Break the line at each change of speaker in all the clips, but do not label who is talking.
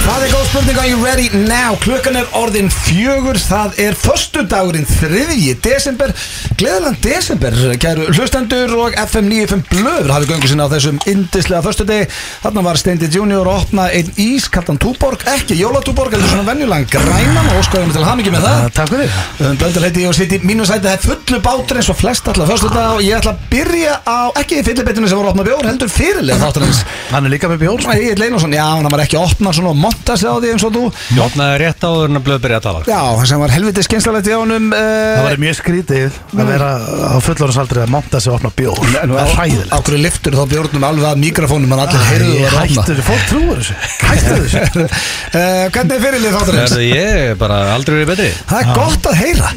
spurning Are you ready now? Klukkan er orðin fjögur Það er föstudagurinn þriðji desember Gleðilegan desember Kæru hlustendur og FM 95 Blöður hafið göngu sinna á þessum indislega föstudegi Þarna var Steindi Junior að opna einn ískallan túborg Ekki jólatúborg, heldur svona venjulegan grænan og óskaðum til hamingi með það
Takk fyrir
Um, Blöndal heiti ég og sitt í mínu sæti Það er fullu bátur eins og flest allar föstudag og ég ætla að byrja á, ekki fyllibitinu sem voru að opna bjór, heldur fyrirlega þáttanins
Hann er líka með bjór
Svona Egil Einarsson, já, hann var ekki að opna svona og monta sig á því eins og þú
Jótnaði rétt áður en að blöð byrja að tala
Já, það sem var helviti skynslegt í honum
Það
uh,
var mjög skrítið að vera á fullorðinsaldri að monta sig og opna bjór Það er hræðilegt
Akkur liftur þá bjórnum alveg að mikrofónum hann allir heyrðu
Æ,
og
Hættu
opna
þið, fólk trúur þessu Hættu þessu
uh, Hvernig er fyrirlið þáttanins?
Erðu ég er bara aldrei verið betri
Það er gott að heyra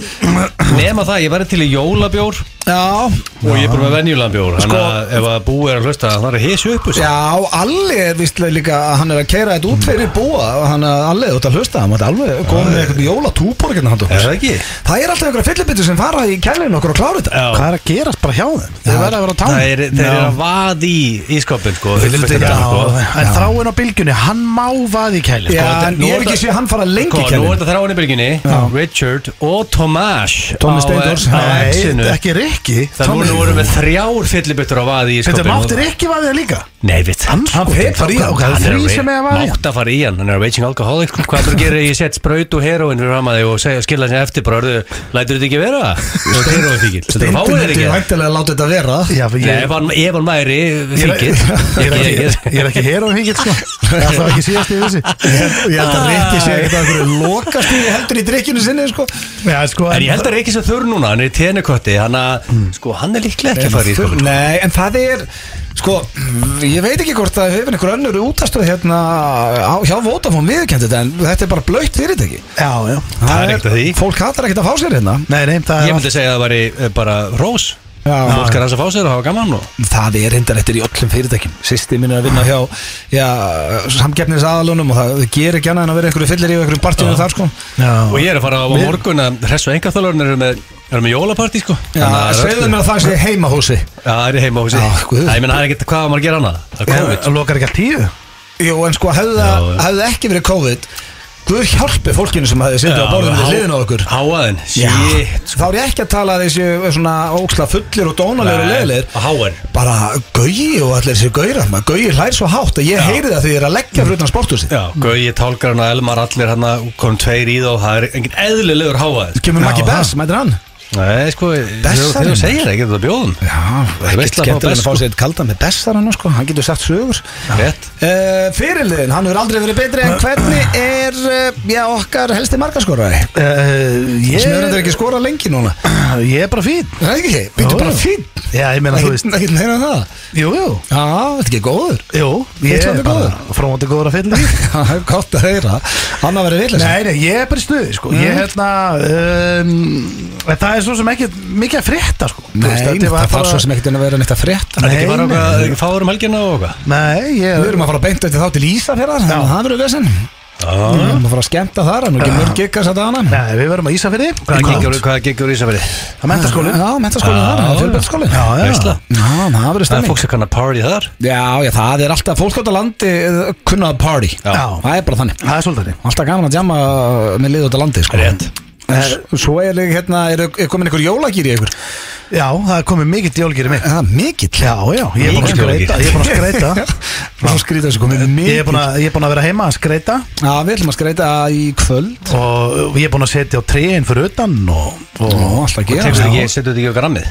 Nema það, ég væri til í jólabjór
Já,
Og ég er bara með venjulegan bjór Þannig að ef að búi er að hlusta Það er að hísu upp þessu
já, Alli er vistlega líka hann er að keira þetta út fyrir búa og hann að Alli, þú ert að hlusta, hann var alveg komið með eitthvað jólatúborgirna hann
Er það ekki?
Það er alltaf einhverja fyllibittu sem fara í kælinu okkur og klára þetta
Já
Hvað er að gerast bara hjá þeim? Þeir verða að vera á tánum
Það er, þeir eru að vaði í ískopin sko
Þeir vildu
uppfyllt
ekki
þetta, sko.
Já, En þráin á bylgjunni, hann má vaði í kæli
Já,
sko.
þetta-
en
nú
ég
er
hef ekki
það-
séð hann fara lengi
Sko,
í
nú
kælinu
er þetta þráin í bylginni Richard og Tomás
Tommy
á-
Steindors.
Á
Nei,
exinu
ekki Rikki
Það voru, voru við þrjár fyllibuttur á vaði í
Þetta
ískopin
mátti Rikki vaðið líka
Nei, við
Hann
fer bara í hann.
Það er þrý sem er að vaði
Mátt að fara í hann, hann er raging alcoholic Hvað þú gerir, ég sett spraut og heroin fyrir fram að þig og segja skilja sér eftir bara, örðu, lætur þetta ekki vera Þú ert heroin fíkil, þetta fáið
Steindin
þér
myndi
ekki
væntanlega láta þetta vera
Já, ég-
Nei, ef hann, ef hann væri
Ég er-
fíkil
Ég er
ekki-
ekki-
ekki-
ég er ekki hér á hengið sko Það er alltaf ekki síðast í þessi
Ég held að Rikki sé ekkert að einhverju lokastíði heldur í drikkinu sinni sko.
Já, sko
En ég held að Reykjus er þurr núna, hann er í tenekotti Hann, mm. sko, hann er líklega ekki að fara í sko.
Nei, en það er sko, ég veit ekki hvort að hefur einhver önnur útastöð hérna á, hjá Vodafone viðkjöndi þetta en þetta er bara blöytt fyrirtæki
Já, já
Það er ekkert að því.
Fólk hattar ekkert að fá sér hérna
Nei, nei, það
Ég
er
myndi segja að það væri eh, bara rós
Já.
Fólk er hans að fá sér og hafa gaman og
Það er reyndar eftir í öllum fyrirtækjum Sýsti minn er að vinna hjá já, samkeppnis aðalunum og það það gerir ekki annað en að vera einhverju fyllir í einhverju partíunum þar sko
Já.
Og ég er að fara á morgun að hressu engaþálarinn eru með, er með jólapartí sko
Já,
Þannig að-
segðu mér að það sé heimahúsi
Já, það er í heima húsi
Já, guð.
Það ég meina, það er ekkert hvað á maður að gera annað Það er COVID
Það lokar ekki að tíu
Jú, en sko, hefði, það,
Já, já.
hefði ekki verið COVID Guð hjálpi fólkinu sem hefði sittu á borðinu við hliðin á okkur sko.
Háaðin, shit
Þá er ég ekki að tala að þessi svona óksla fullir og dónalegur og leðilegir
Háaðin
Bara gauji og allir þessi gaurar maður Gauji hlær svo hátt að ég heyri það þegar ég er að leggja fyrir utan sporthúsið
Já, Gauji, Tálgarn og Elmar, allir hann kom tveir í þá Það er engin eðlilegur háaðin
Kemur
Já,
Maggi
það.
Bess, mætir hann
Nei, sko,
Bessarinn.
þegar þú segir það, getur það bjóðum
Já,
veist
ekkert
að fá
skemmtilega
Bess,
að fá
sko.
sér eitt kaldan með Bessar hann sko. Hann getur sagt sögur
Rétt
Uh, fyrirliðin, hann hefur aldrei verið betri en hvernig er uh, já, okkar helsti markaskorari
Uh,
yeah.
ég,
sem er ekki skora lengi núna
ég er bara fín
Það er ekki, býttu
Jú,
bara
jú.
fín
Já, ég meina þú veist
Ekkert meira en það
Jú, jú
Já, þetta er ekki góður
Jú, ég
Fyllandi
er bara fróndi góður að fylla í
Það er gott að heyra Hann að vera villis
Nei, nei, ég er bara í stuði, sko Ég er hérna um, Það er svo sem ekki mikið að frétta, sko Þú veist, þetta var
það þarf
bara-
svo sem ekkert en að vera neitt að frétta
Það er
Nei,
ekki bara
nei.
okkar, fáður um helgina og okkar
Nei, ég
Við erum að fara beint eftir þá til Ísafjörðar þannig að Það verður vesen Við erum að fara að skemmta þar en ekki mörg gikkar satt að hana
Nei, við verum að Ísafirði
Hvað gengur- Hvað gengur í Ísafjörði?
Það menta skóli
Já, mentaskólinn þar, það er fjölbættaskólinn
Já, já.
Veistla.
Já, það verður
Það er
stemming
fólk sem kann að party þar
Já, já, það er alltaf fólk átt að landi eh, kunna að party
Já.
Það er bara þannig
Það er svolítið
Alltaf gaman að jamma eh, með lið út að landi sko.
Rétt
En Svo er, hérna, er, er komin einhver jólagýr í ykkur
Já, það er komið mikill jólgir í mig
Það er mikill
Já, já, ég er búin að
Mikill jólagýr.
skreita Ég er búin að skreita
Svo skrýta þessu komið
Ég er
sko, mikill
búin að, ég er búin að vera heima að skreita
Já, við ætlum að skreita í kvöld
Og ég er búin að setja á tréin fyrir utan Og, og
Ó, alltaf að
Tekur þetta
gera
ekki, setur þetta ekki á grammið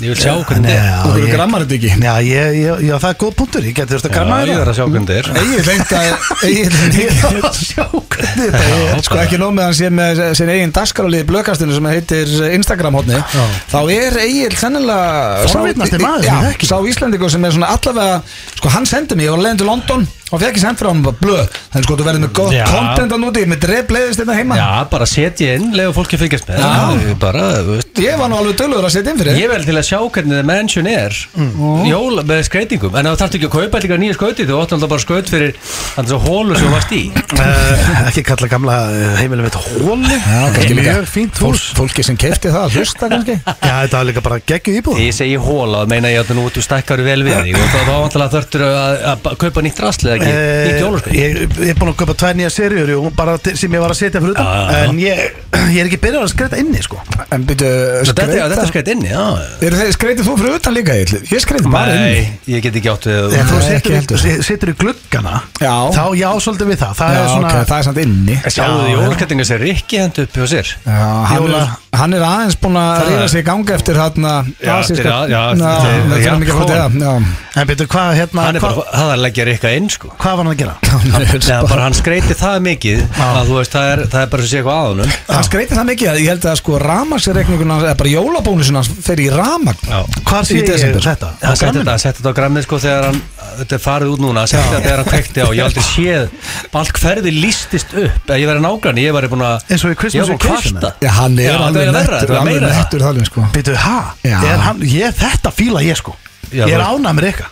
Ég vil sjá hvernig
Nei,
þetta er
já,
Þú eru
ég-
grammar þetta ekki
Já, ég, ég, já, það er góð punktur, ég geti þurft að granna
Já,
þetta
ég er að sjá hvernig þetta er
Egil lengt að Egil lengt að
sjá hvernig þetta
Já,
Sko ekki nóg með hann sé með sin eigin dagskráliði blökastinu sem heitir Instagram hotni þá er Egil sennilega
Forvitnasti
sá-
maður sem ég
já,
þekki.
sá Íslandingur sem er svona allavega sko hann sendi mig, ég var leiðin til London og fekk ég send frá hann bara blöð þannig sko þú verður með gott
Já.
content á núti með dref leiðist þetta heima
Já, bara setja inn, lega fólki að fylgjast
Já.
með Það er Bara, þú veist
ég var nú alveg dölur að setja inn fyrir
Ég vel til að sjá hvernig það mansion er Mm. Jóla með skreitingum En það þarf ekki að kaupa eitthvað nýja skauti Þú átti alltaf bara skaut fyrir Þannig að hólu sem þú varst í
Uh, ekki kalla gamla eh, heimilið mitt hóli
Já, kannski líka
Mjög fínt hús
Fólk- Fólki sem kefti það að hlusta kannski
Já, þetta var líka bara geggju íbúð
Ég segi hóla, það meina ég að nú þú stækkar vel við þig Og þá þá alltaf þörftur að, að, að kaupa nýtt drasli eða ekki, nýtt jólaskap
Eh, ég, ég er búin að köpa tvær nýja seriur jú, bara til- sem ég var að setja fyrir utan
Já, já, já.
En ég, ég er ekki byrjað að skreita inni sko.
En byrju,
Þetta er þetta skreitt inni, já
Eru þeir skreitið þú fyrir utan líka Egill? Ég skreiti bara inn
Nei, ég get ekki átt við
En þú
Nei, ekki
setur,
heldur.
í- setur í gluggana
Já.
Þá já, svolítið við það Það
Já,
er svona
ok, það er samt inni
Sjáðu
Já,
því
já.
jólaskattinga sem Rikki hendur upp hjá sér
Já, hann, er,
Jóla-
hann er aðeins búinn að
Það
ríða
er-
sig í gangi eftir hérna
Já,
asíska-
fyrir að- já,
Ná,
þeir-
það
já,
er mikið að fóta
kón.
það
En betur, hvað hérna,
Hann er
hva,
bara, það er að leggja Rikka inn sko
hvað var hann að gera?
Nei, bara hann skreiti það mikið að þú veist, það er, það er bara að sé eitthvað að honum
Hann skreiti það mikið að ég held að sko ramagsreikningun hans, eða bara jólabónusun hans fer í ramagn
Já
Hvað
Í
sé ég
desember.
þetta?
Hann setti þetta, setti þetta á grammið sko þegar hann Þetta er farið út núna, hann setti þetta þegar hann kvekti á Ég hef aldrei séð allt hverði lístist upp Ef ég verið nágrann, ég var búin að
Eins og í Christmas
Ég var búin að
Vacation,
kvarta.
Já, hann er
Já, þetta
alveg
er
nettur,
verra, þetta er
alveg
meira það.
nettur þalvin sko
Betur, ha?
Já.
Er hann, ég, þetta fíla ég sko
Já,
Ég er
það-
ánað með Rikka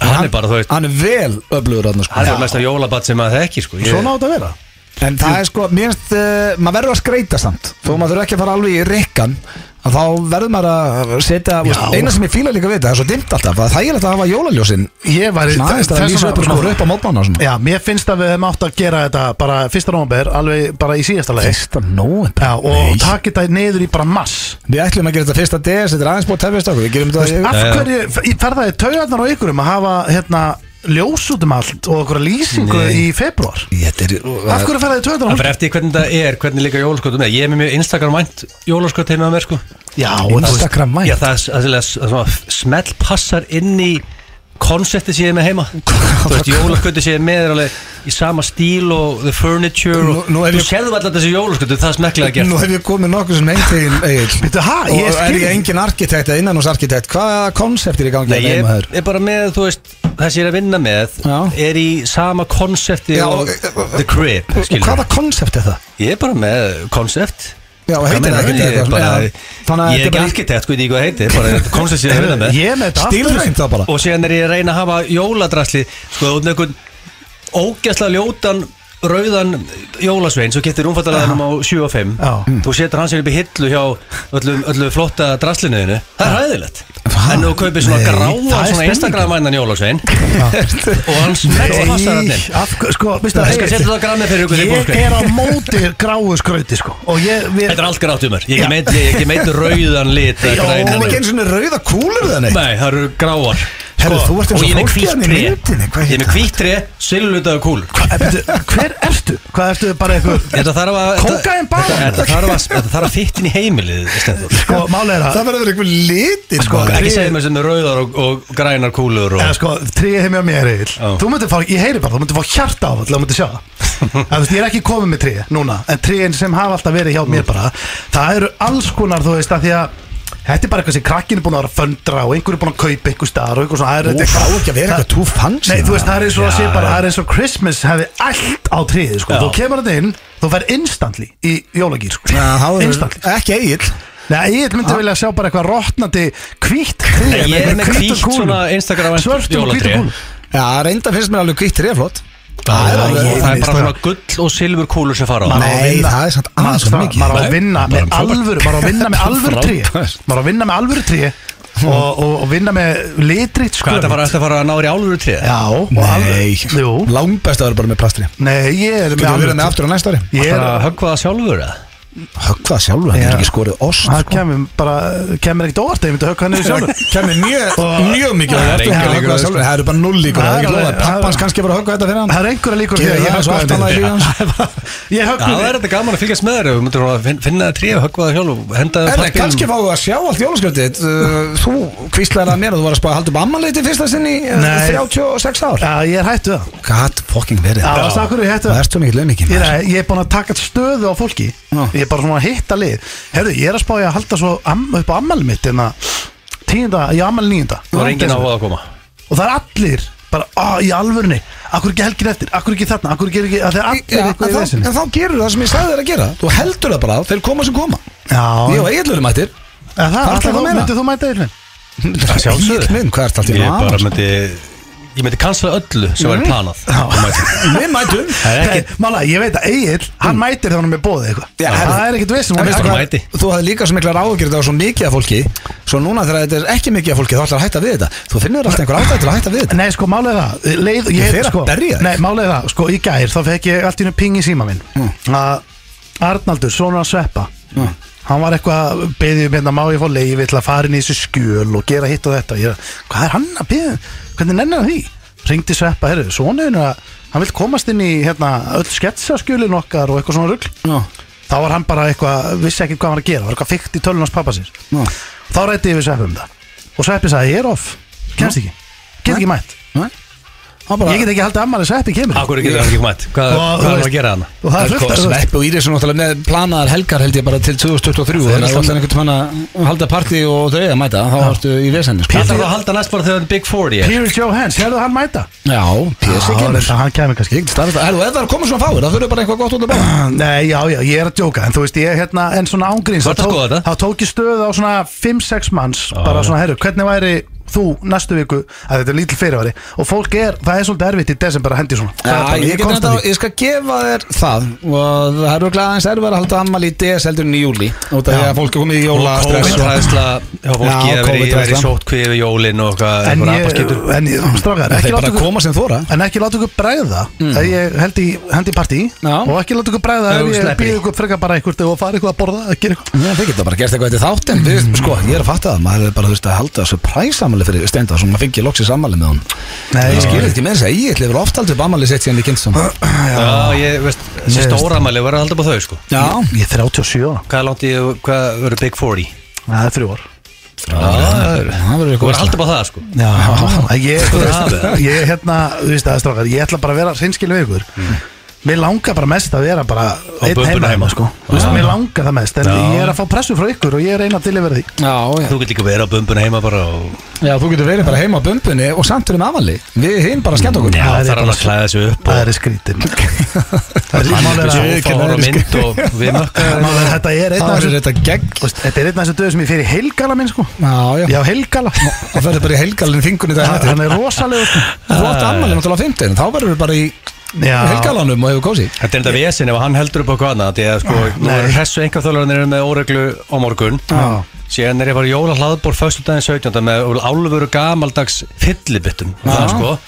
Hann er bara, þú veist,
Hann er vel öflugur hann sko
hann er mesta jólabat sem að það ekki sko Ég-
Svona átt að vera
En það er sko, mér finnst, uh, maður verður að skreita samt Þó maður þurfa ekki að fara alveg í rikkan að Þá verður maður að setja þú veist,
Já.
Eina sem ég fíla líka við þetta, það er svo dimt alltaf Það er þægilegt að hafa jólaljósin
Ég var
Svona aðeins það að lýsa
sko.
upp og skora upp á mótmána svona
Já, mér finnst að við hefum átt að gera þetta bara fyrsta nómber, alveg bara í síðasta leið
Fyrsta nóvember
Já, og taka þetta niður í bara mass
Við ætlum að gera þetta fyrsta DS, þetta er aðeins búið að tefjast okkur Við gerum
Þú veist,
þetta
af
Já, já.
hverju f- fer það í taugarnar á ykkur um að hafa hérna ljós út um allt og okkur lýsingu
Nei.
í februar
Þetta er
Af hverju fer það í taugarnar á
Það
ykkur?
fyrir eftir því hvernig það er, hvernig líka jólaskotum er Ég er með mjög Instagram vænt jólaskot heima með mér sko
Já,
Í Instagram vænt?
Já, það er það er- það er svona smell passar inn í konsepti sem ég er með heima Þú veist, jólaskotu sem ég er með er alveg í sama stíl og the furniture og
Nú- nú er
Þú
ég-
séðu alltaf þessi jólaskotu, það er smekklega gert
Nú hef ég komið nokkuð sem einn tegin Egil
Býttu, ha, ég
Og er
skil.
ég engin arkitekt eða innanús arkitekt Hvaða konsept er í gangi
Nei,
hérna
ég
heima hjá þér?
er bara með, þú veist, það sem ég er að vinna með
Já.
er í sama konsepti
Já,
og
og-
The Crib,
Og
skilur
Hvaða konsept er það?
Ég er bara með konsept
Já, og
Hvað
heitir
meinar
það
Ég
ekkert
er bara,
eitthvað? Já, þannig að
ég er
þetta
ekki
bara-
arkitekt, sko, ég veit ekki hvað heitir bara konsept sem ég er að vinna með
Ég er með þetta
Stílrænt þá bara
og síðan er ég að reyna að hafa jóladrasli sko, út með einhvern ógæsla ljótan rauðan jólasvein svo getur umfattalaðanum á 7 og 5
Já.
þú setur hans upp í hillu hjá öllu, öllu flotta draslinuðinu það er hæðilegt en þú kaupir svona
Nei, það
gráa
er
svona
stemning.
Instagram-vænan jólasvein og hann smelts passar hann
Nei,
inn
af hverju, sko, býttu
Ég skal setja það á grammið fyrir ykkur í
Ég
bókstæði.
er á móti gráu skrauti, sko Og ég, við
þetta er allt grátt um mér ég
Já.
er ekki meit- ég er ekki meit rauðan lit eða
Já,
Það
grænan
er
lit.
ekki einu svona rauða kúlur það neitt
Nei, það eru gráar Sko,
Herru, þú ert eins og
og ég er með
fólkið hérna í
hvíttré
myndinni, hvað
Ég er með
heitir
hvíttré, silvitaðu kúlur
Eh, bíddu, Hver ertu? Hvað ertu bara eitthvað
Þetta þarf að
Kókaín bara.
þetta- Þetta þarf að Þetta þarf að fytta inn í heimilið Stendur
Sko, máli er að
Það verður einhver litin
Sko,
maður.
Ekki segja mér sem er rauðar og, og grænar kúlur og
Eða sko, tríði heim hjá mér Egil
Já.
Þú myndir fá, ég heyri bara, þú myndir fá hjarta á Þú myndir sjá það Eða, þú veist, Ég er ekki komið með tríði núna En tríðin sem hafa alltaf verið hjá
Mm.
mér bara Það eru alls konar, þú veist, að því að Þetta er bara eitthvað sem krakkin er búin að vera að föndra Og einhver er búin að kaupa einhver staðar og einhver svona Það er
Þú
þetta
fá ekki að vera
það-
eitthvað too fancy
Nei, þú veist, það er eins og að sé
Já,
bara
já.
Það er eins og Christmas hefði allt á tríði sko.
Já.
Þú kemur þetta inn, þú fær instantly í jólagýr sko.
Já, þá er-
Instantly
Ekki Egil
Nei, ég myndi vilja sjá bara eitthvað rotnandi hvítt tré
Nei, ég er með
hvítum
hvítt
kúlum.
svona Instagram
Svörtum hvítum
jólatré
kúlum.
Já, reynda finnst mér alveg hvitt treflott
Það er
sko, alveg-
alveg- það er
ég-
bara svona gull og silfur kúlur sem fara á
Maður á
það.
að
Nei,
vinna-
það er samt aðeins of
Maður-
mikið.
Maður á að
Nei,
vinna
bara
með
um frábært.
alvöru Maður á að vinna með alvöru tré
Frábært.
Maður á að vinna með alvöru tré Og, og, og vinna með litritt
Hvað
skröð
þetta fara eftir að fara að náður í álfur tré?
Já og
Nei,
alvöru- Jú
langbest að vera bara með plastri
Nei, ég er
Getur við verið með
alvöru
aftur á næsta ári?
tré. Ég
Það
er
er að höggva það sjálfur eða?
Höggvað sjálfur, hann
Já.
getur ekki skorið ost
Það
sko.
kemur bara Kemur ekkert óvart Ég myndi högg hann yfir sjálfur
Kæmi mjög, mjög mikið
Það er
eftir
engar
að
líkur á
höggva
þessu.
sjálfur. Það eru bara null líkur Það
Það er
er ekki
alveg-
loðað Pappans kannski var að höggva þetta fyrir hann
Það er einhverja líkur því
Gerðu
að ég
það
högg
svo
hann
aftan að líka
yfir
hans.
Ég högg
Já, það er þetta gaman að fylgjast með þér ef Þú myndir að fin- finna það tré og höggva það sjálf og henda
En
pappírnum.
kannski fáum við að sjá allt jólaskjöldið Þú kvíslaði það mér að þú var að spá að halda upp ammaleiti fyrsta sinn í uh,
Nei.
36 ár
Já, ég er hættu það
Gat fucking verið
Já, veistu af hverju ég hættu
Það
það?
er svo mikið laumikið
Ég er, ég er búin að taka stöðu á fólki
Já.
Ég er bara svona að hitta lið Herðu, ég er að spá ég að halda svo am, upp á ammæli mitt En að tíunda, ég ammæli nýjunda
Það er engin á að koma
Og það er allir, bara á, í alvörni Akkur ekki helgin eftir, akkur ekki þarna Akkur ekki, ekki, það er allir
Já, en,
eitthvað í
þá,
þessin
en þá gerur það sem ég sagði þér að gera Þú heldur það bara, þeir koma sem koma Ég
Já,
og Egilur mættir
en það
hvað ætlar
er
þú að
það
meina?
Myndið þú mæta eilin?
Sjálfsögðu Minn, hvað er þetta til
Ég bara
aðeins?
myndi ég myndi cancela öllu sem væri planað
Við mætum
Það er ekki
Nei, Mála, ég veit að Egil, hann mætir þannig með bóðið eitthvað
Mm. Já,
Það
herri.
er ekkit vissum
En
Hann
veistu
bara
hvað,
mæti.
Þú hafði líka svo mikla ráðgjörð á svo mikið af fólki Svo núna þegar þetta er ekki mikið af fólki Þá ætlar að hætta við þetta Þú finnur alltaf einhver ástæð til að hætta við þetta
Nei, sko, málið er það leið,
Ég
ég,
fer að
sko,
berja þig.
Nei, málið er það, sko, í gær þá fekk ég allt í einu ping í síma minn
Mm.
að Arnaldur, sonur að sveppa hann var eitthvað að beðið um hérna má ég fá leiði til að fara inn í þessu skjöl og gera hitt og þetta ég, er, hvað er hann að beða, hvernig nennir hann því ringdi sveppa, herru, sonurinn er að hann vil komast inn í hérna öll sketsaskjölin okkar og eitthvað svona rugl þá var hann bara eitthvað, vissi ekki hvað hann var að gera var eitthvað fykt í tölun hans pappa sér
Nú.
þá rætti ég við sveppi um það og sveppi sagði, ég er off, kemst ekki get ekki mætt
Nei. Hann bara-
Ég get ekki haldið ammali sveppi kemur
Akkur getur hann ekki mætt Hvað
Og,
hvað
þú
er hann
veist,
að gera hana?
Og það er fullt af-
Svepp og Íris er náttúrulega með planaðar helgar held ég bara til 2023 Þannig að þú ætlar einhvern veginn að halda partí og þau að mæta Þá ertu í vesenni sko.
Það þarf að halda næst bara þegar hann Big 40 er
Peter Johans, hérðu hann mæta
Já, PSG
Já,
kemur
reyndar, hann kemur kannski
Ég get starfið það Herru, ef það er komið svona fáir þá þurfum við bara eitthvað gott út að báða
Nei, já, já, ég er að djóka En þú veist, ég er hérna, en svona ángríns
Þú ert að skoða þetta?
þá tók ég stöðu á svona 5-6 manns Bara svona, herru, hvernig væri þú næstu viku Að þetta er lítil fyrirværi Og fólk er, það er svolítið erfitt í desember að hendi svona Það er bara-
Já, ég, get
komst að
þetta,
því.
ég skal gefa þér það og það eru glæðið aðeins erfið að halda ammali í DS heldur en í júli út af því að fólk er komið í jóla
COVID-hæðsla Já, fólki
Já,
að vera í- vera
COVID-hræðsla.
í sótkvíð við jólin og
En
hvað einhver
ég,
apaskiptur.
en ég, strákar,
Þeir
ekki láta
bara
ykkur
koma sem þóra
En ekki láta ykkur bræða að ég held í, hendi í partí
Já.
og ekki láta ykkur bræða
Ef
ef
þú
ég
sleppir
býð
í.
ykkur frekar bara eitthvað og fara eitthvað að borða að gera eitthvað
Já, þeir geta bara gert eitthvað eftir þáttin við, Sko, ég er að fatta það, maður er bara þú veist, að halda surprise ammali fyrir stenda Svo maður fengi loksins ammali með hún
Nei,
Ég skil ekki með þess að ég ætli verið oft aldrei upp ammali sitt síðan ég kynst saman
Já, ég veist Þessi
Ég veist.
stóramæli verður að halda bá þau sko
Já,
Ég er 37 ára
Hvað er langt í, hvað verður Big 40?
Það er þrjú ár
Já,
það verður eitthvað
Þú verður að halda bá það sko
Já, ég, þú
Það
veist,
er það.
ég hérna, þú veist það strákar, ég ætla bara að vera hreinskilin við ykkur Mér langar bara mest að vera bara einn heima,
böbbuna heima.
sko Þú veist,
Já.
Mér langar það mest, en ég er að fá pressu frá ykkur og ég er eina til yfir því
Já, já.
Þú getur líka verið á bumbuna heima bara og
já, þú getur verið bara heima á bumbunni og samt erum ammali Við hinn bara skemmt okkur
Já,
það er
það er alveg
bara
að klæða þessu upp
Það
og
er skrítin Það er
Málið er að
líka
fá ára mynd og við mökkaðum
Málið er að þetta er einn
Það
af
verður
þessu
þetta gegn
Þú veist, Þetta er einn af þessu döðu sem ég fer í heilgala minn sko
Já,
Já, heilgala
Það verður bara í helgalinn þingunni dag hættir
Hann er rosalegur sko.
Þú átt ammali náttúrulega á 15 Þá verður við bara í
Já.
helgalanum og hefur kósi
Þetta er enda vesen ef hann heldur upp á hvað annað því að sko, nú
Ah, Nei. Ah.
er hressu einhverþjólarnir með óreglu á morgun
Já.
síðan er ég bara í jóla hlaðbór föstudaginn 17. með álfuru gamaldags fyllibittum
Ah.
það, sko.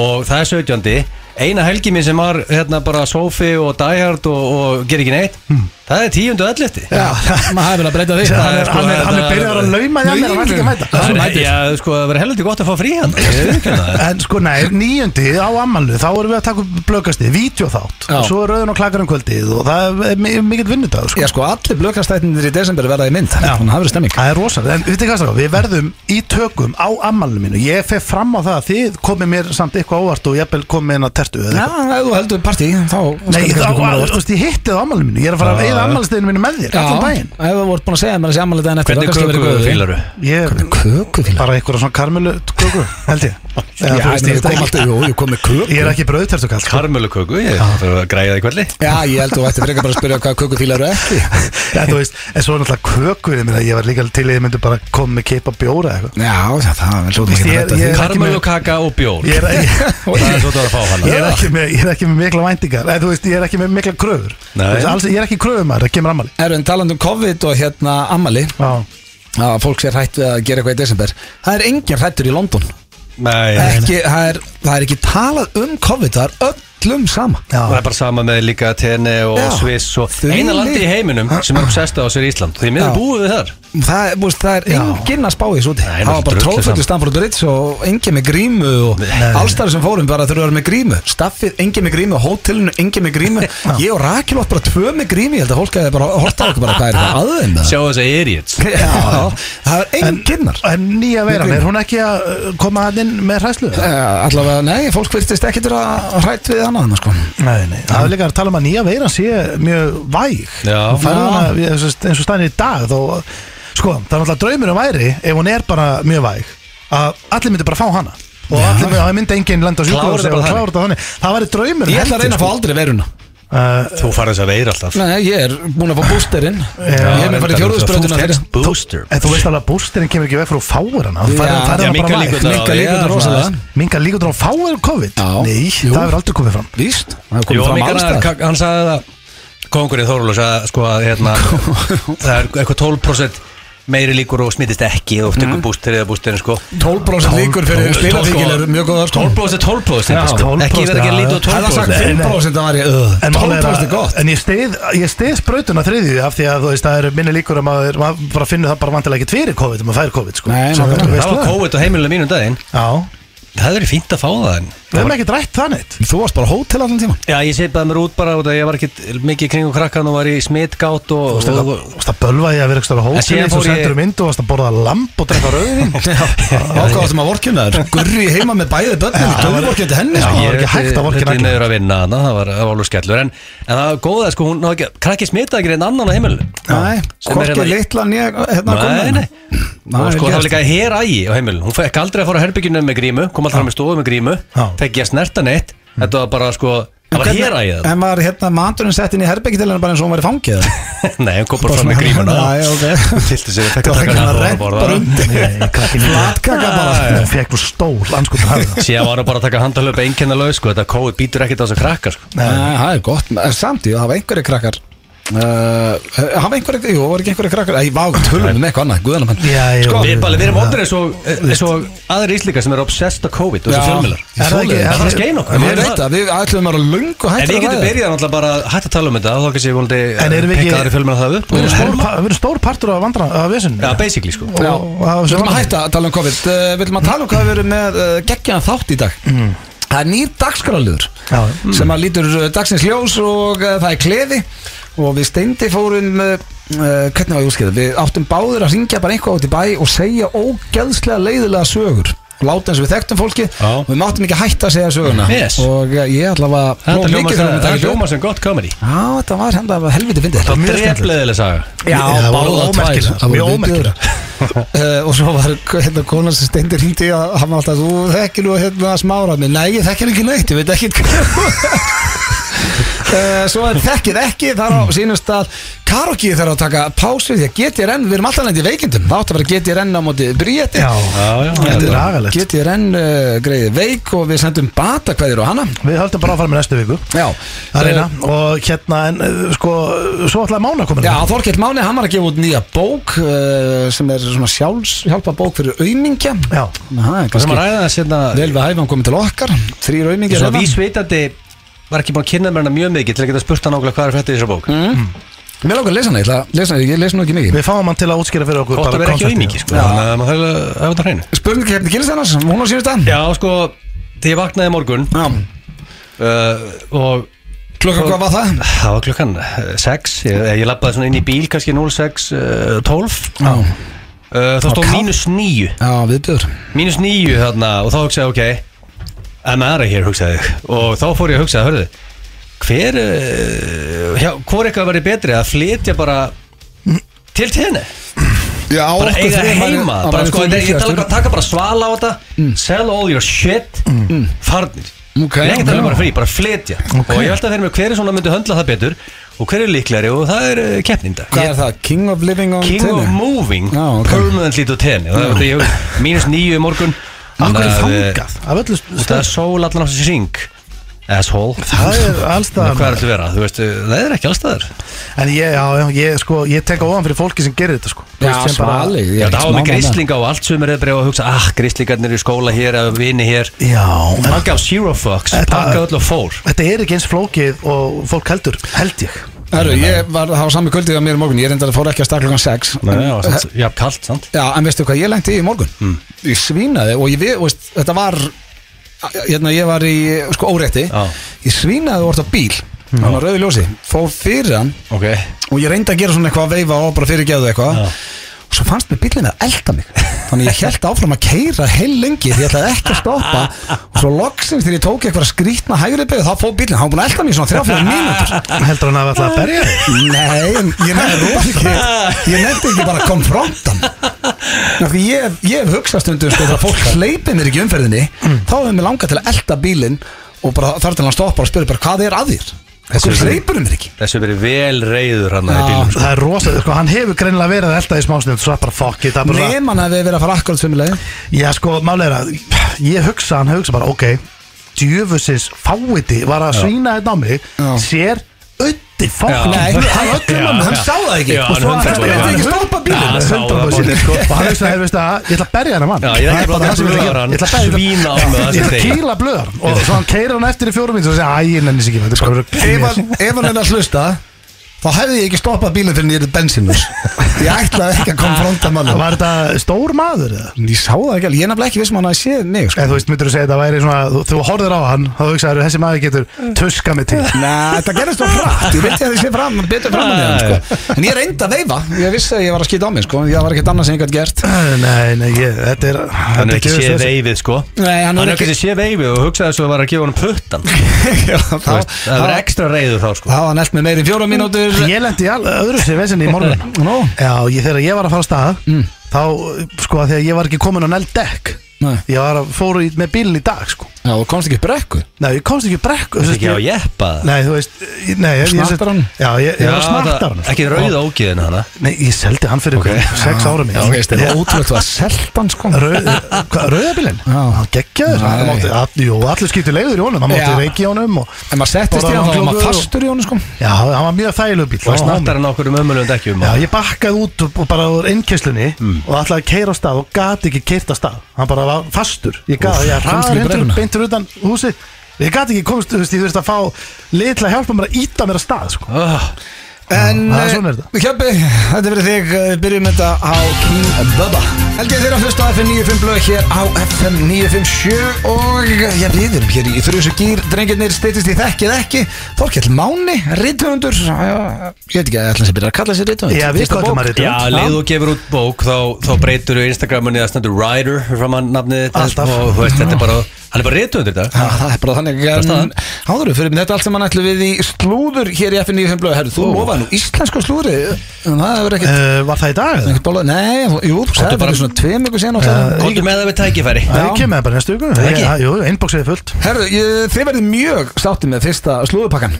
og það er 17. eina helgi mín sem var hérna bara sófi og dæhard og, og ger ekki neitt
Hmm.
það er 10. og 11.
Já, maður hefur verið að breyta því
Hann er, hann er, hann er byrjar að lauma því að mér, hann ætla ekki að mæta
Það er, já, sko, það verður heldur gott að fá frí hérna. hann Ég viðurkenni það.
En sko, nei, níundi á ammalnu Þá erum við að taka upp blökasti, vídeoþátt
Já.
Og svo er rauðin og klakar um kvöldið Og það er mi- mikill vinnudag sko.
Já, sko, allir blökastætnir í desember verða í mynd Þannig að það verður stemming
Það er rosalega, en veitir hvað strákar, við verðum í tökum á ammalinu mínu Ég fer fram á það að þið komið mér samt eitthvað ávart og ég bel komið inn að tertu eða
Já,
eitthvað.
ef þú heldur partí Þá
Nei,
skal
þá,
kannski koma á
þú
óvart.
veist, ég hitti það á ammalinu mínu Ég er að fara að eigða ammalsteginu mínu með þér,
Já,
allan daginn
ef þú vart búin að segja mér þessi ammali daginn eftir
Hvernig köku fílaru?
Ég
Kökufílar?
bara einhverja svona karmelu köku, held ég
Já,
Eða, þú veist,
ég
ég,
kom alltaf, jú, ég kom með köku
ég er ekki brauðtertu kall sko.
Karmöluköku, ég þarf að græja það í kvöldi
Já, ég held þú ætti frekar bara að spyrja hvað kökufílar eru ekki
Já, þú veist, en svo er náttúrulega kökur ég meina, ég var líka til í að ég myndi bara koma með keipa bjóra eða eitthvað
Já, það, það hljóðum
Víst,
ekki
ég-
að rætta því
ég- er ekki með-
Karmölukaka og bjór
Ég er, ég,
Það er svo það að fá hana
ég, er ekki með, ég er ekki með mikla væntingar eða, þú veist, ég er ekki með mikla kröfur
Nei.
Þú veist, alls, ég er ekki kröfumar, það kemur ammali
Erfinn, talandi um COVID og hérna ammali
Já,
að fólk sé hrætt við að gera eitthvað í desember það er engin hrættur í London
Nei,
ekki, það, er, það er ekki talað um COVID það er öllum sama
já,
Það er bara sama með líka Tene og
Já.
Sviss og
Því
eina
lík-
landi í heiminum sem er obsessed á sér Ísland Því miður
Já.
búið við þar
það, er- búst, það er
Já.
engin að spá í þessu úti
Nei,
það var bara
drullu
tróðfættu
saman.
Stanford Ritz og engin með grímu og
Nei.
allstarf sem fórum bara þurfa að vera með grímu staffið, engin með grímu, hótelinu, engin með grímu ég og Rakil átt bara tvö með grímu ég held að fólk hefði bara hort á okkur bara hvað er það aðeim með
Sjá þess að idiots
það það er enginnar
En nýja veiran, er hún ekki að uh, koma hann inn með hræslu?
Eh, allavega, nei, fólk virtist ekki til að hrætt við annað sko.
Nei, nei, það er líka að tala um að nýja veiran sé mjög væg
Já.
Hún færði hana, við- eins og- eins og stæðin í dag þó, sko, það er náttúrulega draumur um væri ef hún er bara mjög væg að allir myndi bara fá hana og allir myndi, að myndi enginn lenda á
Klára
sjúkvöld
þetta bara
það væri draumur
ég ætla að reyna að fá aldrei veruna
uh,
Þú farið þess að veira alltaf
Nei, ég er búin að fá bústerinn Ég er með farið fjóruðsbröðuna
Þú
fyrir
tekst booster
En þú veist alveg að bústirinn kemur ekki veg fyrir að fáir hana Þú færði
Já.
hana
Já,
bara
minnkar
væg.
líkurnar á
Minka
því,
líkurnar
já,
rosalega.
svona.
Mingar líkur á að fáir COVID
Já.
Nei,
Jú.
það hefur aldrí komið fram
Víst, það hefur
Jó,
komið fram
Mikael Arnar,
allstað
ka- hann sagði það Kongurinn Þorlur sagði sko að hérna, það er eitthvað 12% meiri líkur og smittist ekki og
Mm.
tekur bústir eða bústirinn sko
12% líkur fyrir spilatíkil er mjög sko. góð afskon
12% 12%
Já,
sko.
12%,
ekki verið ekki að
já.
líta á
Það er sagt
12%
5% að væri
En, málið er
12% er
að-
gott
en ég stið, ég stið sprautuna þriðju af því að þú veist það eru minni líkur um að maður, maður bara finnur það bara vantilega ekki fyrir COVID um að fær COVID sko.
Nei,
Svo
nákvæmlega.
hvernig
það
veist
var
það?
COVID á heimilinu mínum daginn
Já,
það verið fínt að fá það en
við hefum ekki rætt það neitt
Þú varst bara á hótel allan tíma
Já, ég seipaði mér út bara út að ég var ekki mikið kring og krakkan og var í smittgátt
Þú
og,
veist
og,
það- þú veist, það bölvaði að vera eitthvað
En síðan
hótið
fór
þú
ég-
sendur um mynd og varst að borða lamp og drekka rauðin
Ákvæðastum að vorkjuna þér Gurri heima með bæði börnin Gurri vorkjandi henni
Já.
sko.
það var ekki hægt að vorkenna
ekki
alla.
neyður að vinna hana, það var, það var alveg skellur en, en það var góða, sko, hún náði ekki, krakki smitaði ekki einn annan á heimilinu
Nei,
Sem er
hvorki
hérna-
litla nýja hérna
Nei, nei,
Nei,
og sko
gert.
það var líka hér ægi á heimilinu hún fekk aldrei að fara að herbygginu með grímu kom alltaf fram í stofu með grímu
Já. Mm.
fekk ég að snerta neitt þetta var bara sko, það var hér ægi það
En var hérna maturinn sett inn í herbyggi til hennar bara eins og hún væri fangið
nei, hún kom bara fram með grímuna
Nei, ok
tilti sér, fekk
Það
að
var
taka
ekki
hana
hann að
og fór að
redda
borða
um
hana.
rundi Flatkaka bara
Hún fekk nú stól, anskotum hafði
síðan var hún bara að taka handalöpa einkennalög sko, þetta kóið býtur ekkert á þessu krakka sko.
Nei, það er gott En Samt í, það hafa einhverju krakkar Uh, hafa einhverju, jú, var ekki einhverju krakkar Æ, vá, tölum við með eitthvað annað, guðanum hann
Já, já.
sko,
við, bara, við erum orður eins og, eins og aðri íslika sem eru obsessed á COVID og þessu
Já.
fjölmjölar
Er það ekki-
það er bara að skeina okkur
En ég veit að við ætlum að vera löngu
En
hægt
við
að
getum
ræða
byrjað náttúrulega bara að hætta að tala um þetta þá kannski ég volandi
En erum við ekki-
aðri fjölmjölar það upp
Við
og-
erum stór, pa- við erum stór partur af vandra, af vesinu
Já, basically sko
Já,
Og- og-
við viljum að hætta að tala um COVID uh, Við viljum að tala um hvað við erum með uh, geggjana þátt í dag Það er nýr dagskráliður
Já.
sem að lítur uh, dagsins ljós og uh, það er klefi og við steindi fórum uh, uh, hvernig var ég útskýrða, við áttum báður að ringja bara einhvað út í bæ og segja ógeðslega leiðilega sögur láta eins og við þekktum fólki
Já.
og við máttum ekki hætta að segja söguna
Yes.
og uh, ég ætla að
Þetta hljóma sem, þetta
um þetta
hljóma sem gott comedy
þetta var henda helviti fyndið
Það var
mjög
drefleðileg saga
Já,
það voru
báðar
ómerkilegar,
tvær. Það voru
mjög
viðbjóður. Eh, Og svo var hérna konan sem steindi hringdi að hann var alltaf, þú þekkir nú hérna smára mig, nei ég þekkir ekki neitt, ég veit ekki Eh, Svo er þekkir ekki, þar á
Hmm.
sínum stað Karokki þarf að taka pásu því að GTRN, við erum alltaf nænt í veikindum það átti að vera GTRN á móti bríeti
Já,
já,
þetta er agalegt
GTRN uh, greiði veik og við sendum batakvæðir á hana
Við höldum bara áfram í næstu viku
Já,
Það reyna Og hérna, en uh, sko, svo ætlaði Mána að koma hérna.
Já, Þorkell Máni, hann var að gefa út nýja bók uh, sem er svona sjálfs, hjálpa bók fyrir aumingja
Já.
Það er
Það sem að
kannski
ræða það sérna
vel við hæfum komið til okkar hérna. Þrýr aumingja
Svo vísvitandi var ekki búin að kynna mér hana mjög mikið til að geta spurt hann ákveða hvað er fættið í þessar bók
Mér Mm. langar að lesa hana, ég ætla að lesa hana, ég lesa nú ekki mikið
Við fáum hann til að útskýra fyrir okkur
Hvort að
bara
vera ekki
konceptið.
auðmikið sko Þannig að maður þarf að hafa þetta á hreinu
Spurning hefði kynst annars, hún á sínust að
Já, sko, þegar ég vaknaði í morgun
Já,
uh, og
klokkan hvað var það?
það var klukkan 6 ég, ég lappaði svona inn í bíl, kannski 06 uh, 12
Já,
uh, þá stóð
kalt.
mínus 9
já viðbjör
mínus nýju þarna og þá hugsaði ég, ok I'm out of here hugsaði ég og þá fór ég að hugsa, hörðu hver, uh, hjá, hvor eitthvað verið betri að flytja bara til tíðinni,
Já, á
bara eiga heima bara sko, þetta er- ég Mm. tala bara, taka bara svala á þetta sell all your shit Mm. farnir,
Ok,
ég er ekki að
já.
tala um bara frí bara flytja, og ég velta að fyrir mér hver er svona myndi höndla það betur og hver er líklari og það er uh, keppninda
Hvað er það? King of Living on
King of Moving
Já, ok.
Permanently to 10 og það er þetta ég mínus nýju í morgun
Akkur er
Þannig að,
þangað Af öllu
eh, Það er sól allan á þessi ring Asshole
Það er
Nú, Hvað er
allstað
þetta að vera? Þú veist, eh, það er ekki allstaðar
En ég, já, já, ég, sko, ég tek á ofan fyrir fólki sem gerir þetta, sko Þú
Já,
veist, sem bara-
svali
Ég ætla að hafa með grislinga og allt sem er bara að hugsa Ah, grislingarnir eru í skóla hér eða vini hér
Já, en
Hann gaf zero fucks,
Þetta-
pakka öll og fór
þetta er ekki eins flókið og fólk heldur, held ég
Herru, ég var á sami kvöldið á mér í morgun Ég reyndar að fóra ekki að starta klokkan 6
Nei, já, samt- Já, kalt, sant?
Já, en veistu hvað ég lengti í morgun? Ég svínaði og ég, við- veist, þetta var hérna, ég var í sko órétti
Já.
ég svínaði og orðið á bíl mm. hann var rauði ljósi, fór fyrir hann
Ok
og ég reyndi að gera svona eitthvað að veifa og bara fyrirgeðu eitthvað og svo fannst mér bílinn að elda mig þannig ég held áfram að keira heil lengi því ég ætlaði ekki að stoppa og svo loksins þegar ég tók eitthvað skrítna hægri beigð þá fór bílinn, hann var búin að elda mig í svona 3-4 mínútur
Heldur hann að alltaf að berja þig?
Nei, en ég nefndi ekki Ég nefndi ekki bara konfrontan Ná, því ég, ég hef hugsað stundum sko, þegar fólk hleypir mér ekki í umferðinni þá hefur mér langað til að elda bílinn og bara þar til hann stoppar og spyrir bara hvað er að þér Hvað hleypur mér ekki?
Þessu verið vel reyður hann í
Já.
bílum sko.
Það er rosalega, sko, hann hefur greinilega verið að elda í smásnið Svo er bara fuck it, það er bara
Neman að við verið að fara akkurat sem leið
Já, sko, málega er að ég hugsa, hann hugsa bara, ok djöfusins fáiti var að svína þetta á mig,
Já.
sér ötti
Já.
fátt
Nei, hann öllum hann, hann
Já.
sá það ekki
Já,
Og svo hann
hann
hann
hundrað prósent.
ekki stoppa
Já,
bílinn
hann sá það bara.
og hann hugsa, hey, veistu það, ég ætla að berja hennar mann
Já, ég
Það
ætla
er bara
bara
það sem ég ætla að
blöðra
gera.
hann.
Ég ætla að berja-
Svína á hann
Ég
með
ætla
þessi
að
degi.
kýla blöðar og svo hann keira hann eftir í fjórum minn og segja, æ, ég nenni þessi ekki, þetta er
Sko,
bara að
Ef
vera
hann- ef hann er að hlusta Þá hefði ég ekki stoppað bílinn fyrir en ég er bensinus Ég ætlaði ekki að konfronta mannum
Var þetta stór maður eða?
Ég sá það ekki alveg, ég er nefnilega ekki viss um að hann að séð mig sko.
En þú veist, myndur þú segja þetta væri svona, þú, þú horfir á hann þá hugsaður, þessi maður getur tuska mig til
Nei, þetta gerðist þá frætt, ég veit ég að ég sé fram, betur fram að hann sko. En ég reyndi að veifa, ég vissi að ég var að skýta á mig sko. Það var ekkert annað sem ég gætt gert
Nei, nei, ég, þetta er
Hann
Hann
er ekki séð veifið sko
Nei, hann
Hann
er
er
ekki
ekki séð veifið og hugsaði þess að það var að gefa hann puttan
Já,
Þú
þá-
veist, Það var
þá-
ekstra reyður þá sko
þá var hann eld með meir en fjóra mínútur
Ég lendi í al- öðru sér vesinni í morgun
Nú?
Já, ég, þegar ég var að fara af stað Þá, sko, þegar ég var ekki komin á nælt dekk
Nei.
Ég var að fóru í, með bílinn í dag, sko
Já, og komst ekki upp brekku
Nei, ég komst ekki brekk
Það er ekki á jeppa
Nei, þú veist ég- Nei, ég, ég-
Snartar hann?
Já, ég, ég var að snartar hann sko.
það- Ekki rauða ógiðin hana
Nei, ég seldi hann fyrir okay. sex ára mín
Já, ok, þetta er ótrúlegt að selta hann sko
Rauðabílinn?
Já.
Hann geggjaður
Nei.
Hann mátti- all- Jú, allir skipti leiður í honum Hann mátti
Já.
reiki í honum og,
En maður settist í hann, þá var maður
Bara-
fastur í hann sko
Já, hann var mjög þægilegu bíl
Og
hann var homi.
snartar hann okkur um ömulund ekki um
Já, ég bakkaði út og og bara úr innkyslunni
Mm.
og ætlaði að keira á stað og gati ekki keirt á stað hann bara var fastur ég
Úff,
gati,
komst
ég hraði
ekki í
hendur
bremuna.
beintur utan húsi ég gati ekki komst, þú veist, ég þurfti að fá lið til að hjálpa mér að íta mér að stað sko.
Ah,
En,
það er svona er þetta.
Hjöppi, þetta er fyrir þig Eh, Við byrjum þetta á King Bubba Held ég þeirra fyrst á FM 95 blöð hér á FM 957 og já, við erum hér í þrjusu gýr drengirnir steytist í þekkið ekki Þorkell Máni, rithöfundur Já, ég veit ekki að ætla sem byrja að kalla sér rithöfund
Já, við kallum að
Já,
reyta
leið og gefur út bók þá, þá breytur þú Instagramunni að stendur Rider framan nafnið þitt
Alltaf.
og þú veist, þetta er bara, hann er bara réttundur þetta
Já, það er bara þannig en áður fyrir þetta er allt sem hann ætlu við í slúður hér í FN 95 blöð, herru, þú lofaði nú íslensku slúðri, en það hefur ekkert
uh, Var það í dag? eða?
ekkert bóla, nei, þú- jú, þú sagði
bara-
bara svona tveim ykkur síðan og það
Kóttu með það við tækifæri
Já, ég kem með það bara næstu ykkur
ekki?
Jú, inboxið er fullt
Herðu, ég, þið verðið mjög sátti með fyrsta slúðupakkan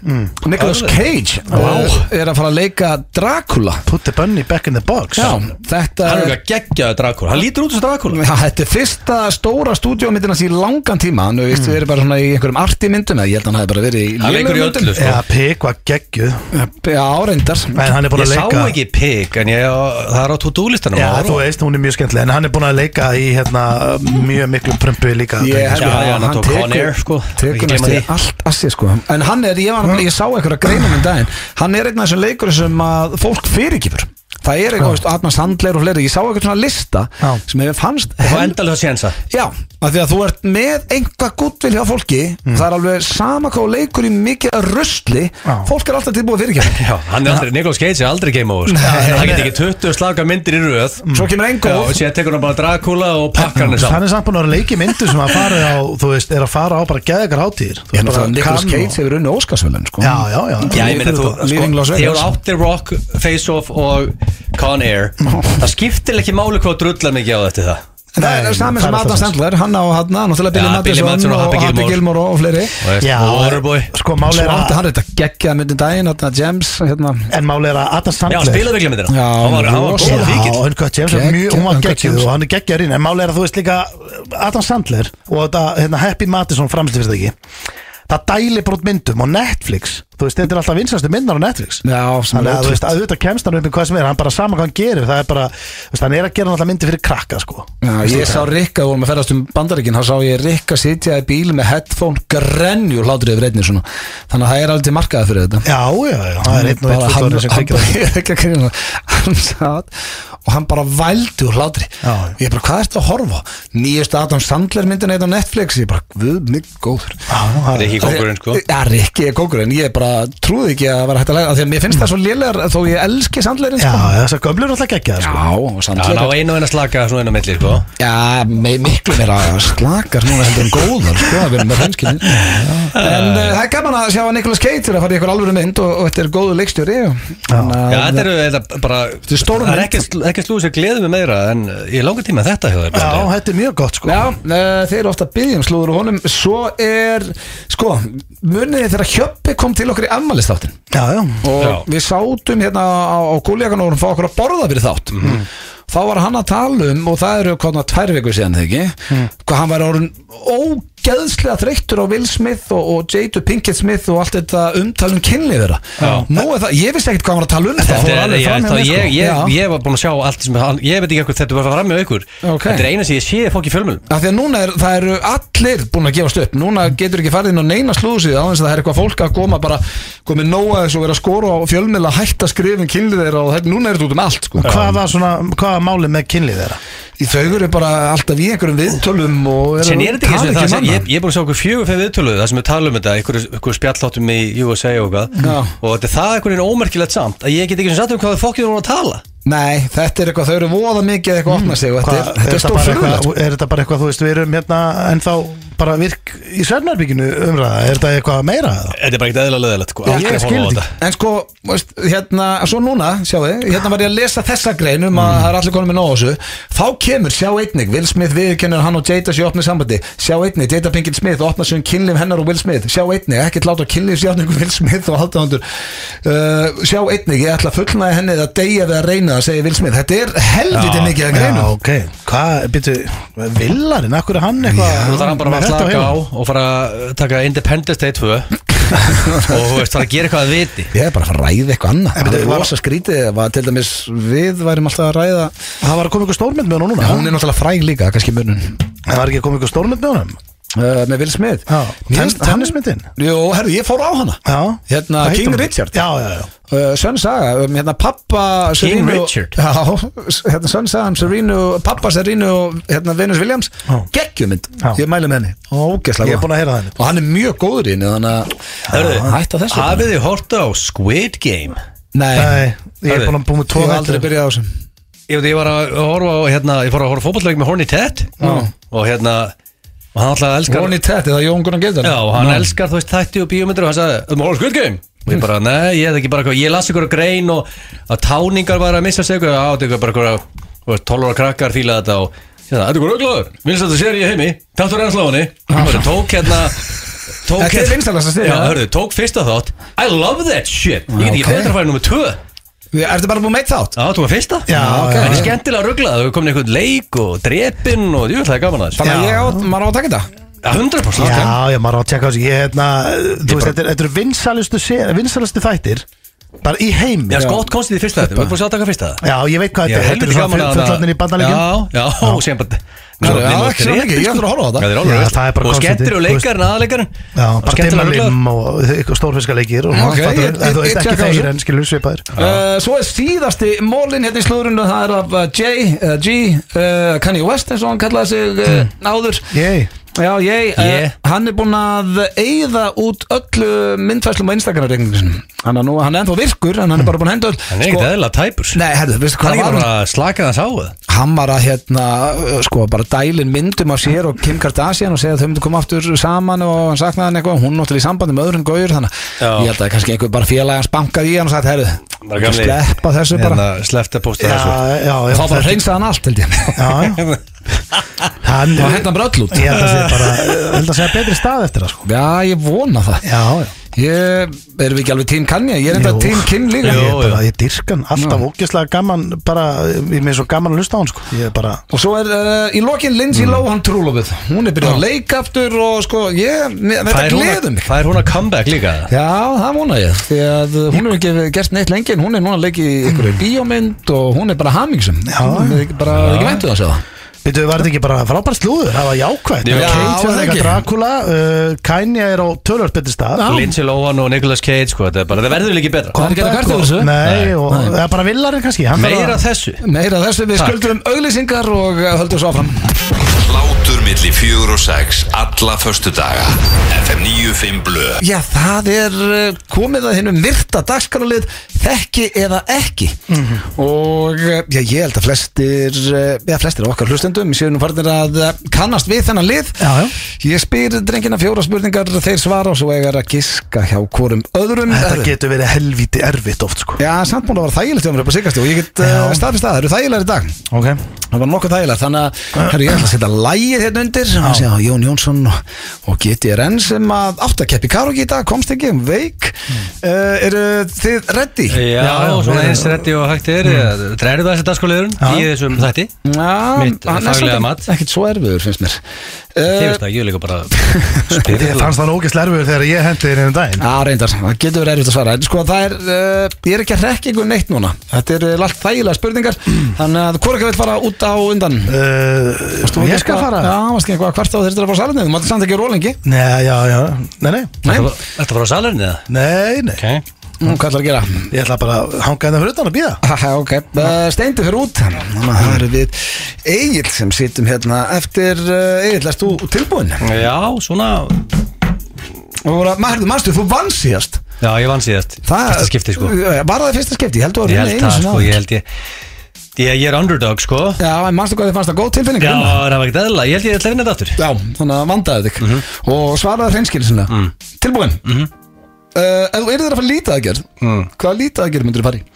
Nicolas
Mm. Alveg.
Cage uh, er að fara að leika Dracula
Put the bunny back in the box
Já, þetta
Hann er
er
ekki geggjaður drakkur, hann lítur út þessu drakkur
Já, þetta er fyrsta stóra stúdíómyndina í langan tíma Hann hefur mm. verið bara svona í einhverjum arti myndum eða Ég held að hann hefði bara verið í
Hann
lélegum
leikur í
myndum.
öllu sko
Já, pík var geggjuð
Já, áreindar
En hann er búin að
Ég sá
leika
ekki pig, en ég, það er á to-do-listanum
Já, þú veist, hún er mjög skemmtileg En hann er búin að leika í hérna, mjög miklu prömpu líka sko.
Ég
drengir.
held
já,
að
hann
hann
tók Con Air, sko. Ekki
Tekur
gleyma
næstu
því.
allt assi sko En hann er, ég, var, ég sá eitthvað að greina um daginn Hann er einn af þessum leikur sem að fólk fyrirgifur Það er eitthvað, veist, Adnan Sandler og fleiri Ég sá eitthvað svona lista
Já.
sem hefur fannst
Og
hel-
endalösa sénsa
Já, af því að þú ert með einhvað gútvill hjá fólki Það er alveg sama hvað þú leikur í mikið rusli
Já.
Fólk er alltaf tilbúið fyrir ekki
Já, hann er aldrei, Niklaus Cage er aldrei game over sko. Hann getur ekki 20 slaka myndir í röð
Svo kemur ein
Já,
góð
og sér tekur hann bara Dracula og pakkar hann
hann
saman
er samt búin að vera að leiki myndu sem að fara á, þú veist, er að fara á bara geðegar hátíðir Þú
Ég
veist,
meina
bara
það Nicolas
Cannes
Cage hefur unni Óskarsvölun sko
Já, já, já
Já, ég meina þú,
Leaving
sko,
Las Vegas.
þegar átti Rock, Face Off og Con Air Það skiptir ekki máli hvað drullar mikið á þetta það
En það
Nei,
er sami
það
sem
er
Adam
alltaf
Sandler Hann á hann, náttúrulega
Já, Billy
Billy Madison og Happy Gilmore og fleiri
Og veist,
Já,
Waterboy
sko, máli
Svo
er
átti
að
hann þetta geggjað myndin daginn Þarna James, hérna
En máli er að Adam
Já,
Sandler
spilaðu ekki með þetta
Já,
Hann var, hann var
rosa.
góð
Já,
fíkil
Uncut James var mjög, hún var
Uncut
geggjuð
James.
og hann er geggjar inn En máli er að þú veist líka uh, Adam Sandler og þetta hérna, Happy Madison framstu fyrir það ekki Það dæli brot myndum á Netflix Þú veist, þetta er alltaf vinsastu myndar á Netflix
Já, sem
Þannig að þú
ótrúlegt.
veist, að auðvitað kemst hann upp í hvað sem er Hann bara sama hvað hann gerir Það er bara, þú veist, hann er að gera alltaf myndi fyrir krakka sko.
Já, ég sá Rikka, við vorum að ferðast um bandaríkin þá sá ég Rikka sitja í bíl með headphone grenju hlátur yfir einni svona þannig að það er alveg til markaði fyrir þetta
Já, já, já, það er einn og einn
bara, hann,
fullorðin sem
hann,
kveikir á
bara- ég er ekki að grina, hann satt og hann bara vældi úr hlátri
Já.
ég bara, hvað ertu að horfa á? nýjustu Adam Sandler myndin eitt á Netflix ég bara, guð mig góður
Það er ekki konkurinn sko
Já, Rikki er kókurinn, ég bara trúði ekki að vera hægt að læra af því að mér finnst það svo lélegar þó ég elski Sandlerinn
Já,
sko.
þessar gömlur er alltaf geggjað sko.
Já, og
Já, hann á
Sandler
einu og eina slaka svona einu milli sko
Já, me, miklu meira slakar núna heldur en góðar sko, að vera með hreinskilin En uh, það er gaman að sjá að Nicolas Cage er að fara í eitthvað alvöru mynd og, og þetta er góðu leikstjóri
Já,
Já, eh,
þetta eru þetta bara
Þetta er stóra
Það er
mynd.
ekkert ekki slúið sem gleðum við meira en ég langar tíma að þetta hjá
Já,
þér Bjarni.
eh,
þetta er mjög gott sko
Já, uh, þeir eru ofta að biðja um slúður og honum Svo er, sko, sko, munið þið þegar Hjöppi kom til okkur í afmælistáttin
já, já
og
Já.
við sátum hérna á, á gúlíakan og vorum að fá okkur að borða fyrir þátt
Mhm.
þá var hann að tala um og það eru konar tvær viku síðan þegar ekki
Mhm.
hvað hann var orðin ógeðslega þreyttur á Will Smith og, og Jada Pinkett Smith og allt þetta umtalum kynlið þeirra nú er það, ég vissi ekkert hvað hann var að tala um það
Þetta
fór
er,
alveg
ég,
fram hjá
það,
mér, sko.
ég, ég,
Já.
ég var búin að sjá allt sem hann, ég veit ekki hvað þetta var að fara fram með aukur
Ok.
Þetta er eina sem ég sé fólk í fjölmjölum
Af því að núna er, það eru allir búin að gefast upp Núna getur ekki farið inn á neina slúðsíð á þess að það er eitthvað fólk að koma bara komið nóa þess og vera að skora á fjölmiðla hætta skrifin kynlið þeirra og þetta, núna er þetta út um allt sko.
Hvað var svona, hvað var málið með kynlið þeirra?
Í þau eru bara alltaf í einhverjum viðtölum og
Sen er þetta ekki eins og það sem
manna
ég, ég er búin að sjá okkur fjögur fyrir viðtöluðu það sem við tala um þetta, einhverju einhverju spjalláttum í USA og hvað
Já.
og þetta er það einhverjum ómerkilegt samt að ég get ekki sem sagt um hvað fokkið voru að tala
Nei, þetta er eitthvað, þau eru voða mikið að eitthvað opna sig og þetta
Hvað,
er, þetta er stór
bara
fyrirlega
eitthvað, er þetta bara eitthvað, þú veist, við erum hérna ennþá bara virk í svernarbygginu umræða, er þetta eitthvað meira? eða?
Þetta er bara ekkert eðla leðilegt sko.
Já,
Aldrei
ég
horfa á
skil
þetta.
þetta.
En sko, veist, hérna, svo núna, sjáðu, hérna var ég að lesa þessa grein um
Mm.
að það er allir konum með nóg á þessu. Þá kemur, sjá einnig, Will Smith viðurkennur hann og Jada sér opnið sambandi. Sjá einnig, Jada Pinkett Smith opnað sér um kynlif hennar og Will Smith. Sjá einnig, ekkert láta kynlif sjáningu um Will Smith og haldaðandur. Uh, sjá einnig, ég ætla að fullnaði henni að deyja við að reyna það, segir Will Smith. Þetta er helviti
Já,
mikið að
Já,
greinu.
ok, hvað, byrju, villarinn, akkur er hann eitthvað?
Nú þarf hann bara
með
að
þetta
slaka á
heilanum?
og fara að uh, taka Independence Day 2 og þú veist, fara að gera eitthvað að viti
Ég er bara að fara að ræða eitthvað annað.
En
Það
byrju,
er
var-
rosa skrítið, það var til dæmis við værum alltaf að ræða.
Það var að koma ykkur stórmynd með honum núna,
Hún er náttúrulega fræg líka, kannski munun.
það var ekki að koma ykkur stórmynd með honum?
uh, með Will Smith
Já,
Mér
tenn-
finnst hann-
tennismyndin?
Jú, herru, ég fór á hana
Já.
Hérna,
Hvað heitir
King
hún?
Richard.
Já, já, já.
uh, Sönn saga, um, hérna pappa
King
Serenu-
Richard.
Já, s- hérna Sönn saga um Serenu Pappa Serenu og hérna Venus Williams
Já.
Geggjumynd,
Já.
ég mæli með henni Ógeslega
Ég er búin að heyra það einmitt.
Og hann er mjög góður í henni, þannig
Hörðu,
að Hætta þessu
Hafið þið hort á Squid Game?
Nei,
Nei, ég er
Hörðu,
búin að búin
Eh,
með
ég
tvo
hef aldrei
þættir.
byrjað á þessum
Ég, veit, ég var að horfa á, hérna, ég fór að horfa fótballleik með Horny Ted og hérna, og hann alltaf elskar
Ronny Tett, eða Jón Gunnar Gildar
Já, og hann elskar, þú veist, þætti og bíómyndir og hann sagði, þú maður horfa á Squid Game og ég bara, nei, ég hefði ekki bara, eitthvað- ég las ykkur á grein og að táningar var að missa sig eitthvað, á, þetta er eitthvað bara ykkur að, þú veist, 12 ára krakkar fíla þetta og þetta er ykkur auklaður, minnst þetta sér ég heimi tattur enn sláðunni, hann bara tók hérna tók hérna-
Þetta er vinsælasta sería.
Já, hörðu, tók fyrsta þátt I love that shit, ég get ekki
ok.
betra að fara nummer 2
Ertu bara búin meitt þátt?
Já, þú var fyrsta?
Já,
ok.
já,
En
já.
skemmtilega ruglað, við komin í einhvern leik og drepinn og jú, það er gaman aðeins
Þannig að
Já.
ég á, maður á að taka þetta
Já, 100%
Já, já, maður á að tjekka á þessu. Ég, hérna, þú veist, þetta er- þetta eru vinsælustu, vinsælustu þættir, bara í heimi.
Já, skott komst í því fyrsta þetta, við erum búin að sjá að taka fyrsta þetta
Já, ég veit hvað
Já,
þetta er, þetta
helviti
er
gaman
svona
að
fullandin í bandalegin
Já, já, og síðan bara
Já,
Svo-
já,
nema
ekki svo
drepinn,
mikið, ég
sko.
ætla að horfa á þetta.
Já, er
Já,
alveg
það er bara
veist. Og
konseptið,
skemmtir og
þú veist.
leikar en aðleikarinn
Já, bara dimma
skemmtilega ruglað.
lim og eitthvað stórfiskaleikir og
Ok,
okay,
ég-
fattur,
ég-
en þú
ég
veist ekki
tjekka á þessu.
þeir en skilur svipaðir
Uh, svo er síðasti mólin hérna í slúðrunum það er af uh, J, uh, G, uh, Kanye West eins og hann kallaði sig uh, áður
Jæj,
Já, ég,
Mm. Yeah.
uh, hann er búinn að eyða út öllu myndfæslum á Instagram-reikningum sinum hann, er nú- hann er ennþá virkur en hann er bara búinn að henda öll
Mm.
Sko-
Hann er ekkert eðla tæpur
Nei, herðu, veistu
Hann
hvað var
er ekki
hann?
bara að slaka þess á það
Hann var að hérna, uh, sko, bara dælin myndum af sér og Kim Kardashian og segja að þau myndu koma aftur saman og hann saknaði hann eitthvað hún náttúrulega í sambandi með öðrum gauður þannig
Já.
að ég held að kannski einhver bara félagans bankaði í hann og sagði,
Bara
herðu,
gamli-
sleppa þessu bara
Hérna, sleppti að posta
já,
þessu
já
Og
já,
þá bara reynsaði hann allt held ég
Já, já. hann
Og hendan bara öll út
Ég held að segja bara, ég held að segja betri stað eftir það sko
Já, ég vona það
Já, já
Ég, erum við ekki alveg tím Kanye? Ég er
Jú.
enda tím Kim líka
Ég,
Jú.
er bara, ég dyrka hann alltaf ógeðslega gaman bara, ég með svo gaman að hlusta á hann sko Ég er bara,
Og svo er uh, í lokin Lindsay Lohan trúlofið Hún er byrjað að leika aftur og sko ég, mér, Þetta
Fær hún að-
gleðum mig
Fær hún að comeback líka
Já, það vona ég Því að uh, hún hefur ekki gert neitt lengi En hún er núna að leika í ykkur bíómynd Og hún er bara hamingsum Hún er ekki- bara ekki væntu það að segja
veitum við, var þetta ekki bara frábært slúður, það var jákvætt
Já,
Kate
það
var
ekki.
eitthvað Dracula, uh, Kanye er á tölvöld betri stað
Lindsay Lohan og Nicolas Cage sko, þetta er bara, það verður líka betra
Hvað er ekki að kvarta þessu?
Nei, og það er bara villarinn kannski hann þarf
Meira
að-
af þessu
Meira af þessu við skuldum auglýsingar og uh, höldum svo áfram
Hlátur milli fjögur og sex Alla förstu daga FM 95 Blö
Já, það er uh, komið að hinnum virta dagskrálið þekki eða ekki
Mhm.
og uh, já, ég held að flestir uh, já, flestir af okkar hlustendum séu nú farnir að uh, kannast við þennan lið
Já, já.
Ég spyr drengina fjóra spurningar þeir svara og svo eigar að giska hjá hvorum öðrum
Þetta
Herðu,
getur verið helviti erfitt oft sko
Já, samt múin að vera þægilegt hjá mér upp á sigast og ég get uh,
Já.
staðfist að það eru þægilegar í dag
Ok
Það var nokkuð þægilegt, þannig að herru, ég ætla að setja lægið hérna undir sem að segja á Jón Jónsson og, og GTRN sem að átt að keppi karokki í dag, komst ekki um veik
Hmm.
uh, Eru þið ready?
Já,
já,
svona
við-
eins reddi og hægt er mm. Það eru þessi dagskóliðurinn í þessum þætti
Já,
Mitt
hann er
faglega mat.
svolítið ekkert svo erfiður finnst mér
Þið
Eh,
veist það, ég er líka bara
Ég
spyrir
fannst það ógeðslega erfiður þegar ég hendi þér einu daginn
Já, reyndar, það getur verið erfitt að svara En sko, það er, uh, ég er ekki að rekka ykkur neitt núna Þetta eru eh, allt þægilega spurningar Þannig að hvort ekki veit fara út á undan
uh, Ég skal fara
Já, varstu ekki eitthvað að kvarta og þurftir að fá salinni Þú máttu samt ekki rólengi
Nei, já, já, nei, nei
Nei,
Þetta var frá salarinn eða?
Nei, nei,
Okay.
hún kallar að gera
ég ætla bara að hanga hérna fyrir utan að býða
Haha, ok, uh, steindi fyrir út Þannig að það eru við Egil sem situm hérna eftir uh, Egil, erst þú tilbúin?
Já, svona
Og voru að- Maður, manstu, þú vann síðast
Já, ég vann síðast
Það-
Fyrsta skipti sko
Var það fyrsta skipti, ég held þú að
Ég
vinna
held
einu
það
sinni
sko,
áður.
ég held ég Ég, ég er underdog sko
Já, en manstu hvað þið fannst það góð tilfinning
Já,
að vinna?
það var ekkert eðla Ég held ég ætla að vinna þetta aftur
Já, þannig að vandaði þig
Mhm.
Og svaraði hreinskilsinlega mm. Tilbúin mm -hmm. uh, Ef þú eru þér að fara lítið aðgerð mm. Hvaða lítið aðgerð myndir þú fara í?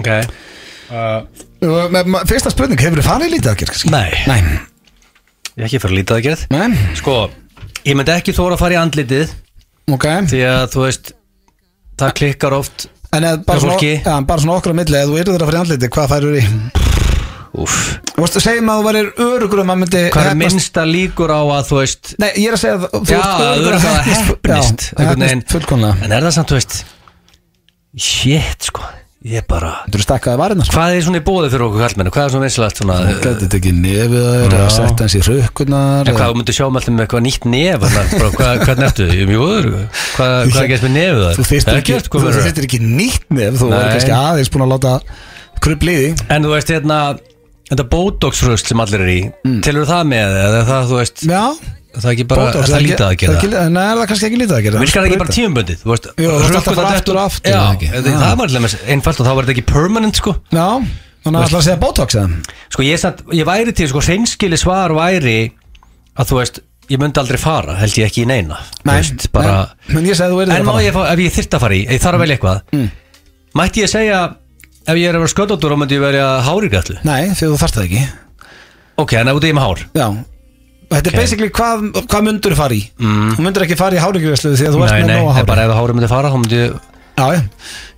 Ok
Uh, með- ma- Fyrsta spurning, hefur þú farið í lítið aðgerð? kannski?
Nei.
Nei,
Ég er ekki að fara að líta það gerð
Nei.
Sko, ég myndi ekki þóra að fara í andlitið
ok
Því að þú veist Það klikkar oft
En eða bara,
Hjá
svona,
fólki.
ja, bara svona okkur á milli Ef þú eru þér að fara í andliti, hvað færur í?
Úff
Þú veist, segjum að þú værir örugur um að myndi
Hvað er
heppnast-
minnsta líkur á að þú veist
Nei, ég er að segja að þú
Já, þú er það hefnist
Já, hefnist fullkomlega
En er það samt, þú veist Shit, sko Ég er bara
Þú eru stakkaði varinnar
Hvað er svona í bóði fyrir okkur kallmennu? Hvað er svona vinslegt svona En
Gæti tekið nefið að þeir að setja hans í rökkurnar
hvað, þú myndir sjá með allir með eitthvað nýtt nef þarna, bara, hvað, Hvernig ertu? Ég er mjög öður Hvað, hvað gerst með nefið það?
Þú
sko,
þyrftir ekki,
Ekkert,
þú
hvað verður?
þyrftir ekki nýtt nef Þú er
Nei.
kannski aðeins búin að láta krubliði
En þú veist, hérna Þetta botox-röst sem allir er í mm. Telur það með eða er það, þú veist
Já,
Það er ekki bara, er það lítið að gera
Nei, er það kannski ekki lítið að gera
Virkar það ekki bara tímabundið? Þú veist,
Jú, þú ert alltaf að fara
rökkurnar
aftur og
detta-
aftur, eða ekki?
Já, það-
Já.
það var alltaf einfalt og þá var þetta ekki permanent sko
Já, þannig að ætla að segja botox eða
Sko ég, satt, ég væri til sko hreinskili svar væri að þú veist ég myndi aldrei fara, held ég ekki í neina Þú veist, bara,
nei, En ég segi að þú verður
En má ég, fá- ef ég þyrft að fara í, ég þarf að velja eitthvað
Mm.
Mætti ég segja ef ég er að vera sköldóttur og myndi ég velja hár í gætlu
Nei, því þú þarft það ekki
Ok, en ef út í með hár
Já Þetta er
Ok.
basically hvað, hvað myndur þú fara í mm. Þú myndur ekki fara í hárugjöfslu því að þú ert
Nei,
með
nei,
nóg að
en
hára
bara ef hárið myndi fara þá myndi ég
Já, já.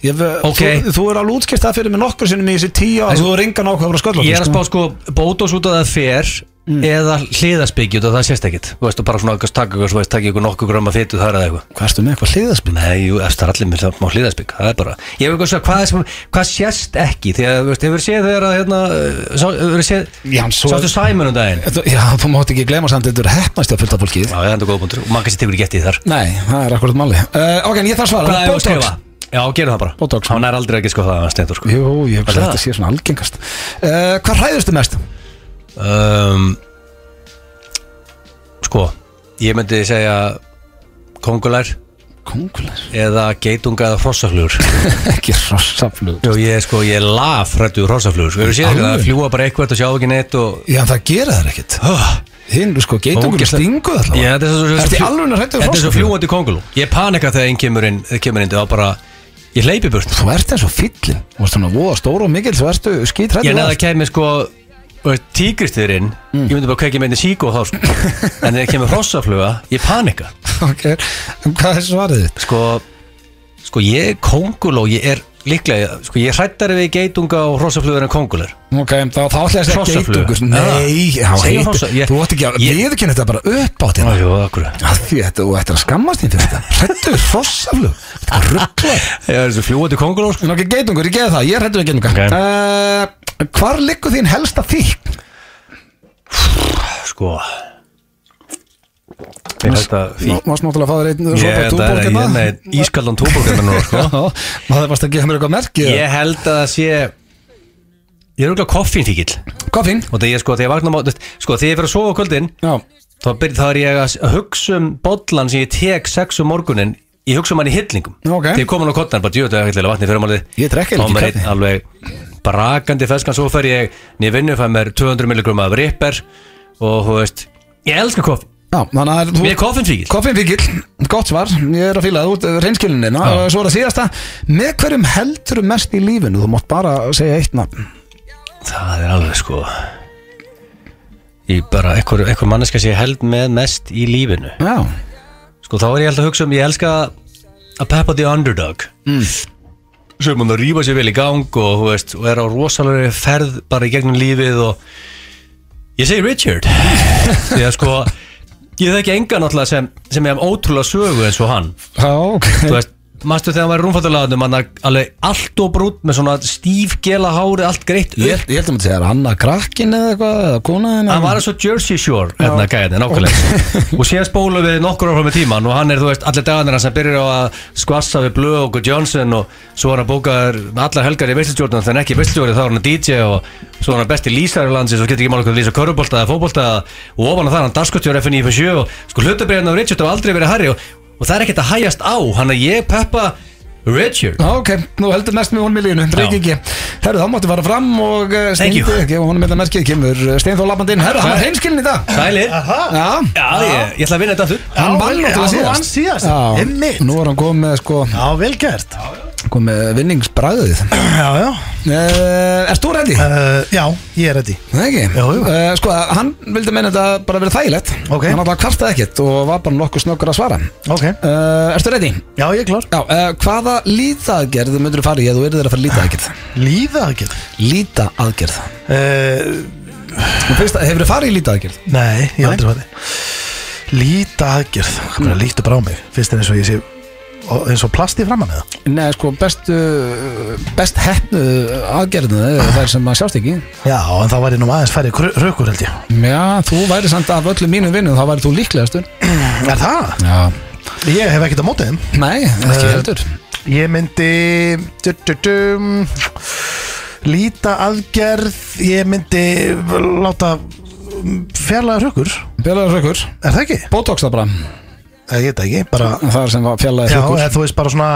ég
Ok.
þú, þú er alveg útskipt það fyrir mig nokkur sinnum í þessi tíu ár
En-
Þú ringar nákvæmur að sköllótt
Ég er að spá sko bótos út að það fer
Mm.
eða hliðasbyggju út að það sést ekkit Þú veist, og bara svona eitthvað taka ykkur, þú veist, taka ykkur nokkuð gröma fytu þar eða eitthvað
Hvað erstu með eitthvað hliðaspil?
Nei, jú, eftir það er allir mér það má hlýðarsbygg Það er bara, ég hef eitthvað svo hvað, sem, hvað sést ekki Því að, þú veist, hefur séð þegar að hérna, uh, sá, hefur séð,
Já, en svo-
sástu Simon um daginn Já,
Þú- Já, þú mátt ekki gleyma samt að þetta er hefnast hjá fullt af fólkið
það er enda góð punktur, og maður kannski tekur í getið þar
Nei, það er akkurat máli uh, Ok, en ég þarf svara
Hvað er það að
Botox.
skrifa? Já, gerum það bara
Botox.
Hann er aldrei ekki sko það, Steindur sko
Jú, ég hef
Hvað er
þetta
það?
sé svona algengast uh, Hvað hræðurstu mest?
um, Sko, ég myndi segja kongulær
Kongular
eða geitunga eða hrossaflugur
Ekki rossaflug
Jú, ég sko, ég er laf hrættu hrossaflugur Sko, hefur séð ekki
Alveg?
það, fljúa bara eitthvað og sjá ekki neitt og
Já, en það gera þær ekkit
oh.
Hinn, sko, geitungur
Ógeðslega-
stinguð allavega
Já, þetta er svo,
Ertu í alvörunni hræddur við
Þetta er svo
hrossaflugur?
fljúandi kongulú Ég panika þegar einn kemur inn, kemur inn Það bara, ég hleypi burt
Þú ert eins og fyllin Þú ert svona voða stóra og mikil Þú ertu skítrættur
Ég neða að kemur sko tígristurinn
Mm.
Ég myndi bara kveikja með henni síku og þá sko. En þegar kemur hrossafluga, ég panika
Ok, en hvað er svarið þitt?
Sko, sko ég er konguló Ég er líklega, sko ég hrættar við geitunga og hrossaflugur en kongulur
Ok, þá, þá ætla ég að segja
Hrossafluga.
geitungur
Ja.
Nei, já,
Segjum
heitu,
hrossa- ég-
þú ætti ekki að
ég-
viðurkenna þetta bara upp á þetta
Jú, akkur
Af Því þetta, þú ættir að skammast þín fyrir þetta Hrættur hrossaflug Þetta er rugglar
Ég er svo fljúandi konguló sko.
En ok, geitungur, ég geði það, ég er hrættur við geitunga
Ok.
uh, Hvar liggur þín helsta fík?
sko Ég held að
Nú, mást náttúrulega fá þér einn
Ég
sopa
held að ég er
túborgarna
með ískaldan túbókirna núna sko
Já, maður varst að gefa mér eitthvað merki
Ég held að það sé Ég er auðvitað koffínfíkil
Hvað fín?
Og það ég sko, þegar ég vakna á mót Sko, þegar ég fyrir að sofa á kvöldin
Já,
Þá, byrj, þá er ég að s- að hugsa um bollan sem ég tek sex um morgunin Ég hugsa um hann í hillingum
Ok.
Þegar ég kom hann á kottan, bara djúðu að hillingum vatni fyrir málið
Ég drekk eiginlega
Þá
ekki
maður einn
kaffi.
Alveg brakandi feskan Svo fer ég nýja vinnu, fæ mér 200 milligram af ripper Og þú veist, ég elska koffín
já, þannig að þú-
Mér er koffínfíkil
Koffinfíkil, gott svar, ég er að fýla það eh, út reynskilinni,
Já.
svo er það síðasta með hverjum heldur mest í lífinu, þú mátt bara segja eitt nafn
það er alveg sko Ég bara, einhver, einhver manneska sem ég held með mest í lífinu
Já,
Sko þá er ég alltaf að hugsa um, ég elska að peppa the underdog mm. Sem hún að rýfa sér vel í gang og, þú veist, og er á rosalegri ferð bara í gegnum lífið og Ég segi Richard Því að sko, ég þekki engan náttúrulega sem, sem ég hef ótrúlega sögu eins og hann
já, ok
Þú veist, maður þegar hann var í rúmfattalaðunum hann alveg allt og brútt með svona stíf gela hári, allt greitt
Ég, ég held að maður segja, er hann að krakkin eða eitthvað, eða konaðin
hann var eins og Jersey Shore hérna gæðin, nákvæmlega og síðan spólum við nokkur áfram með tíman og hann er, þú veist, allir dagarnir hans hann byrjar á að skvassa við Blöð og Johnson og svo er hann bókaður allar helgar í veistlustjórnum, þannig ekki veistlustjóri þá er hann DJ og svo er hann besti lýsari landsins og getur ekki mála hvað lýsa körubólta eða fótbolta og ofan á það er hann darskotjör FNF7 og sko hlutabriðan af Richard hafa aldrei verið harri og, og það er ekkert að hægjast á, hann að ég peppa Richard
Já, ok, nú heldur mest með honum í lífinu, Reykjiki Herru, þá máttu fara fram og uh,
Thank you.
steindi, gefa honum eitthvað merkið, kemur uh, Steinþór Lappandinn Herru, hann var heimskilin í dag
Sælir,
Aha,
Já,
já ég, ég ætla að vinna þetta aftur
hann vann
já,
náttúrulega
þú vann
síðast
síðast. Einmitt.
Já, nú er hann komið með, sko,
Já, vel gert
komið með vinningsbræðið
Já, já
uh, Erst þú ready?
uh, Já, ég er ready
Nei ekki
Jú, jú.
Eh, Sko, hann vildi meina þetta bara verið þægilegt
Ok.
Hann alltaf kvartaði ekkert og var bara nokkuð snöggur að svara
Ok,
uh, Erstu ready?
já, ég er klár
Já, uh, hvaða lítaðgerð myndur þú fara í ef þú eru þeirra að fara í lítaðgerð?
Líða ekki
Lítaðgerð
uh,
Nú fyrst að, hefur þú farið í lítaðgerð?
Nei, ég hef aldrei farið Líta aðgerð, hvað er lítur á mig Fyrst er eins og ég sé og- eins og plast í framann eða
Nei, sko, bestu best hefnu aðgerðinu eru þær sem maður sjást ekki
Já, en þá var ég nú aðeins færri rökur held ég
Já, þú væri samt af öllum mínum vinnum þá væri þú líklegastur
Er það?
Já
Ég hef ekkert á mótið þeim
Nei, ekki
Eh,
heldur
Ég myndi du, du, du, Líta aðgerð Ég myndi láta fjarlæga rökur
Bjölaður rökkur,
Er það ekki?
botox það bara
Það geta ekki, bara
Það sem var fjallaði
Já,
rökkur
eða, þú veist bara svona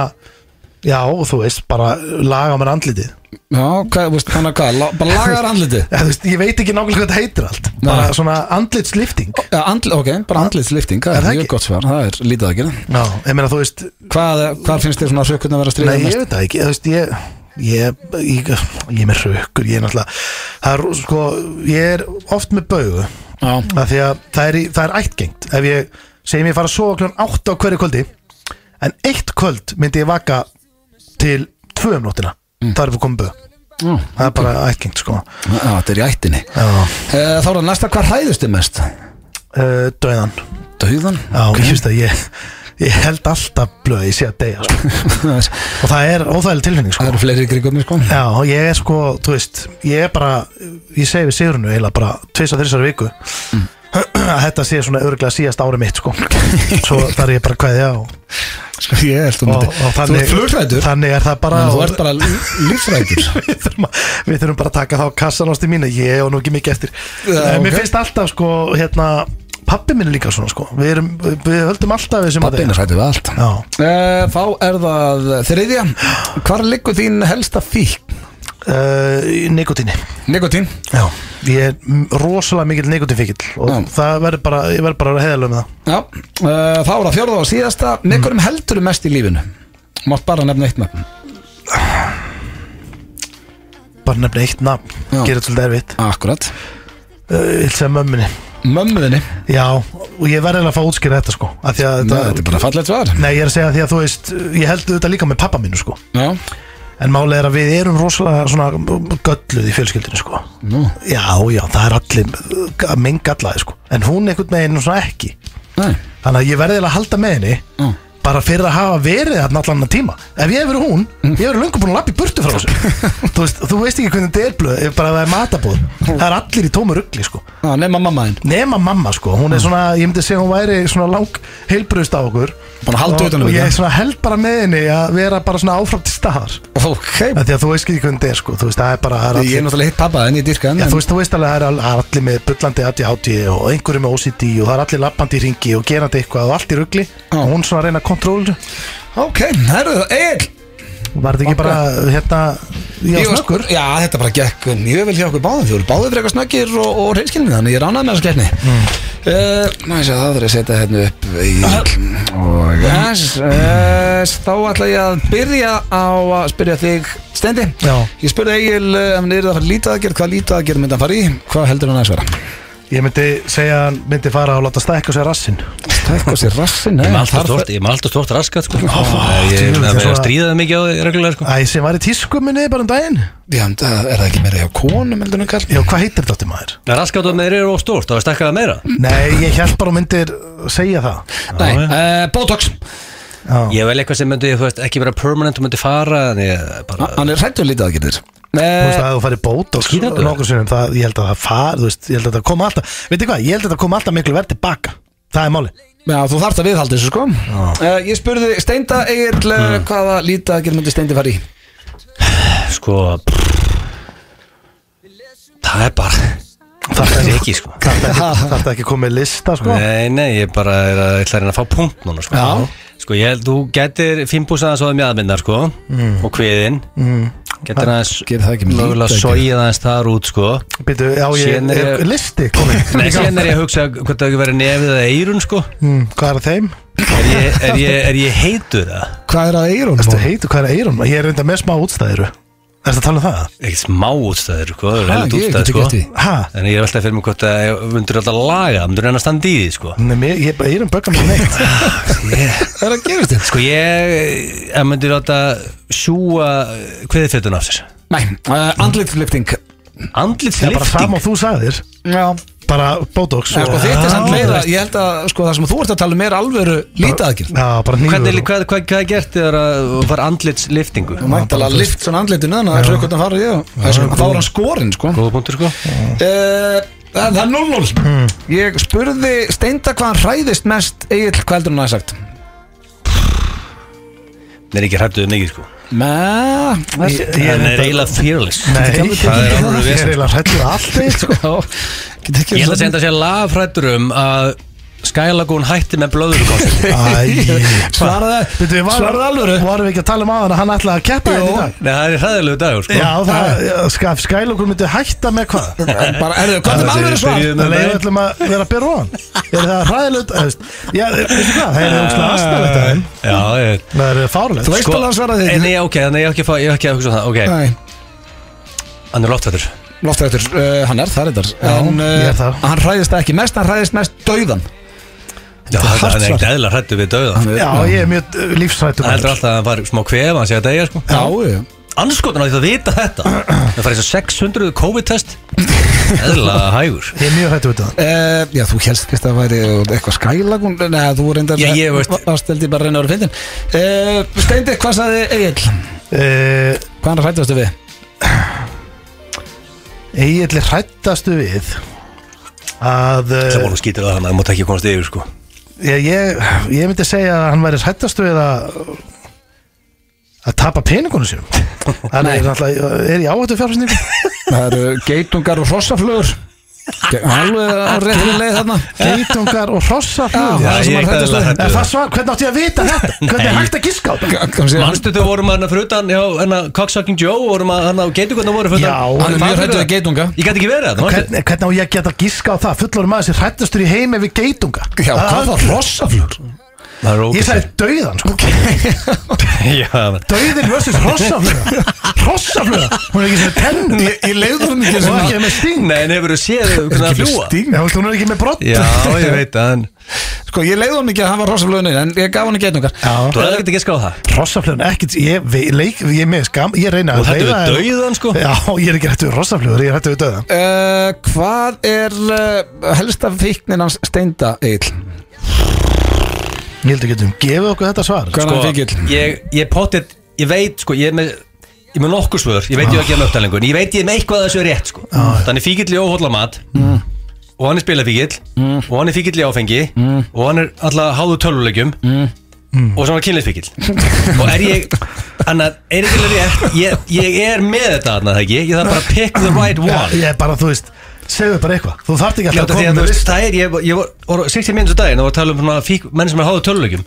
Já, þú veist, bara laga mér andlitið
Já, hvað, þú veist, þannig að hvað, la- bara lagar andliti
Eða, þú veist, Ég veit ekki nákvæmlega hvað þetta heitir allt Bara
Nei.
svona andlitslifting
Já, andl, ok, bara andlitslifting, það
Er
er
það
mjög
ekki?
gott svar, það er lítið að gera
Já, ég meina þú veist
Hvað, hvað finnst þér svona rökkurna að vera að stríða
Nei, ég
mest?
veit það ekki, þú veist, ég Ég, ég, ég er með rökkur ég er náttúrulega það er, sko, ég er oft með baugu
Já,
að því að það er, í- það er ættgengt ef ég segjum ég fara að sofa kljóðan 8 á hverju kvöldi en eitt kvöld myndi ég vaka til 2 um nóttina það er fyrir komið böð
já,
það er bara ættgengt sko
já, þetta er í ættinni
Já.
Eh, Þá er það næsta, hvað hræðist þið mest?
uh, döðan
Dauðan?
Já, ég finnst að ég, ég held alltaf blöð ég sé að deyja sko.
það
og það er óþægileg tilfinning sko.
eru fleiri grigum sko.
Já, ég er sko, þú veist ég er bara, ég segi við Sigurinu eiginlega bara tvis að þrissar viku að þetta sé svona örglega síðast ári mitt sko. svo þar er ég bara kveðja og
Sko, ég held um
og,
þetta.
og
Þú
þannig,
ert flugrætur
þannig er það bara,
Þú ert bara lífrætur
við, þurfum að, við þurfum bara að taka þá kassan ástu mína ég og nú ekki mikið eftir
Já,
en
ok.
mér finnst alltaf sko hérna, pappi minn er líka svona sko við, erum, við- við höldum alltaf við sem að
Pappin er hrættu við allt
já,
Eh, Þá er það þriðja Hvar liggur þín helsta fík?
uh, nikotíni
Nikotín
já. ég er m- rosalega mikill nikotinfíkil og
Já.
það verður bara, ég verður bara að heðalega með það
Já, eh, þá er það fjórða og síðasta Með hverjum heldur mest í lífinu? Mátt bara nefna eitt nafn
bara nefna eitt nafn,
Já.
gerir þetta svolítið erfitt
Akkurat
uh, ég sem mömminni,
Mömmuðinni
já og ég verður eiginlega að fá að útskýra þetta sko að að
Nei, Þetta er bara fallegt svar
Nei, ég er að segja því að þú veist, ég held þetta líka með pappa mínu sko
Já,
En málið er að við erum rosalega svona gölluð í fjölskyldinu sko
nú
Já, já, það er allir minn gallaði sko En hún einhvern veginn svona ekki
Nei,
Þannig að ég verði eiginlega að halda með henni
Mm.
Bara fyrir að hafa verið þarna allan annan tíma Ef ég hef verið hún, ég hef verið löngu búin að lappa í burtu frá þessu þú, veist, þú veist ekki hvernig þetta er blöð ef Bara að það er matabóð Það er allir í tómu ruggli sko
Já, nema mamma þín
Nema mamma sko, hún
Mm.
er svona, ég myndi segja hún væri svona lang heilbröðst á okkur
Búin að halda
Og-
utan um
Og ég
þetta.
svona held bara með henni að vera bara svona áfram til staðar
Ok,
Af Því að þú veist ekki hvernig þetta er sko, þú veist, það er bara
ég
það er
er
allir,
náttúrulega hitt pappa en ég dyrka hann
Já,
en-
þú veist, þú veist alveg, það er al- það er allir með bullandi ADHD og einhverju með OCD og það er allir lappandi í ringi og gerandi eitthvað og allt í rugli og hún svona að reyna að kontróla
Ok, herru, Egil
Var þetta ekki
Ok.
bara, hérna, ég á
Ég var-
snökkur?
Já, þetta bara gekk mjög vel hjá okkur báðum Þú eru báðið frekar snöggir og, og reynskilni Þannig ég er ánægð með þessa keppni Uh, maður sé að það verður að setja hérna upp í og yes, yes, þá ætla ég að byrja á að spyrja þig Stendi,
Já.
ég spurði Egil eh, ef hann er að fara í lítadagerð, hvað lítadagerð myndi hann fara í hvað heldur hann að svara?
Ég myndi segja að hann myndi fara og láta stækka sér rassin
Tækka sér rassin
Ég er með alltaf stort, ég er með alltaf stort raskat sko. Ég er
djöfull,
með
það er
að
svona-
stríða það mikið á því reglulega sko.
Æ, sem var í tísku minni bara um daginn
Já, en það er það ekki meira hjá konum heldur hann að kalla
Já, hvað heitir þetta áttu maður?
Raskat á meðri eru of stort, það var stakkaða meira
Nei, ég held bara að hún myndir segja það
Nei, uh, Botox,
Já,
Ég vel eitthvað sem myndi, þú veist, ekki vera permanent og myndi fara en ég bara
hann er hrættur lítadagerðir
Þú veist
uh,
að þú farið bót og
Skítaðu.
nokkur sinnum það, ég held að það far, þú veist, ég held að það koma alltaf Veitir hvað, ég held að það koma alltaf miklu verð tilbaka Það er máli
Já, þú þarft að viðhaldi þessu sko uh, Ég spurði Steinda Egil uh, hvaða lítadagerð myndi Steindi fara í
sko pff, Það er bara Það er ekki sko
Það er ekki komið lista, sko
Nei, nei, ég bara er að, ætla að reyna að fá punkt núna sko.
Já.
Sko, ég held, þú getur fimmbusaðan svo um jaðmyndar, sko og kviðin mm. getur aðeins
Gerir það ekki með
mögulega
lítið,
sóið aðeins þar út, sko
Býtu, já, ég,
Síðan er
er
ég-
listi komið
Nei, síðan er ég að hugsa hvort það ekki verið nefið eða eyrun, sko
mm, Hvað er að þeim?
Er ég, er ég, er ég heitur það?
Hvað er að Eirón?
Erstu heitu, hvað er að eirum? Ég er reynda með smá útstæðiru Erstu að tala um það?
Ekkert smá útstæður, sko, það er
Ha, ég
heilut
get
útstæður,
ekki
sko
gert því.
Ha?
En ég er alltaf fyrir mig hvort að ég myndur alltaf að laga, myndur enn að standa í því, sko
Nei, mér- ég er um böggar mér neitt
ég,
Það er að gerast þér?
Sko, ég, eh, ég myndur alltaf sjúa kviðfjötun af sér
Nei, uh, andlitflipting
Það er bara
Andlitslyfting
fram og þú sagðir
Já
Bara bótóks
En sko þetta er samt meira, ég held að sko það sem þú ert að tala um er alvöru lítadagjörn
Já, bara
Hvernig,
nýður
hvað, hvað, hvað er gert þegar að fara andlitslyftingu?
Mæntala lift svona andlitinu þannig að hljókvæmt að fara ég Það er sko, þá er hann skorinn sko uh,
Góða punktur sko
Það það er 0-0 Ég spurði Steinda hvað hann hræðist mest Egil, hvað heldur hann að hafa sagt?
Nei, er ekki hrættuð mikið sko
Mæ,
Ég-
þessi
ég er
Hann er
reyndar-
eiginlega fearless
Nei,
ekki alveg
það er
tekið
alveg
það.
Ég er eiginlega hrættur allt eitt, sko
Já, getur ekki
Ég held að senda sér lafrættur um að Skylagún hætti með blöðurkosti
Æ,
Svaraði,
Býtu, var,
svaraði alvöru
Varum við ekki að tala um aðan að hann ætlaði að keppa þetta í dag?
Nei, það er hræðilegu dagur sko
Já, það, skaf, skælokur myndi hætta með hvað?
Bara, erðu, hvað er
Það
með
er-
alvöru svar?
byrjuðu með-
Það leiður öllum að vera að byrja ofan Er það hræðilegt? þú veist? Já, eh, veistu hvað? Það er ógstlega aðstæðilegt að þeim
Já, ég
Það er eh, Sko, fárlegt
Þú veist alveg að svaraði
En
þig
ég, ok, þannig ég hef ekki, að fá- ég hef ekki að hugsa um það Ok,
Nei
hann er loftrættur
Loftrættur, uh, hann er það reyndar En
ég er
uh,
það.
hann hræðist það ekki mest, hann hræðist mest dauðan
Já,
hart
hann er
svar.
ekkert eðla hrættur við dauða
Já, ég er mjög uh, lífsrættur
Hann heldur alltaf að hann fari smá kvef, hann sé að degja sko
Já, já.
Anskotin á því að vita þetta Það farið svo 600 COVID-test Eðla hægur
Ég er mjög hættu við það
Uh, já, þú helst ekki að það væri eitthvað skælagun Nei, þú reyndar
Já, ég veist.
Varst held ég bara að reyna að vera fyndin uh, Steindi, hvað sagði Egil?
uh,
Hvað hann hrættastu við?
Egil hrættastu við að
Það
uh,
voru skítur að hann, það mátt ekki komast yfir sko
ég, ég, ég myndi segja að hann væri hrættastu við að að tapa peningunum sínum hann
Nei.
er, náttúrulega, er í áhættu fjárfærsningu
Það eru geitungar og hrossaflugur Ge- Alveg á réttinni leið þarna
geitungar og hrossaflug
Já, það er sem
ég
hann
er
hræddist við.
eðlilega
En
hræddur við
það svar, hvernig átti ég að vita þetta? Hvernig er hægt að gíska á þetta?
Hann sé-
Manstu þau vorum hann að frutan, já, hann að Cocksucking Joe vorum að hann að geitu hvernig voru frutan
Já,
hann er mjög hræddur við geitunga.
Ég gæti ekki verið það, manstu
Hvernig, hvernig á ég að geta gíska á það? Fullorinn maður sem hrættastur í heimi við geitunga
Já, hvað var hrossaflugur?
Það er
Ég
ógæst
sagði dauðan, sko
Já,
Dauðin versus hrossafluga Hrossafluga, hún er ekki sem tenni
Ég, ég leiður hann ekki
Hún er
sem
ekki með sting
nei, en hefur þú séð þau hvernig að fljúa
Sting, Já, hún er ekki með brott
Já, ég veit það, en
Sko, ég leiði hann ekki að hann var rossaflöðunni En ég gaf hann ekki einnungar
Já.
þú hefði ekki ekki skáð það
Hrossaflugan, ekkert, ég, ve- leik, ég er með skam Ég reyna
Þú hættu
leiða-
við dauðan, sko
Já, ég er ekki hrættu við hrossaflugur, ég er hrættu við dauðan
uh, Hvað er uh, helsta fíknin hans steinda, Egil?
Ég heldur getum, gefið okkur þetta svar
Hvað er hann fíkil?
Sko, ég, ég potið, ég veit, sko, ég er með Ég er með nokkur svör, ég veit ég á ekki að löfta lengur En ég veit ég er með eitthvað að þessu er rétt, sko Þannig fíkill í óhóllamat Og hann er spilafíkill Og hann er fíkill í áfengi Og hann er alltaf háðu tölulegjum Og svo hann er kynleisfíkill Og er ég, annað, er ekki alveg rétt ég, ég er með þetta, annað, það ekki Ég þarf bara að pick the right
Já,
one
ég er bara, þú veist segðu bara eitthvað Þú þarft ekki
Já,
alltaf að koma
þetta því að þú
með
veist,
list
það er, ég, ég var, var 60 minnum daginn og var að tala um svona fík, menn sem er háðu tölulegjum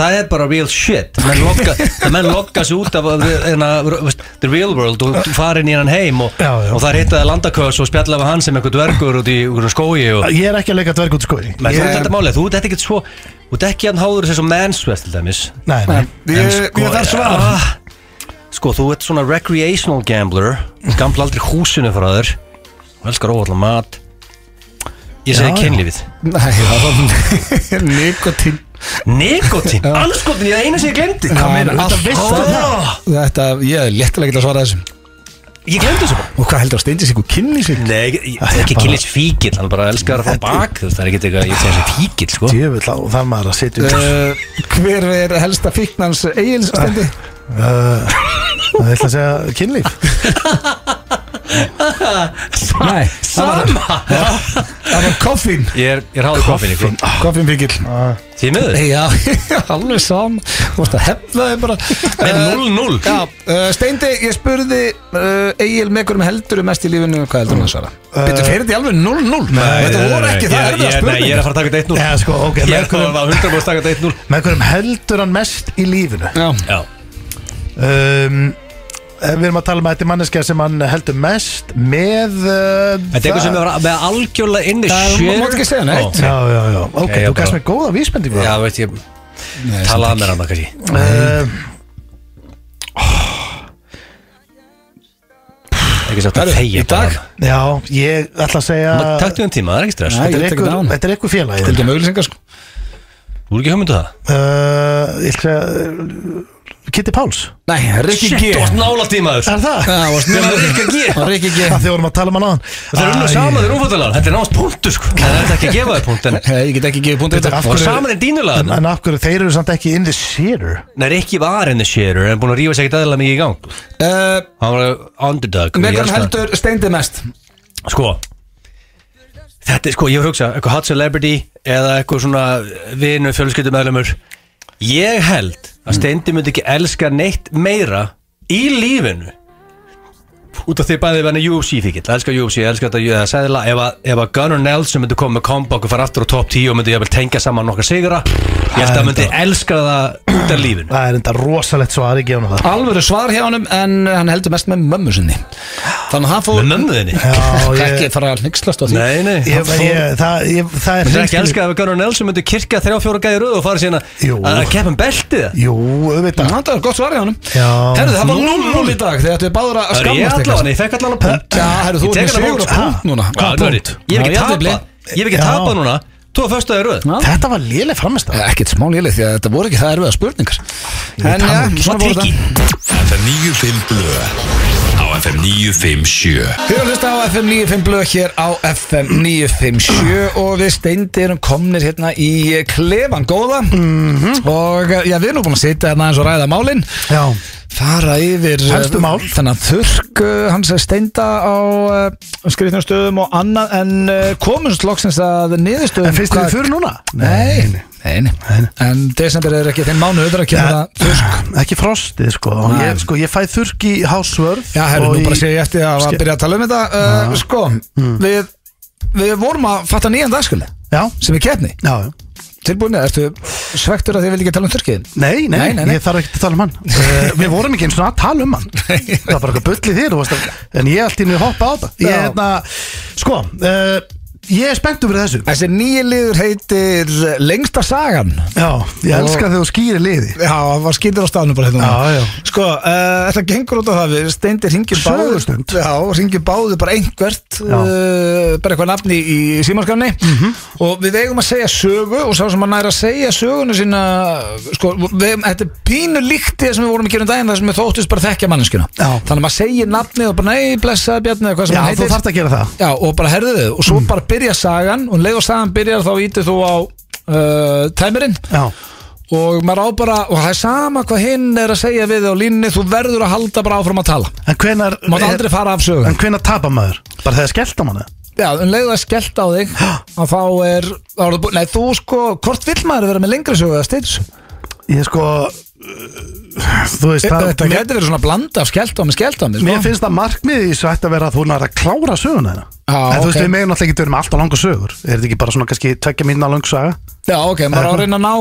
Það er bara real shit menn lokka, það menn lokka sér út af af- hérna, veist, the real world og fara inn í hann heim og,
Já, já.
og það er hittaði landaköðs og spjalla við hann sem einhver dvergur út í einhverjum skói og,
Ég er ekki að leika dverg út skoði
menn, þú
Ég-
ert þetta málið, þú ert ekki svo þú ert ekki hann háður þessu mansvest til dæmis
Nei, sko, nei
Ég, ég þarf svar
ah, Sko, þú ert svona recreational gambler Gamla aldrei húsinu frá þér og elskar óvallan mat Ég
Já,
segi
já.
kynlífið
Nei, það var nikotín
Nikotín, anskotin, ég eina sem ég glemdi
Hvað meinar?
Þetta
Allt-
veistu
Ó.
það
Þetta, ég er léttilega ekki að svara þessum
Ég glemdi þessu bara
Og hvað heldur að steindis ykkur kynni sig?
Nei, ég- ég- ekki kynlífs fíkil, hann bara elskar að fá bak þú veist, Það er ekki eitthvað, ég segi þessi fíkil, sko
Djöfull á það maður að sitja út
Eh.
Uh, hver er helsta fíknans eigin steindi?
Eh, Það ætla að segja kynlíf
Nei, það var,
Sama
það var koffín
Ég er, ég er háður koffin, sko
Koffín fíkil
Ah.
Því miður,
Já, alveg sam Þú veist að hefða þið bara
með
Eh,
0-0
Já, uh, Steindi, ég spurði uh, Egil með hverjum heldur mest í lífinu Hvað heldur hann að svara? Uh, Býttu fyrir því alveg 0-0 Þetta voru ekki það
Ég-
erfið að
ég- Nei, ég
spurninga
er að fara að taka þetta 1-0
Já, sko, ok
Ég
með
er að
hverjum-
fara að 100 búið að taka þetta 1-0
Með hverjum heldur hann mest í lífinu
Já,
Já
um, eh, Við erum að tala um að þetta er manneskja sem hann heldur mest með uh,
Þetta er eitthvað sem
það-
er bara- með algjörlega inni
Það
share-
má- má ekki segja neitt.
Ó.
Já, já, já, ok,
ég
þú gæst
bara-
með góða vísbendingu
Já, veit ég
Nei,
Talaði með hann það kannski
um,
Ekki sagt að
Herru,
þegja
í dag?
Já, ég ætla að segja
bara. Ma- Taktu um tíma, það er ekki stress
Nei.
Þetta
ég
er
tek þetta á
einhver-
hana.
þetta er eitthvað
Til
félagið
dæmi auðlýsingar sko
Þú er ekki hugmyndu það
Uh, ég ætla að segja, uh, Kitty Páls
Nei, Rikki G
Shit, þú varst nála tímaður
Er það?
Það varst
Þú
mjög-
varst Rikki G
Það var Rikki G
Það þjóðum að tala um hann á hann
Það er unnu saman þér umfóttalega Þetta er náðast punktu sko Það er ekki að gefa þér punkt en
Nei, Ég get ekki gefið punktið
Þetta er af
þetta
Og
hverju-
saman er
En,
dínulega
en af hverju þeir eru samt ekki in the theater
Nei, Rikki var henni sérur En búin að rífa sér ekkert aðeins mikið í gang
Uh,
Hann var underdog og ég
Með hverjum
elska það.
heldur steindi mest?
Sko Þetta er sko, ég hugsa Eitthvað hot celebrity Eða eitthvað svona Vinu, fjölskyldumæðlumur Ég held að Steindi myndi ekki elska neitt meira Í lífinu Út af því bæði verðin UFC fíkill Elskar UFC, elskar þetta Ég segðla Ef að, ef að Gunnar Nelson myndi koma með comeback Og fara aftur á top 10 Og myndi jafnvel tengja saman nokkar sigra Ég held að hann myndi elska það út af lífinu
Það er enda rosalegt svo aðri gefna það
Alvöru svar hjá honum en hann heldur mest með mömmu sinni Þannig að hann fór
Með mömmuðinni
Já,
Það
ég-
ekki fara að hnyggslast á því
Nei, nei
Ég, ég, það, ég, það er
Það er ekki
hreinskilin-
elskað ef að Gunnar Nelson myndi kirkja þrjá fjóra gæði röð og fara síðan
Jú.
að- að keppa um beltið
Jú, auðvitað
Það var gott svar hjá honum
Já.
Herðu, það var 0-0 í dag Þegar þetta er báður að
Það er ég
skammast
allavega, ég fekk allavega punkt
Já, herru, þú
Ég
ert
tek
með
allan
sigur á
punkt.
punkt núna
Já, punkt? Ég hef ekki
Já, jafntefli.
tapað Ég hef ekki
Já.
tapað núna Þú er fyrstaði röð
Já.
Þetta var léleg framist
Það er Eh, Ekkert smá lélið því að þetta voru ekki það erfiða spurningar En
um
já, svona voru
Tryggi.
þetta
FM 95 Blö Á FM 957
Þið erum að hlusta á FM 95 blöð hér á FM 957 og við steindir erum komnir hérna í klefan góða
Mhm.
og eh, já, við erum nú búin að sitja hérna eins og ræða málin
Já,
fara yfir
Helstu
eh,
mál.
Þannig að þurrk, eh, hans er steinda á uh, skrifnum stöðum og annað en uh, komumst loksins að niðurstöðum
en finnst þið
hvað-
fyrir núna?
Nei, nei, nei, En desember er ekki þeim mánu öðra að kemur
Ja.
það þurrk
Ekki frostið sko
Nei.
ég, sko, ég fæ þurrk í hásvörð
Já, herru,
og
nú bara
í-
sé ég eftir að, að byrja að tala um þetta uh, Sko, við, við vorum að fatta nýjan dagskjöli
Já,
sem er keppni
já, já
Tilbúin, ertu svektur að þið vil ekki tala um þurrkiðin?
Nei, nei,
Nei, nei, nei.
ég þarf ekki að tala um hann uh, Við vorum ekki eins og að tala um hann Það var bara eitthvað bull í þér þú varst að- En ég allt í henni hoppa á það ég,
Já.
hérna, Sko, uh, ég er spenntur fyrir þessu
Þessi nýju liður heitir eh, Lengsta sagan
Já, ég elska þegar þú skýri liði
Já, það var skýtur á staðnum bara hérna
Já, já.
Sko, uh, þetta gengur út á það við Steindir ringjum
Sögustund.
Já, ringjum báðu bara einhvert
Já. Mhm.
uh, Bara eitthvað nafni í símarskanni Og við eigum að segja sögu Og sá sem að næra að segja sögunu sína Sko, við, eigum- þetta er pínu líkt Það sem við vorum að gera um daginn Það sem við þóttist bara þekkja manneskjuna
Já.
Þannig að maður segir nafnið og bara Nei, blessaði Bjarni eða hvað sem
Já,
hann heitir
þú þarft að Mm. gera það
Já, og bara herðu þau og svo bara byrja sagan og um leið og sagan byrjar þá ítir þú á uh, tæmirinn
Já,
og maður á bara, og það er sama hvað hinn er að segja við þig á línni, þú verður að halda bara áfram að tala,
en hvenar
maður aldrei fara af sögum
En hvenar tapa maður? Bara þegar skellt á manna
Já, um leið og það er skellt á þig að þá er, þá er það búið, nei þú sko hvort vill maður vera með lengri sögu eða steytis?
Ég sko, þú veist, það,
Þetta sko.
mér,
getur verið svona blanda af skeldámi, skeldámi
mér finnst það markmið í þessu ætti að vera að þú nær að klára söguna þeirra
Já,
en þú veist,
ok.
við megin alltaf ekki að vera með alltaf langa sögur er þetta ekki bara svona kannski tvekja mínna lang saga
Já, ok, maður á að reyna að ná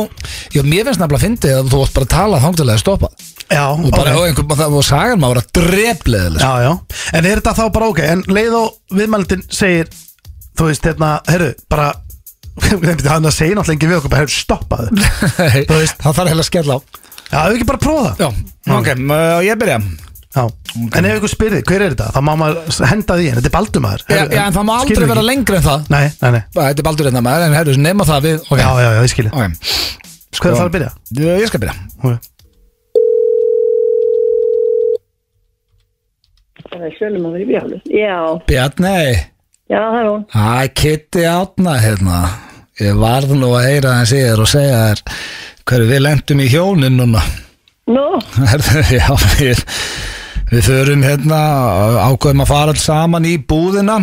Já, mér finnst nefnilega að fyndi að þú vart bara að tala þangtilega að stoppa
já,
og bara, og einhvern veginn, og sagan maður að drefleðilega
já, já, en er þetta þá bara ok en leið og viðmælindin segir þú veist, hérna, herru, bara hann að segja náttúrulega ekki við okkur bara, herru, stoppaðu
Þú veist, það þarf heila að skella á
já, hefur ekki bara prófa það
Já, ok, uh, ég byrja
Já. en ef ykkur spyrði, hver er þetta, þá má maður henda því, en þetta er baldumæður
Já, já, en það má aldrei vera lengri en það
nei, nei, nei,
Bara, Þetta er baldur reynda maður, en herru, nema það við Ok,
já, já, já, ég skilji
ok,
hvað er það að byrja?
sko. ég skal byrja
Ok.
Það er sjölum að vera í bjálu. Já,
Bjarnei,
já það er hún.
hæ, Kitty Átna, hérna Ég varð nú að heyra hans í þér og segja þér Hverju við lendum í hjónin núna
Nú,
Herðu, Já, við, við förum hérna ákveðum að fara alls saman í búðina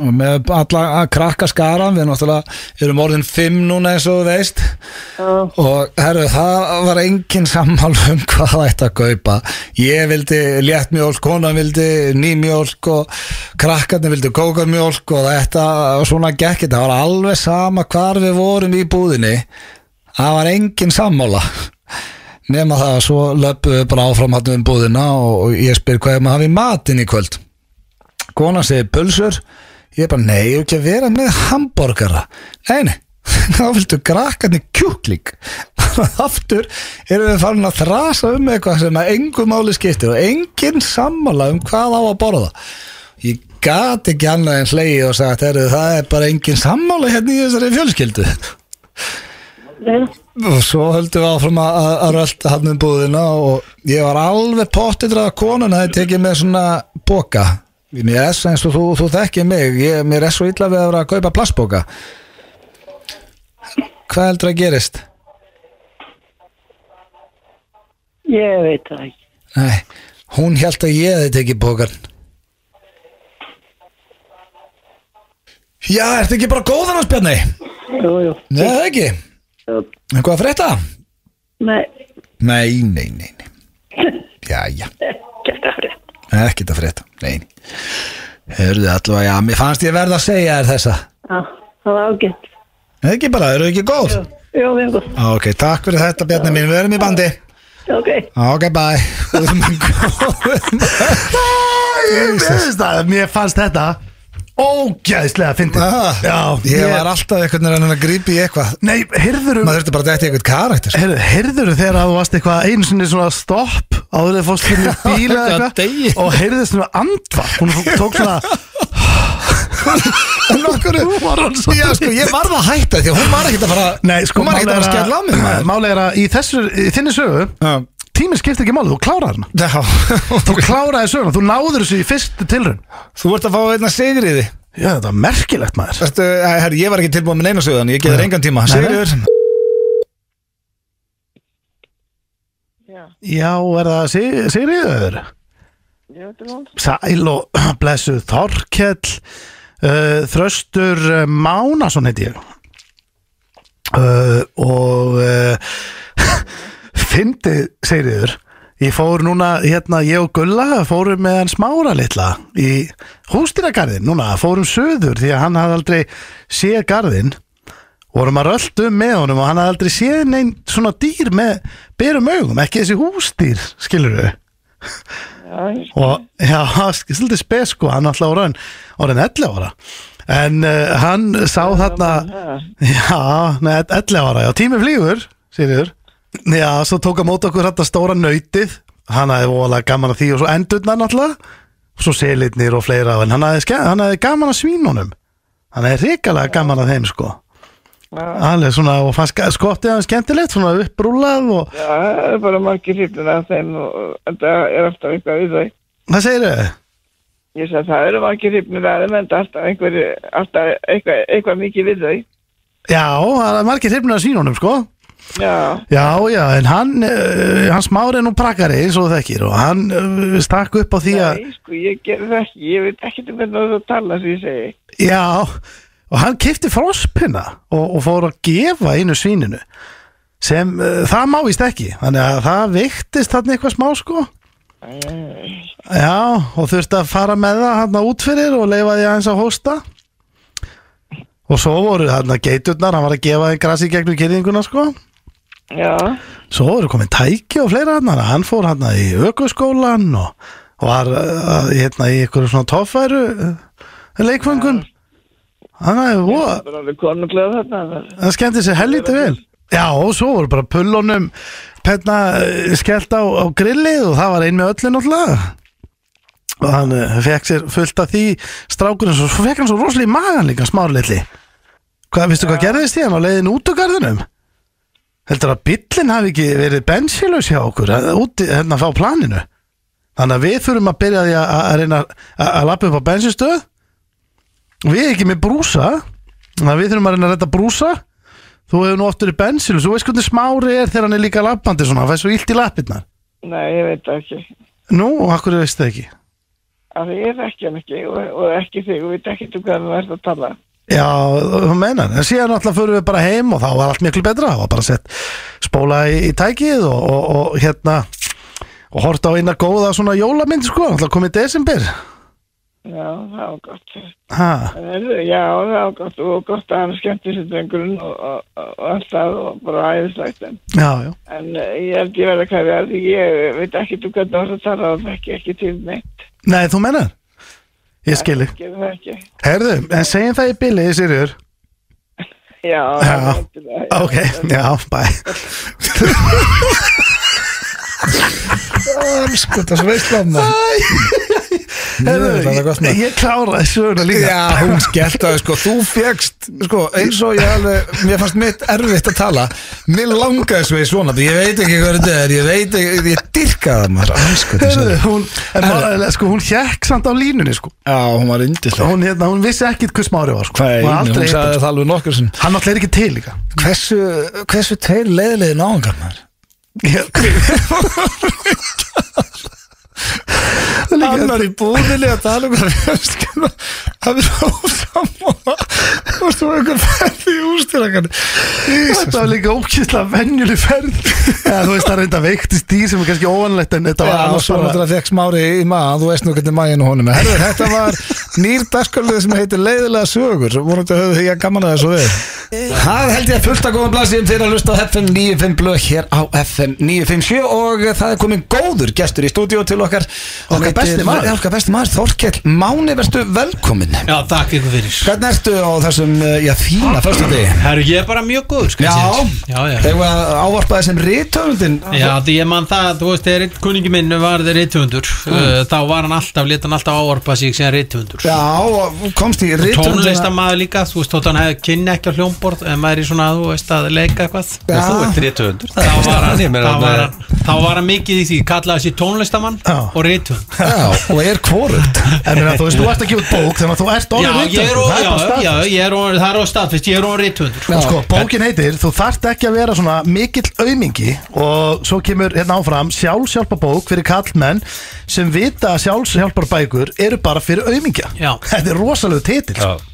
og með alla að krakka skaran við náttúrulega erum orðin fimm núna eins og þú veist
já,
og herru, það var engin sammál um hvað það ætti að kaupa ég vildi léttmjólk, konan vildi nýmjólk og krakkarnir vildi kókarmjólk og þetta og svona gekk þetta, það var alveg sama hvar við vorum í búðinni það var engin sammála nema það að svo löpum við bara áfram hann um búðina og og ég spyr hvað er maður að hafa í matinn í kvöld konan segir pulsur ég bara nei, ég er ekki að vera með hambúrgara nei, nei, þá viltu grakkarnir kjúkling aftur erum við farin að þrasa um eitthvað sem að engu máli skiptir og engin sammála um hvað á að borða ég gat ekki annað en hlegi og sagt "Heyrðu, það er bara engin sammála hérna í þessari fjölskyldu
það
og svo höldum við áfram að, að, að rölda hann um búðina og ég var alveg pottitrað að konan að það tekið með svona boka mér er svo eins og þú, þú þekkið mig ég, mér er svo illa við að vera að kaupa plastboka hvað heldur að gerist?
ég veit það ekki.
Nei, hún held að ég hefði tekið bókan Já, ertu ekki bara góðan hans Bjarni?
Jú, jú.
Nei, það ekki
Jú.
Eitthvað að frétta?
Nei,
Nei, nei, nei, nei Jæja
gett að frétt.
Eh, ekkert að frétta, nein Hörðu allavega, já, mér fannst ég verða að segja þér þessa
Já, það var ágætt.
Nei, Ekki bara, eru ekki góð?
Jú, jú, við erum góð.
Ok, takk fyrir þetta Bjarni mín, við erum í bandi
Ok,
Ok, bye Guð minn góður.
Ég veist það, mér fannst þetta ógæðislega fyndið
Ah, Ég var alltaf einhvern veginn að grípa í eitthvað
Nei, heyrðuru
Maður þurfti bara að dætti eitthvað karakter
Heyrðu, heyrðuru þegar að þú varst eitthvað einu sinni svona stopp áður þegar fórst hérna í
Já,
bíla eða
degi.
eitthvað og heyrðu svona andvar hún tók svona
Nokkur Já, sko, ég varð að hætta því að hún var ekkert að fara
Nei, sko,
Hún var ekkert að fara að skella á mig maður.
Málega er að í þessu í þinni sögu
Já.
tíminn skiptir ekki máli, þú klárar hana
Já,
þú kláraði söguna, þú náður þessu í fyrstu tilraun
þú ert að fá einna sigriði
Já, þetta var merkilegt maður
Vertu, herri, ég var ekki tilbúin með neina sögðan, ég geður engan tíma
Nei, nei.
Sigriður,
Já, er það Sig- Sigríður?
ég veit það hún.
Sæl og blessuð Þorkell uh, Þröstur uh, Mánason heiti ég uh, og uh, fyndið segriður ég fór núna hérna ég og Gulla fórum með hans Mára litla í hústýragarðin núna fórum söður því að hann hafði aldrei séð garðin vorum að röldu með honum og hann hafði aldrei séð neinn svona dýr með berum augum, ekki þessi hústýr skilur við
Já,
og já, sk- svolítið spes sko hann alltaf orðin, orðin 11 ára en uh, hann sá þarna já, nei, 11 ára já, tími flýgur, sýriður já, svo tók að móta okkur þetta stóra nautið hann hafði voðalega gaman að því og svo endurnar náttúrulega svo selitnir og fleira en hann hafði, ske- hann hafði gaman að svínunum hann hafði hrikalega gaman að þeim sko
já,
alveg svona og fannst ga- skottið hann skemmtilegt svona upprúlað og
já, það er bara margir hrifnir af þeim og en það er alltaf eitthvað við þau.
hvað segir þau?
Ég sagði það eru margir hrifnir af þeim en það er alltaf einhver, alltaf eitthvað, eitthvað mikið við þau.
Já, það er margir hrifnir að svínunum sko
Já,
Já, já, en hann uh, hans mári nú prakari eins og þú þekkir og hann uh, stakk upp á því að
nei, sko, ég gerði það ekki. Ég veit ekki til hvernig þú ert að tala sem ég segi.
já, og hann kifti frospinna og, og fór að gefa einu svíninu sem uh, það má víst ekki þannig að það viktist þarna eitthvað smá sko já og þurfti að fara með það hann út fyrir og leifa því aðeins að hósta og svo voru þarna geiturnar hann var að gefa þeim grasi gegnum kyrðinguna sko
já,
svo voru komin tæki og fleira hann hann fór hann í aukuskólan og var uh, hérna í einhverju svona toffæru uh, leikfengun hann er voða
það er alveg konunglega þarna það-
Það skemmti sér helviti vel Já, og svo voru bara pullunum penna eh, skellt á, á grillið og það var ein með öllu náttúrulega og hann uh, fekk sér fullt af því strákurinn svo, svo fekk hann svo rosalega í magan líka smárleitli Hvað, veistu hvað gerðist í hann á leiðin út úr garðinum? Heldur að bíllinn hafi ekki verið bensilus hjá okkur eh, úti hérna að fá planinu Þannig að við þurfum að byrja á því að, að reyna að, að lappa upp á bensinstöð Við ekki með brúsa Þannig að við þurfum að reyna að redda brúsa Þú hefur nú oftur í bensil Þú veist hvernig smári er þegar hann er líka lappandi svona, hann fæði svo illt í lappirnar
nei, ég veit það ekki
Nú, og akkur veist það ekki
að ég þekki hann ekki og, og ekki þig og veit ekki um hvað hann verður að tala
Já, þú meinar, en síðan alltaf förum við bara heim og þá var allt miklu betra, það var bara sett spóla í, í tækið og, og, og hérna og hort á eina góða svona jólamynd sko, alltaf komið í desember
já, það var gott
ha.
En heyrðu, já, það var gott og gott að hann skemmti sér drengurinn og, og, og, og allt það og bara æðislegt en,
Já, já,
en eh, ég held ég verði að kæra því ég veit ekki um hvað hann verður að tala og þekki ekki til neitt
nei, þú meinar Ég skili,
gerði það ekki
herðu, en segjum það í bili, Sirjur
já,
Já.
endilega, já.
Ok, já, bæ
Sko, það er svo veistlan Mjög þetta gott
Herðu,
maður
ég klára söguna líka
Já, hún skellt að sko, þú fegst sko, eins og ég alveg, mér fannst mitt erfitt að tala, mér langaði svo í svona, ég veit ekki hvað þetta er ég veit ekki, ég dyrka það maður sko,
Heyrðu, hún, en
Heyrðu.
málega, sko, hún hjekk samt á línunni sko.
Já, hún var yndislega
hún, hérna, hún vissi ekkit hvers mári var sko.
Nei,
Hún var
hún
aldrei
sagði
hitt
það alveg nokkur sinn
hann náttúrulega er ekki til líka
Hversu, hversu teir leiðilegði náðungar maður? Annar í búðinni að tala um hvað fjölskylda að við erum ósamála og þú einhver ferði í ústirakar
þetta var líka ókýrslega venjuleg ferð ja, þú veist það er þetta veiktist dýr sem er kannski óvanlegt en þetta var
Já,
annars
svo
bara
náttúrulega fekk smári í maður, þú veist nú hvernig maginn á honum er. Herðu, þetta var nýr dagsköldið sem heitir Leiðilega sögur, vonandi höfðu því að gaman að þessu við Það held ég að fullt að góðan blasið um þeirra að hlusta á FM 95 blöð hér á FM 957 og eh, það er komin góður gestur í stúdíu til okkar
Okkar besti maður.
Já, Okkar besti maður, Þorkell Máni, verstu velkomin
Já, takk ykkur fyrir
Hvernig ertu á þessum, eh, já, fína fyrstu degi?
Herru, ég er bara mjög góður skal
Já,
ég segja þér. já, já
Þegar ávarpaði sem rithöfundin
Já, því ég man það, þú veist, þegar einn kuningi minn var þeir reytvöndur uh, Þá var hann alltaf, leta hann alltaf áarpa sig sem reytvöndur
Já, og komst í rithöfundina
Tónlistamaður líka, þú veist, þótt hann hefði kynni ekki á hljómborð En maður er í svona, þú veist, að leika eitthvað
Já.
Þú ert 300
Þá var hann,
Ég meina,
þá var hann, þá var hann mikið í því, kallaði sér tónlistamann
Já.
og reytvönd
Já, og er kvorut
en meina, þú veist, þú ert að gefa út bók þannig að þú ert
Já,
orðin
ég er,
rithöfundur,
ó,
það er
já,
bara staðfest.
já, ég er, ó, það er á staðfist, ég er á reytvöndur
Já.
Og sko, bókin heitir, þú þarft ekki að vera svona mikill aumingi og svo kemur hérna áfram sjálfsjálpa bók fyrir kallmenn sem vita að sjálfsjálpar bækur eru bara fyrir aumingja.
Já.
Þetta er rosalega titill. sko.
Já.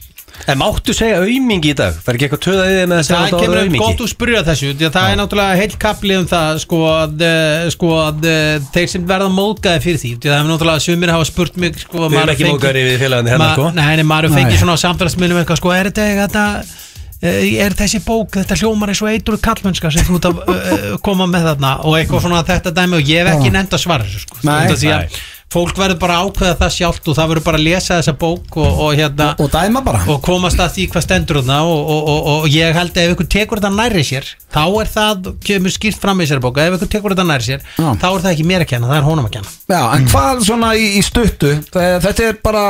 En máttu segja aumingi í dag? Það er ekki eitthvað töðaðið þig með að segja
Það
þetta
kemur
orðið
um
aumingi?
gott úr spyrja þessu því að það er náttúrulega heilt kapli um það sko að, eh, sko að eh, þeir sem verða móðgæði fyrir því því að það er náttúrulega sumir hafa spurt mig sko,
Við erum ekki mókaður yfir félagandi hennar sko
Nei, nei, maður
Nei.
fengið svona á samfélagsmiðlum eitthvað sko er þetta eitthvað er þessi bók, þetta hljómar eins og eitur kallmönnska sem þú ert að eh, koma með þarna og eitthvað svona þetta dæmi og ég hef ekki nefnd að svara þessu sko
Nei.
Út af
Nei.
því að fólk verður bara að ákveða það sjálft og það verður bara að lesa þessa bók og, og hérna
Og dæma bara
og komast að því hvað stendur þarna og, og, og, og ég held að ef ykkur tekur þetta nærri sér þá er það, kemur skýrt fram í sér bóka ef ykkur tekur þetta nærri sér,
Já.
þá er það ekki mér að kenna það er honum að kenna
Já, en hvað svona í, í stuttu Það- Þetta er bara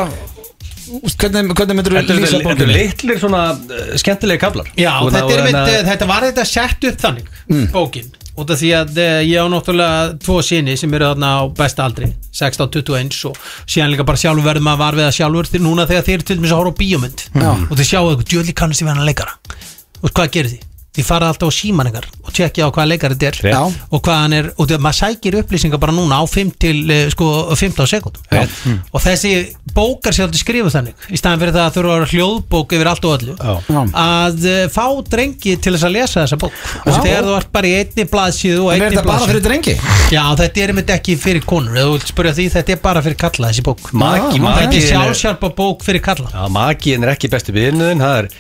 úst, Hvernig, hvernig myndir
Þetta
þú
eru-
lýsa
þetta eru
bókinni?
litlir svona uh, skemmtilegi kablar
Já,
Og
þetta, er
það-
mitt, eh,
það-
þetta var þetta sett upp þannig bókin, út af því að eh, ég á náttúrulega tvo sinni sem eru þarna á besta aldri 16, 21 og síðan líka bara sjálfur verður maður var við það sjálfur til núna þegar þeir til dæmis að horfa á bíómynd og þeir sjáu eitthvað djöðli kannast ég verðan leikara og hvað gerir því? því fara alltaf á síman ykkar og tjekkja á hvaða leikar þetta er
Já.
og hvað hann er, og þegar maður sækir upplýsingar bara núna á 5 til eh, sko, 15 sekundum
Já.
Mm. og þessi bókar sér alltaf skrifa þannig í staðan fyrir það að þurfa að vera hljóðbók yfir allt og öllu
Já.
að eh, fá drengi til þess að lesa þessa bók og
Já.
þegar þú ert bara í einni blaðsíðu og
En er
einni
þetta bara fyrir drengi?
Já, þetta er einmitt ekki fyrir konur ef þú vilt spyrja því, þetta er bara fyrir kalla þessi bók
Maki,
Þetta er
maki
sjálfsjálpa bók fyrir kalla
Já, makiðin er ekki besti byrjunin Það er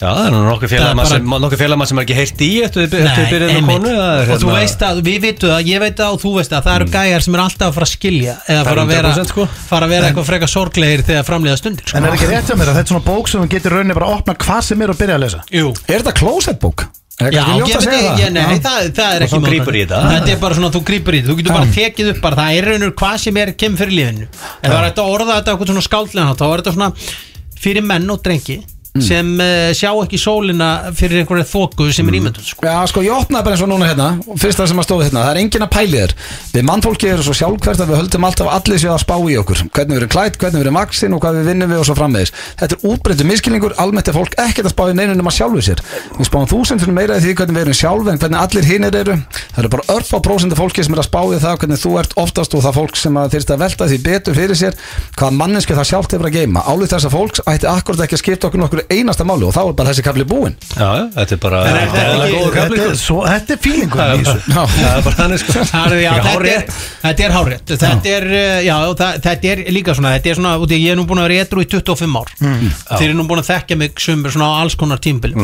Já, það er nú nokkuð
Það er
félagmann
bara-
sem, nokkuð félagmann sem er ekki heilt í eftir eftir
Nei,
byrjunin á
einmitt.
konu það er
Og þú
hérna- Mm.
veist að, við vitum að, ég veit að og þú veist að það eru gæjar sem er alltaf að fara að skilja eða
Það er
fara að vera,
100% sko.
fara að vera eitthvað freka sorglegir þegar framliða stundir
En
sko.
er ekki rétt hjá mér að þetta er svona bók sem þú getur rauninni bara að opna hvað sem er og byrja að lesa
Jú
Er þetta closetbók? Er
Já,
kannski ljótt
ég
að
veit
segja
ekki,
það?
nei,
Já.
það, það
Og
er ekki
þá
mótandi.
grípur í þetta.
Þetta er bara svona, þú grýpur í þetta, þú getur bara
Já.
tekið upp bara, það er raunur hvað sem er kemur fyrir lífinu En það er þetta að orða þetta okkur svona skáldlega þá er þetta svona fyrir menn og drengi sem uh, sjá ekki sólina fyrir einhverja þóku sem er ímyndun sko.
Já, sko, ég opnaði bara eins og núna hérna og Fyrsta sem að stóði hérna, það er engin að pæli þér Við mannfólki eru svo sjálfkvært að við höldum alltaf allir sér að spá í okkur Hvernig við erum klætt, hvernig við erum vaksin og hvað við vinnum við og svo framvegis Þetta er útbreyttu miskilningur, almennt er fólk ekkert að spá í neinunum að sjálfu sér Við spáum þúsund fyrir meira í því hvernig við erum sjálf en hvernig allir hinir eru Það eru bara örf á prósendu fólki sem er að spá í það hvernig þú ert oftast og það fólk sem að þyrst að velta því betur fyrir sér hvað manneski það sjálft hefur að geima Álið þessa fólks ætti akkurat ekki að skipta okkur nokkur einasta máli og þá er bara þessi kafli búinn
Já, já, þetta er bara
er þetta
eðlilega
ekki-
góður kafli,
Þetta
sko.
er, svo, þetta er fílingur
Það
í
er
þessu
bara- það er bara þannig sko
Það er- Já,
Ekki
þetta,
hárrétt.
er, þetta er hárétt þetta er, eh, já, það, þetta er líka svona Þetta er svona, út í að ég er nú búin að vera etru í 25 ár Þeir eru nú búin að þekkja mig sumur svona á alls konar tímbil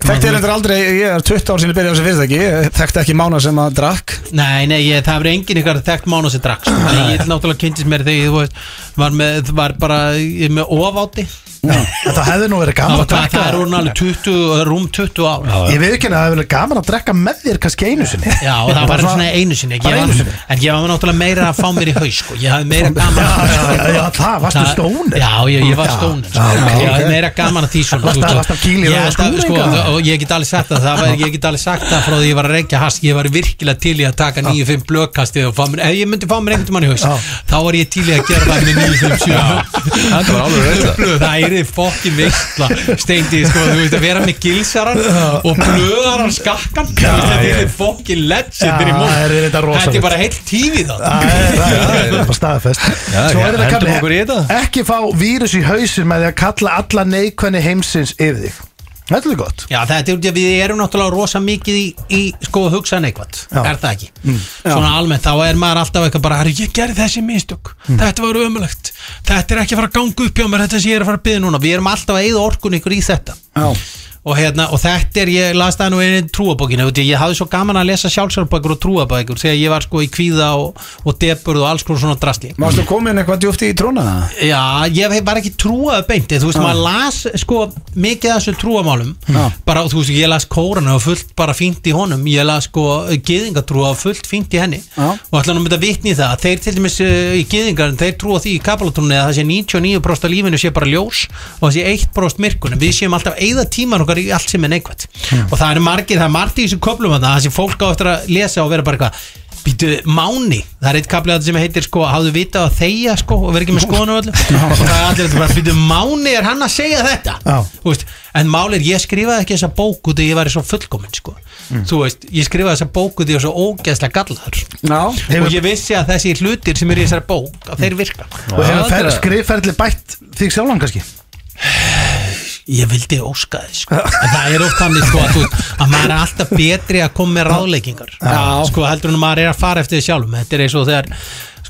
Þekkti þér endur aldrei, ég er 20 ár sinni byrjað á þessu fyrirtæki, ég þekkti ekki mána sem að drakk
Nei, nei, ég, það verið engin ykkar þekkt mánu sem drakk sko. Þannig að Ég náttúrulega kynntist mér þegar ég þú veist, var, með, var bara ég, með ofáti
Þetta hefði nú verið
Það,
gaman að
það, það er
drekka
hún alveg 20, rúm 20 ár Já,
Ég veit ekki að það hefði verið gaman að drekka með þér kannski einu sinni
og það var svona einu sinni, Ég
Bara
var-
einu sinni.
En ég var náttúrulega meira að fá mér í haus sko. Ég hafði meira gaman
Já,
að
já, já, já, það varstu
Það-
stónir
Já, ég, ég var stónir sko.
já, ok.
Ég hafði meira gaman að því svona
Varstu-
þú veist,
varstu að kýla í
ég
það
held að, sko,
skúringa?
Og ég get alveg sagt það, það var, Ég get alveg sagt það frá því ég var að reykja hass Ég var virkilega til í að taka 9-5 blökkastið og fá mér- Ef ég myndi fá mér einhvern mann í haus
Já.
Þá var ég til í að gera það með 9-5-7
Þetta var alveg reynd
blöð, það er þið fokkin veistla steindi, sko, þú veist að vera með gilsaran og blöðaran skakkan þú veist, þetta er þið fokkin legendir í
Já,
mót
það er þetta rosalegt.
þetta er bara heilt tífi þá
Það er- það er- það er bara staðfest
Já,
Svo er
ok,
þetta
hendum
kafli,
okkur í þetta.
Ekki fá vírus í hausin með því að kalla alla neikvæni heimsins yfir þig Þetta er gott
Já, þetta er út í að við erum náttúrulega rosa mikið í, í sko að hugsa neikvæmt,
Já.
er það ekki? Svona almennt, þá er maður alltaf eitthvað bara, "Herru, ég gerði þessi mistök,
Mm.
þetta var ömulegt, þetta er ekki að fara að ganga upp hjá mér, þetta sem ég er að fara að byggja núna, við erum alltaf að eigða orkun ykkur í þetta. Og, hérna, og þetta er, ég las það nú einu trúabókinu, veit ég, ég hafði svo gaman að lesa sjálfsjálfbækur og trúabækur þegar ég var sko í kvíða og, og deburð og alls konar svona drastli.
Mástu komin eitthvað djúft í tróna?
Já, ég hef bara ekki trúað beinti Þú veist, maður las sko mikið af þessu trúamálum
Já.
bara, þú veist, ég las kórana og fullt bara fínt í honum ég las sko geðingatrúa og fullt fínt í henni
Já.
og ætlaði að mynda vitni í það þeir til dæmis uh, í geðingarinn, þeir trúa því í kabalatrúni að það sé 99% af lífinu sé bara ljós og það sé 1% myrkunum við séum alltaf eigða tíman okkar í allt sem er neikvætt og það er margir, það er margt í þessu köflum þarna, það sem fólk á eftir að lesa og vera bara eitthvað Býtu, Máni, það er eitt kaplið sem heitir sko, hafðu vitað að þeia sko og verið ekki með skoðan og öllu og það er allir þetta bara, býtu, Máni er hann að segja þetta
Já.
Þú veist, en málið er, ég skrifaði ekki þessa bók út í ég væri svo fullkominn sko þú veist, ég skrifaði þessa bók út í ég var svo ógeðslega gallaður
Já
og ég vissi að þessi hlutir sem eru í þessari bók að þeir virka
Og hefur
þetta
fer-
er- Eh,
skrifferðli bætt þig sjálfan kannski
ég vildi óska þess sko. en það er oft þannig sko að, þú, að maður er alltaf betri að koma með ráðleikingar sko heldur en að maður er að fara eftir því sjálfum þetta er eins og þegar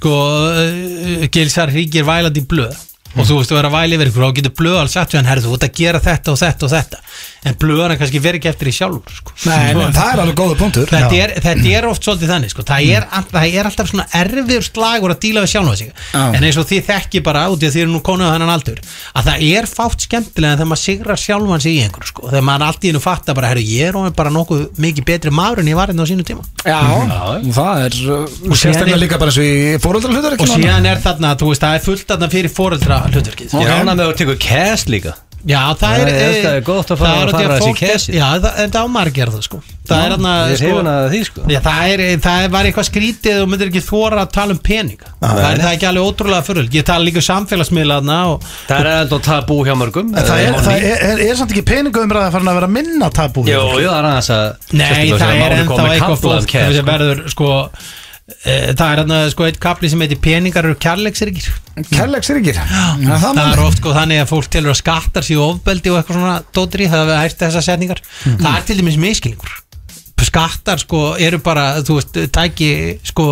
sko uh, gilsar hríkir vælandi í blöð og þú veist að vera að væla yfir ykkur og þá getur blöð alls aftur en herðu þú ert að gera þetta og þetta og þetta en blöðan er kannski verið ekki eftir því sjálfur sko.
Nei, en það er alveg góða punktur
þetta er, þetta er oft svolítið þannig sko. það, er, all- það er alltaf svona erfiður slagur að díla við sjálfum sig
Já.
en eins og þið þekki bara út í að þið eru nú konuð þannan aldur að það er fátt skemmtilega en þegar maður sigrar sjálfan sig í einhverju sko. þegar maður allt í hennu fattar bara herru ég er orðinn bara nokkuð mikið betri maður en ég var hérna á sínu tíma
Já, Mhm. það er uh,
Og síðan
sérstaklega
er-
líka bara eins og í fóröldra hlutur
og síðan er þarna, þú veist, það er fullt þarna fyrir foreldra hlutverkið
Ég rána með að þú tekur kæs líka
Já, það er
Nei, ég elska
eh,
þig, gott að fara-
það er
fara
því
þessi
fólk er-
kesi.
Já, það- en það á margir að gera það sko Það er hann
Ég
að
er hefina að því sko
Já, það, er, eh, það var eitthvað skrítið og myndir ekki þóra að tala um peninga það, er, það er ekki alveg ótrúlega fyrir Ég tala líka um samfélagsmiðlaðna og
Það er enda tabú hjá mörgum Eh,
En það er, það er, er, er samt ekki peningaumræða farin að vera minna tabú
Jó, jó, það er aðeins að
Nei,
sérstaklega
það
þegar
er
málið
ennþá
kom með
eitthvað
kafla um
fólk
kæð,
sem
sko.
verður sko e, Það er hann að sko eitt kapli sem heitir peningar eru kærleiksirgir
Kærleiks er ekki
Það er oft sko þannig að fólk telur að skattar séu ofbeldi og eitthvað svona dótri það hefur hægt þessar setningar Það er til dæmis miskilingur skattar sko eru bara þú veist, tæki, sko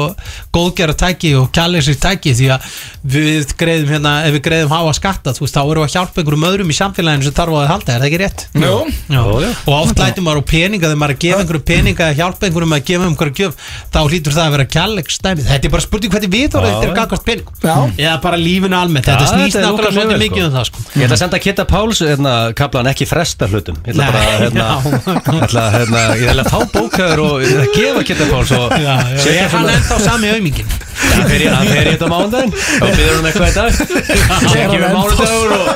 góðgera tæki og kjærleysir tæki því að við greiðum hérna, ef við greiðum háa skatta, þú veist, þá erum við að hjálpa einhverjum öðrum í samfélaginu sem þarf á að halda, er það ekki rétt?
Jú.
Já.
Jú, jú.
og oft lætur maður á peninga þegar maður er að gefa einhverju peninga að hjálpa einhverjum að gefa einhverju gjöf þá hlýtur það að vera kjærleikstæmi þetta er bara spurning hvernig við þóra þetta er
Já.
gagvart peningum
Já.
eða bara lífinu almennt, þetta
Já,
snýst
þetta er
náttúrulega
ókei
svolítið
vel,
mikið
sko.
um það sko.
Ég ætla að senda Kitta Páls hérna, kaplan ekki fresta hlutum Ég ætla
Nei,
bara að, hérna,
já.
ætla, að, hérna, ég ætla að fá bókaður og ég ætla að gefa Kitta Páls og
Já, já,
setja
er hann
svona-
ennþá sami auðmingin
Það fer í- það fer í þetta mándaginn og byrður hún eitthvað í dag sem kemur mánudagur og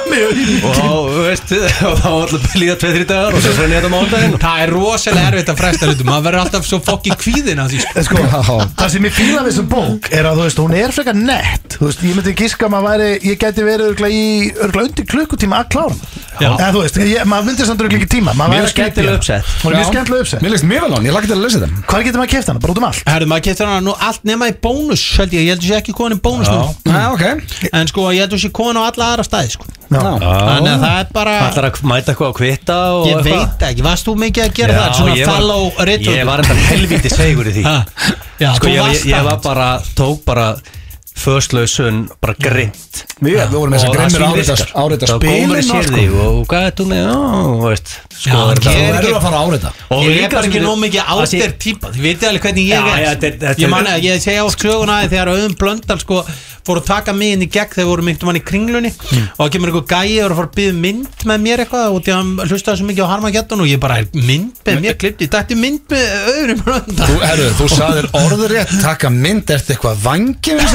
og þá, veist, og þá alltaf líða tveið þrjú dagar og svo fer henni þetta mándaginn
það er rosalega erfitt að fresta hlutum maður verður alltaf svo fokkin kvíðin að því sko.
En sko,
Já.
það sem ég fýla við þessum bók er að þú veist, hún er frekar nett þú veist, ég myndi giska að maður væri ég geti verið örgla í, örgla undir klukkutíma að klára
Já.
hana. eða þú veist, ég, maður myndi samt örgla ekki tíma maður
Mjög
væri að gleypa hana.
skemmtileg uppsett.
hún er mjög
Já.
skemmtileg uppsett,
Mér leist mjög vel á hann, ég lagt til að lesa þetta
hvað getur maður að kefta hana, bara út um allt
Herðu, maður getur hann nú allt nema í bónus held ég, ég heldur sé ekki konin í bónus núna.
Já, ok
en sko, ég heldur sé konin á alla aðra staði sko.
Já.
þannig að það er bara
ætlar að mæta eitthvað á kvitta og
Ég
eitthvað.
veit ekki, varst þú mikið að gera það? Svona
ég var-
follow ritual
Ég var enda helvítið segur í því
Ha, Já,
Sko
þú
ég, ég,
varst
ég
það
var bara, tók bara Föslausun, bara grind
Við við vorum eins og grimmir árið
sko.
að árita spilin
og sko Og hvað er þú með, já, þú veist
Já,
Sko,
ég
Þú
er
verður að fara að árita
og
Ég
líka
er bara ekki
sem-
nóg mikið
að sé-
ástyrk típa Þið veitir alveg hvernig ég
Já,
er
já, þetta- þetta
Ég
er-
man að ég segja á sögunaði þegar auðum blöndal sko fóru að taka mig inn í gegn þegar voru myndt mann í kringlunni
Mm.
og það kemur einhver gæi og er að fara að byggja mynd með mér eitthvað og því að hann hlustaði svo mikið á harma og ég bara mynd með mér klipti þetta er mynd með auðum blöndal
Þú, herru, þú saðir orðurétt, taka mynd eftir eitthvað vangi Við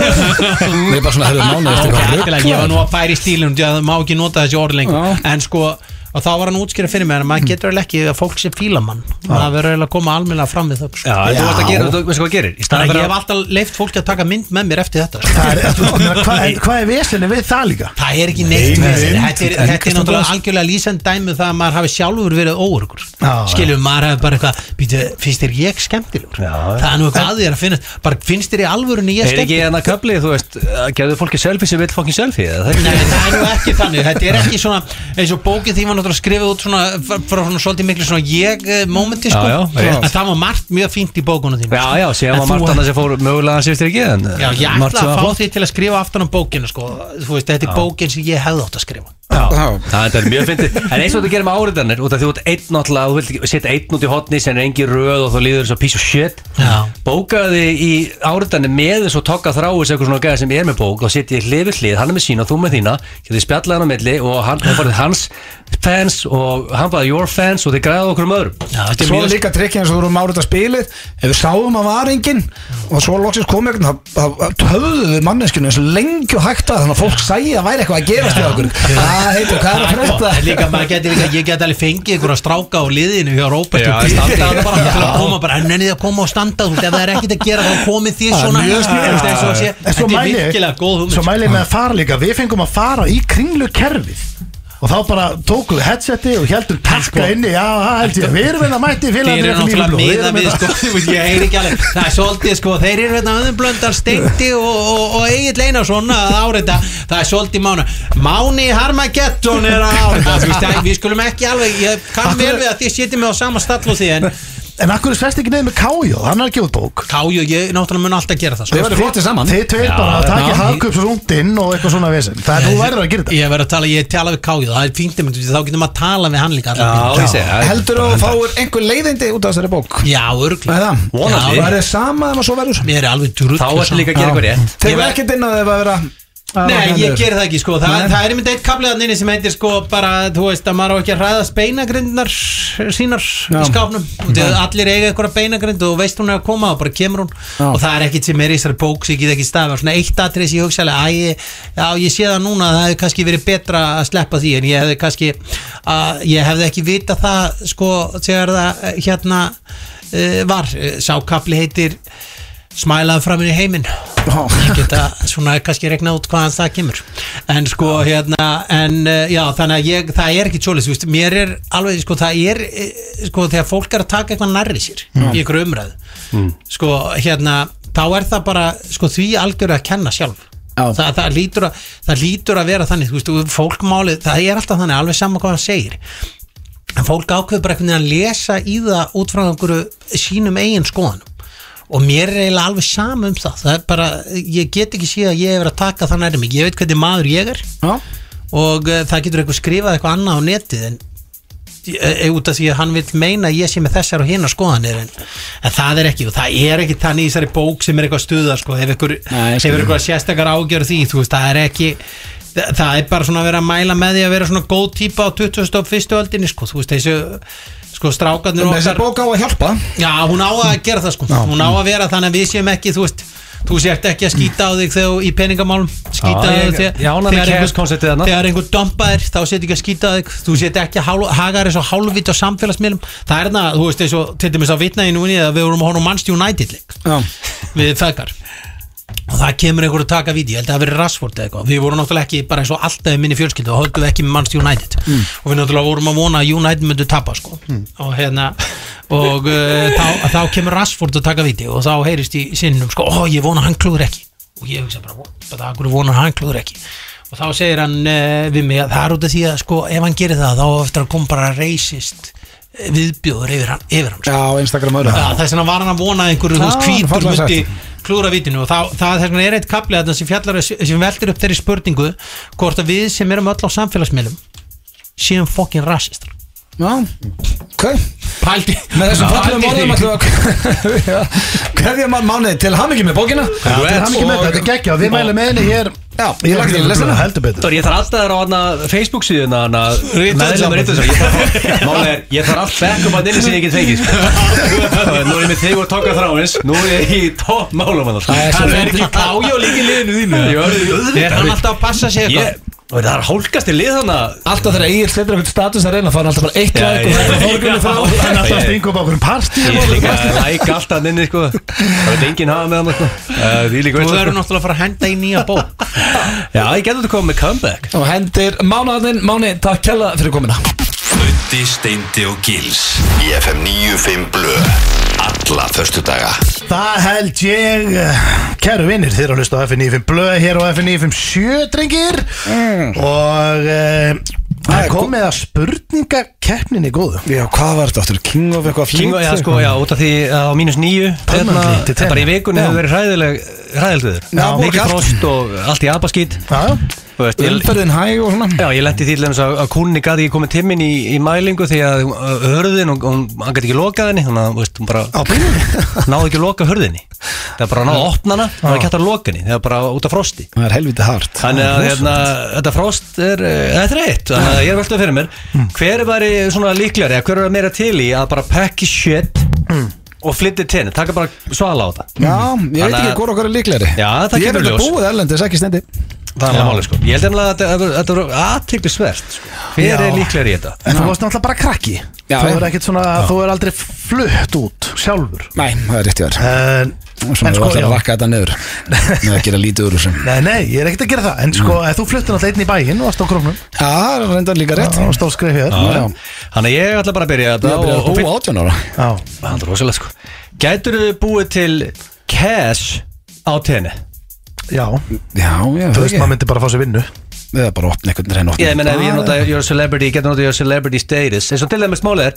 erum bara svona, herru, mánu eftir
Ok,
eitthvað
algjörlega, ég var nú að færa í stílinu því að það má ekki nota þessi orð lengur en sko, og þá var hann útskýra fyrir mér en
Mm.
maður getur alveg ekki að fólk sé fílamann maður verður eiginlega að koma almennilega fram við það
Já,
sko.
en þú varst að gera, þú veist hvað gerir Í staðan
þannig að ég
fyrir að
hef alltaf leift fólki að taka mynd með mér eftir þetta sko.
Það er- þú veist, ég meina, hvað er- hvað er vesinni við það líka
það er ekki neitt
Nei,
með þessi
mynd,
þetta er,
en
þetta er
Kristján Blás.
náttúrulega algjörlega lýsend dæmi um það að maður hafi sjálfur verið óurugur
Já,
skiljum, maður hefur bara eitthvað býtu, finnst þér ég skemmtilegur
Já.
það er nú eitthvað að þér að finna bara finnst þér í alvörunni ég
Er ekki
skemmtilegur
hérna köflið, þú veist, að gerðu fólki selfie sem vil fólki selfie eða það er ekki-
Nei, það er nú ekki þannig, þetta er ekki svona eins og bókið því var náttúrulega skrifið út svona frá frá svona svolítið miklu svona ég eh, momenti sko,
Já, já,
en það var margt mjög fínt í bókunum þín
Já, já,
En
síðan var
þú-
margt annað sem fór mögulega hans eftir ekki en
Já, ég
margt
ætla
sem var
að fá
flott.
því til að skrifa aftan á bókinu sko, þú veist, þetta er bókin sem ég hefði átt að skrifa
Já,
Það þetta er mjög fyndið En eins og þetta gerir með áriðanir Út af því þú ert einn náttúrulega Þú vilt ekki setja einn út í hotni Sem er engin röð og þú líður þess að piece of shit
Já.
Bókaði í áriðanir með þess og tokka þráis Eitthvað svona gæði sem er með bók Og setja ég hlið við hlið Hann er með sína og þú með þína Getið spjallað hann á milli Og hann hann farið hans fans Og hann farið your fans Og þið græðið okkur um öðrum
Já, þetta er
Svo er
mjög
líka trikkið eins og þú vorum árita spilið Ef við sáum að var enginn Og svo loksins kom eitthvað Þá töfðu við manneskinu eins og lengi og hægt að Þannig að fólk sæi að væri eitthvað að gerast við okkur Það heitir, hvað er að frétta?
En sko, líka, maður geti líka, ég geti alveg fengið einhverja stráka á liðinu hjá Róbert
Já,
og
standa
Pétur
þarna
bara til að koma bara, en ennið að koma og standa þú veist, ef það er ekkert að gera þá komið því svona hérna."
mjög sniðugt.
Þú veist, eins og að sé,
En svo
Þetta er
mæli ég-
virkilega góð hugmynd
Svo mæli ég með að fara líka Við fengum að fara í kringlu kerfið Og þá bara tókum við headseti og heldum takka inni, já, það held ég, við erum hérna mætti
Sko. Þeir
félagarnir
eru
ekki
náttúrulega
lífblóð, við
miða
erum
við
hérna-
sko, þú veist, ég heyri ekki alveg Það er svolítið sko, þeir eru hérna öðumblöndar Steindi og, og, og Egil Einarsson að áreita, það er svolítið mána Máni Harmageddon er að áreita Þú veist, það- við skulum ekki alveg Ég kann vel við að þið sitjum með á sama stall og því en
En akkur er svest ekki nefn með Kájó, hann er að gefa út bók
Káju, ég náttúrulega mun alltaf gera það
Þið
sko.
verður flottir saman
Þið tveir bara að
já.
taka hagkups og rúndinn og eitthvað svona vesinn Það er þú verður að gera þetta
Ég verður að tala, ég tala við Káju Það er fínt einmitt, því þá getum maður að tala við hann líka allan
Já,
bílinn.
ég segi það.
Heldur þú að fáir einhver leiðindi út af þessari bók?
Já, örglega
Eða?
Vonandi.
Það er sama ef að svo verður
Mér er alveg drull
Þá ertu líka að gera eitthvað rétt
Þegar við ekkert inn að það var að vera Að
Nei,
hann
ég
er-
ger það ekki sko Þa,
Nei.
Það er einmitt eitt kapliðan inni sem heitir sko bara, þú veist, að maður á ekki að hræða beinagrindunar sínar
Já.
í skápnum og þegar allir eiga einhverja beinagrind og þú veist hún er að koma og bara kemur hún
Já.
og það er ekkit sem er í þessari bók sem ég get ekki stafa svona eitt atrið sem ég hugsa alveg "Æ, ég- Já, ég sé það núna að það hefði kannski verið betra að sleppa því en ég hefði kannski að, ég hefði ekki vita það sko þegar það eh, hérna uh, var, Eh, sá kapli heitir smælaði framin í heiminn ég geta svona kannski regna út hvaðan það kemur en sko hérna en eh, já þannig að ég, það er ekki tjólis veist, mér er alveg sko það er eh, sko þegar fólk er að taka eitthvað nærri sér í ykkur umræðu sko hérna þá er það bara sko því algjörðu að kenna sjálf
Já.
það, það, lítur að, það lítur að vera þannig þú veist, og fólkmálið, það er alltaf þannig alveg sama hvað hann segir en fólk ákveður bara einhvern veginn að lesa í það út frá einhverju sínum eigin skoðanum og mér er eiginlega alveg sama um það það er bara, ég get ekki síðan að ég hefur að taka það nærmi, ég veit hvernig maður ég er
Já.
og uh, það getur einhver skrifað eitthvað annað á netið en e, út af því að hann vil meina að ég sé með þessar og hinna skoðanir en, en það er ekki og það er ekki þannig í þessari bók sem er eitthvað stuða sko, ef ykkur
Nei, ég skil.
hefur eitthvað sérstakar ágjör því þú veist, það er ekki það það er bara svona að vera að mæla með því að vera svona góð típa á 21. öldinni sko, þú veist, þessu sko strákarnir
Þessi bók á að hjálpa
Já, hún á að gera það sko Hún á að vera þannig að við séum ekki, þú veist Þú sért ekki að skýta á þig þegar í peningamálum Skýta á
Já,
þig
ég-
þegar
ég ánægður með
þegar
kæfiskonceptið
einhver-
þarna.
Þegar einhver dompaðir, þá sért ekki að skýta á þig Þú sért ekki að hál- haga þér eins og hálfvít á samfélagsmiðlum Það er það, þú veist, eins og til dæmis að vitna í núni að við vorum að horfa á Manchester United leik
Já.
við feðgar og það kemur einhver að taka vídeo, ég held að það hafi verið Rashford eða eitthvað, við vorum náttúrulega ekki bara eins og alltaf í minni fjölskyldu og höldum ekki með Manchester United og við náttúrulega vorum að vona að United myndu tapa sko og hérna og uh, þá, þá kemur Rashford að taka vídeo og þá heyrist í sinnum sko, ó ég vona að hann klúður ekki og ég hugsa bara, "What? bara akkur vona að hann klúður ekki og þá segir hann uh, við mig að það er út af því að sko ef hann gerir það þá á eftir að kom bara racist eh, viðbjóður yfir hann, yfir hann sko.
Já, Instagram öðru
Já, þess vegna var hann að vona að einhverju þú veist
Já,
hvítur
fallega
myndi
sagt.
klúra vitinu og það, það þess vegna er eitt kaplið þarna sem fjallar sem veltir upp þeirri spurningu hvort að við sem erum öll á samfélagsmiðlum séum fokkin rasistar
Já, ok
Pældi
Með þessum fallum
Pældi
orðum
því.
ætlum við að Hverja mann mánuði til hamingi með bókina Já,
Til hamingi með þetta, þetta er geggja Við mælum með henni, ég er
Já, ég lagt til að lesa hana.
Heldur betur
Dóri, ég þarf alltaf þér á hana Facebook síðuna hana
Rithöfundasamband.
meðlum Rítusson Máli er, ég þarf allt backup að inni sem ég get fengið sko. Nú er ég með þig og Tóka Þráins Nú er ég í topp málum sko. hann
Það er svo
Hann er ekki klája og líka í liðinu þínu
Jú, auðvitað.
Er hann alltaf að passa sig
Ég,
eitthvað?
og það er hálkasti lið hana
Alltaf þegar Egil setur eitthvað status að reyna þá er hann alltaf bara eitt
Já,
like og
já.
þetta fórgunni frá
Það er alltaf að stinga upp á hverjum partí
Ég er líka að læka allt hann inni sko Það veit enginn hafa með hann sko Eh, Því líka
Þú
veist
verður
sko
náttúrulega að fara að henda í nýja bók
Já, ég getur þetta komið með comeback
Og hendir mánuðin, mánuði, takk kjalla fyrir komina
Ötti, Steindi og Gils Í FM 95 Blö Alla föstudaga
Það held ég, eh, kæru vinnir, þið eru að hlusta á FN95 blöð hér á FN95 sjö, drengir
Mm.
og eh, það er komið að spurningakeppninni góðu
Já, hvað var þetta aftur? King of eitthvað
King, já, sko, já, út af því að á mínus nýju
Permanently til tenna.
Bara í vikunni hefur verið hræðileg Hræðilduður
Já,
Mikið
kalt.
frost og allt í abaskýt
Já,
Þú veist, ég-
Umferðin hæg og svona
Já, ég lendi því til dæmis að, að kúnni gæti ekki komið timmin í, í mælingu því að uh, hörðin, hún- hún- hann gæti ekki lokað henni þannig að, þú veist, hún bara
á bílunni
náði ekki að loka hörðinni það er bara að náði að opna hana, það er ekki hægt að loka henni það er bara út af frosti
Það er helviti hart
þannig að hérna, þetta frost er uh, þetta er eitt, þannig að ég er veltað fyrir mér hver er bara svona líklegri, eða hver er meira til í að bara packi shit og flytti tenni, taka bara svala á það
Já, ég veit
Þannig
ekki
að-
hvort okkar er líklegri
Já, það
Ég
kemur
hef
ljós.
þetta búið erlendis, ekki stendi
það er alveg máli sko, ég held nefnilega að þetta- þetta er aðteglisvert, sko. hver
Já.
er líklegri í þetta?
En þú varst náttúrulega bara krakki
Já,
Þú
já.
er ekkert svona, þú er aldrei flutt út sjálfur
Nei, það er rétt í þér
En,
Svona,
en
við
sko,
ætlum
já
að rakka þetta niður Með að gera lítið úr þessum
Nei, nei, ég er ekkert að gera það En sko, mm. þú fluttir náttúrulega einn í bæinn og varst á krónum
Já, reyndar líka rétt
og stóð skrif hér
Já.
Þannig að ég ætla bara að byrja
Ég
þetta
er byrjað
og,
að
og
búa átján ára
Já,
Það er rosalega sko Gætur þau búið til cash á tenni?
já,
Já, já,
þú veist, maður myndi bara að fá sér vinnu
Eða bara opna einhvern reyna opna
Ég meina ef ég nota
Mm.
your celebrity, ég getur nota your celebrity status eins og til dæmis málið er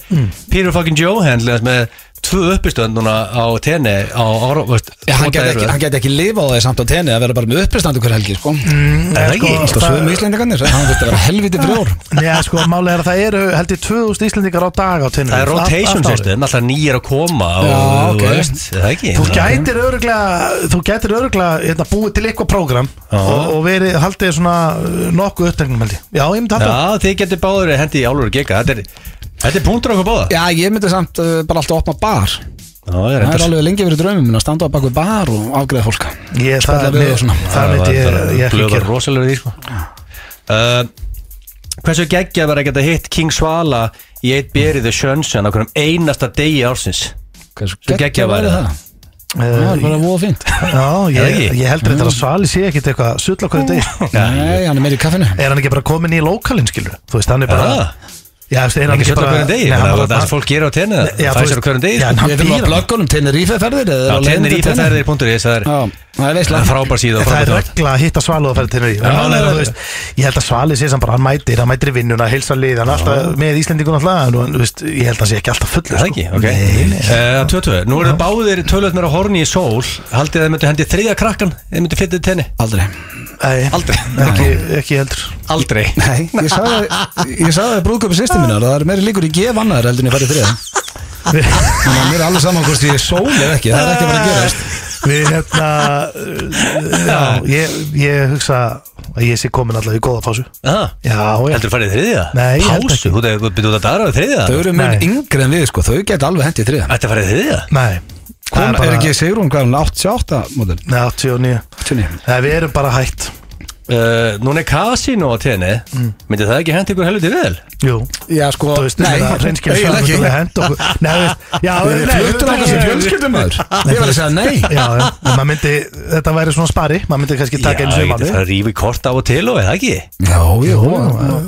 Peter fucking Joe handlast með tvö uppistönd núna á tenni á ára, veist,
Já, hann
tvo daga
geti,
í
ekki,
röð.
hann geti ekki lifað á því samt á tenni að vera bara með upprestandu hver helgi sko. mm,
Nei, sko,
Alltaf
það-
sögum Íslendikarnir Hann þurfti að vera helviti frjór
Já, sko, málið er að það eru held ég 2000 Íslendingar á dag á tennur
Það er rotation system, alltaf nýjir að koma og,
Já, ok.
þú veist, það er ekki
Þú gætir öruglega, þú gætir öruglega hérna, búið til eitthvað prógram og, og verið, haldið svona uh, nokkuð uppteknum held ég Já, ég myndi halda
Já, þið getur báður hendi í álur geka Þetta er, þetta er punktur okkur báða
Já, ég myndi samt uh, bara alltaf opna bar
Já, ég er
Það er
reyndar
alveg lengi verið draumum minn að standa á baku bar og afgreða fólk
ég, Það,
Spjalla
er
við
mér-
og svona.
það myndi ég, ég ekki
hérna.
Blöður
gera
rosalegur í því sko uh, Hversu geggjað var að geta hitt King Svala í eitt berið The Sunshine á hverjum einasta degi ársins
Hversu
geggjað væri það?
Það
Eh,
er bara voða fínt
Já,
Eða
ég,
ekki? Mm.
ég heldur þetta að Svali sé ekkit eitthvað sull á hverju deg
Nei, hann er meir í kaffinu
Er hann ekki bara komin í lókalinn skilur Þú veist, hann er bara
Ah.
Já, þú veist, er hann
Ekki
ekki
svolítið
bara
hverjum degi,
Nei, hann
það
bara-
var það sem fólk gerir á tenni
Já, þú
Það fæsir á
veist-
hverjum degi
Já,
sko.
en hann
Við þurfum
býr
að
hann.
blöggunum Tenerife-ferðir
Já, Tenni í tenni.is Það er
Já, það er veisla
það er frábær síða og
Það er
frábær þátt.
regla að hitta Svalið að færa til Tenerife
Já,
En málið er
já,
að, þú veist, Ég held að Svalið sé sem bara hann mætir hann mætir í vinnuna, heilsa lið hann er alltaf með Íslendingun alltaf en þú veist, ég held að hann sé ekki alltaf fullur sko.
Það ekki, ok Eh, Tvö, tvö, nú eru báðir tölvöld meira horni í sól Haldið þið myndu hendi þriðja krakkan Þið myndu flytta til tenni
Aldrei
Aldrei ekki, ekki heldur
Aldrei
Nei, ég sagði, ég sagði að brúðköpi sýstum minna Það er meiri líkur í gef annar heldur en ég farið þriðan Þannig að mér er alveg saman hvort ég er sól eða ekki Það er ekki að vera að gerast
Við hérna uh, Já, ég, ég hugsa að ég sé komin alltaf í góða pásu
Ah,
Já, já
Heldur þú farið í þriðja?
Nei, ég held
Pásu,
ekki.
þú þú byrjuð að dara við þriðja?
Þau eru
Nei.
mun yngri en við sko, þau geta alveg hent í þriðan
Ætti að farið í þriðja?
Nei það
Kom, er ekki Sigrún hvað er hún 88 mótil?
Nei, 89
89
Nei, við erum bara hægt
Uh, núna er kasino á tenni
Mm.
Myndi það ekki hent ykkur helviti vel?
Jú
Já sko,
Þú veist, það er reynskil
eiginlega
Svalið
ekki
myndi hend okkur Nei, þú veist Já,
Við erum
nei,
fluttur á
nei,
þessu
nei,
fjölskyldum maður Ég var að segja nei
Já, já, en maður myndi, þetta væri svona spari maður myndi kannski taka einu
Já,
sem
ég geti
maður
það að rífi kort af og til og eða ekki
Já, jú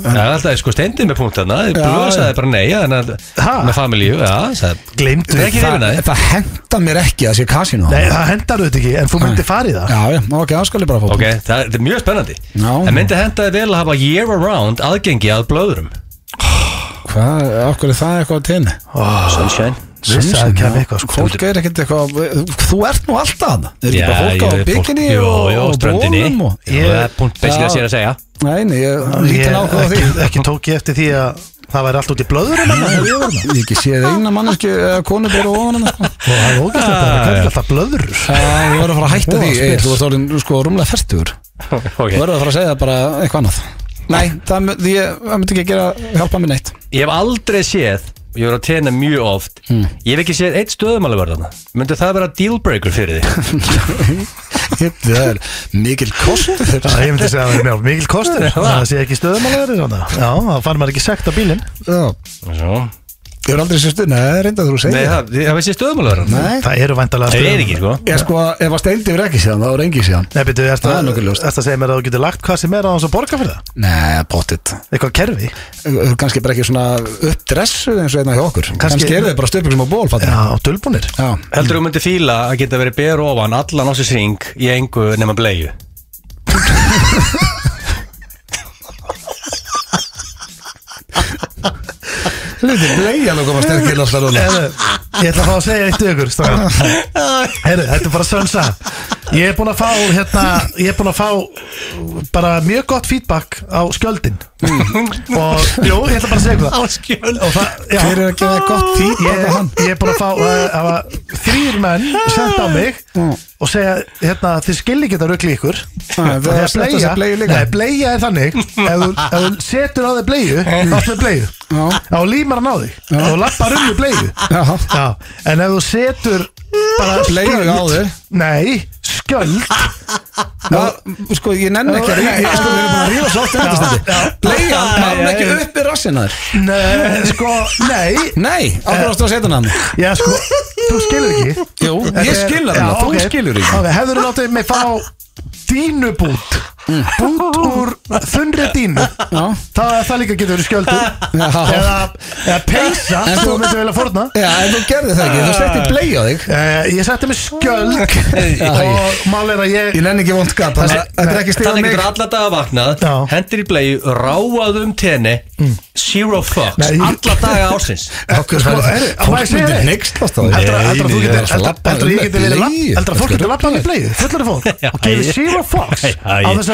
Það er alltaf sko steindið með punktana Þið blösaði bara nei Þannig
Ha?
að með familíu Já, sagði
Gleimdu
Nei, ekki
það.
hrifin af því.
Það henda mér ekki að sé kasino
Nei, það hendar auðvitað ekki, en þú myndi fara í það
Já, já, ok, það skal ég bara fá
Ok, það þetta er mjög spennandi
Já.
En myndi hentaði vel að hafa year around aðgengi að blöðurum
Hvað, af hverju er það eitthvað að tenni?
Sunshine
Vissi að kemur eitthvað sko
Fólk er ekkert eitthvað Þú ert nú alltaf hann Það er
Já,
ekki bara fólk á
ég-
bygginni
Jú,
og,
jú,
og
ströndinni
bólum og,
Já, Það er punkt beskja
Já.
sér að segja
Nei, nei, ég lítið
Ég-
nákvæða því
ekki, ekki tók ég eftir því að það væri allt út í blöður en annað.
Ég hef ekki séð eina manneski eða konu bara ofan hann sko.
og það er ógæst að það er alltaf blöður
Já, Þú verður Eh, að fara að hætta
Ó,
því
spes.
Egill, Þú varst orðin sko rúmlega færtugur Þú
Ok
verður að fara að segja bara eitthvað annað Nei, það myndi, ég, það myndi ekki gera hjálpa mér neitt
Ég hef aldrei séð og Ég voru að tena mjög oft
Hmm.
Ég hef ekki séð eitt stöðumæluverðana Myndi það vera dealbreaker fyrir þig?
Það er mikil kostur
Já, ég myndi segja að það er mjög mikil kostur það sé ekki stöðumálaður svona já, þá fann maður ekki sekt á bílinn
Já,
Svo.
Ég er aldrei sérstu, nei, reynda þú að
Nei,
segja
það það hefur séð stöðumæluverðana
Nei,
það eru væntalega
Það er ekki, sko
ég sko, ef að steindi verið ekki síðan, þá er engi síðan
Nei, byrju, ertu
Það er
að,
nokkuð ljóst.
ertu að segja mér að þú getur lagt hvað sem er á hans að borga fyrir það?
Nei, bóttið
Eitthvað kerfi?
Kannski bara ekki svona uppdressu eins og einna hjá okkur Kannski,
Kannski-
eru þið bara stöpjum á ból, fattir
Já, dölbúnir?
Já,
Heldur þú myndi fíla að geta verið ber ofan allan ásins ring í engu nema bleiðu?
hluti bleið að koma sterkir alltaf rúna
Heru, ég ætla að fá að segja eitt við ykkur Heru, Þetta er bara sönsa Ég er búin að fá hérna, Ég er búin að fá bara mjög gott feedback á skjöldin og jú, ég ætla bara að segja ykkur það
skjöld
og það, já,
Hver er að gefa gott feedback á hann?
ég, ég er búin að fá það hafa þrýr menn sent á mig og segja, hérna, þið skilji ekki þetta ruggli ykkur
það
Og
er slett að segja bleiu líka.
nei, bleia er þannig ef þú, ef þú setur á þig bleiu þá ertu með bleiu
Já.
og límar hann á þig og lappar um í bleiu
Já.
Já, en ef þú setur bara
Bleiu
skjöld-
á þig?
nei, skjöld
Já, sko, ég nenni ekki að ríða ég- Sko, við erum bara að ríða svo oft þetta
Já.
standi Bleiðan, maður hún ekki
Já, já,
upp í rassin þær
nei, sko, nei
Nei, ákveður ástu að setja hann
já, sko, þú skilur ekki
Jú, ég skilur hann, þú skilur
ekki
ekki
okay, Hefur þú látið mig fá dínu bút út úr þunri dínu
Já.
það, það líka getur verið skjöldur
Já.
eða, eða peysa
En
sem
þú-
þú myndir vilja forna
Já, en þú gerði það ekki, þú setti blei á þig
Uh, ég setti mig skjöld
Já,
og mál er að ég
Ég nenni ekki vond skap, þannig að þetta er ekki stig á
Þannig
mig
getur alla daga vaknað
Já. Mm.
Hendir í blei, ráað um tenni Zero fucks,
Nei, ég-
alla daga ásins
Okkur
Sko,
færi
er-
það
á, má ég
Fólk
segja
myndir
þér?
neykslast á því
Heldur að heldur að þú
Nei,
getur
ég er að
Heldur
labba
heldur að ég
um
geti
með
verið labb-
bleiu.
Heldur að fólk getur labbað í bleið Fullari fólk
Já,
Og gefið
ég-
zero fucks
Já,
Á
ég-
þess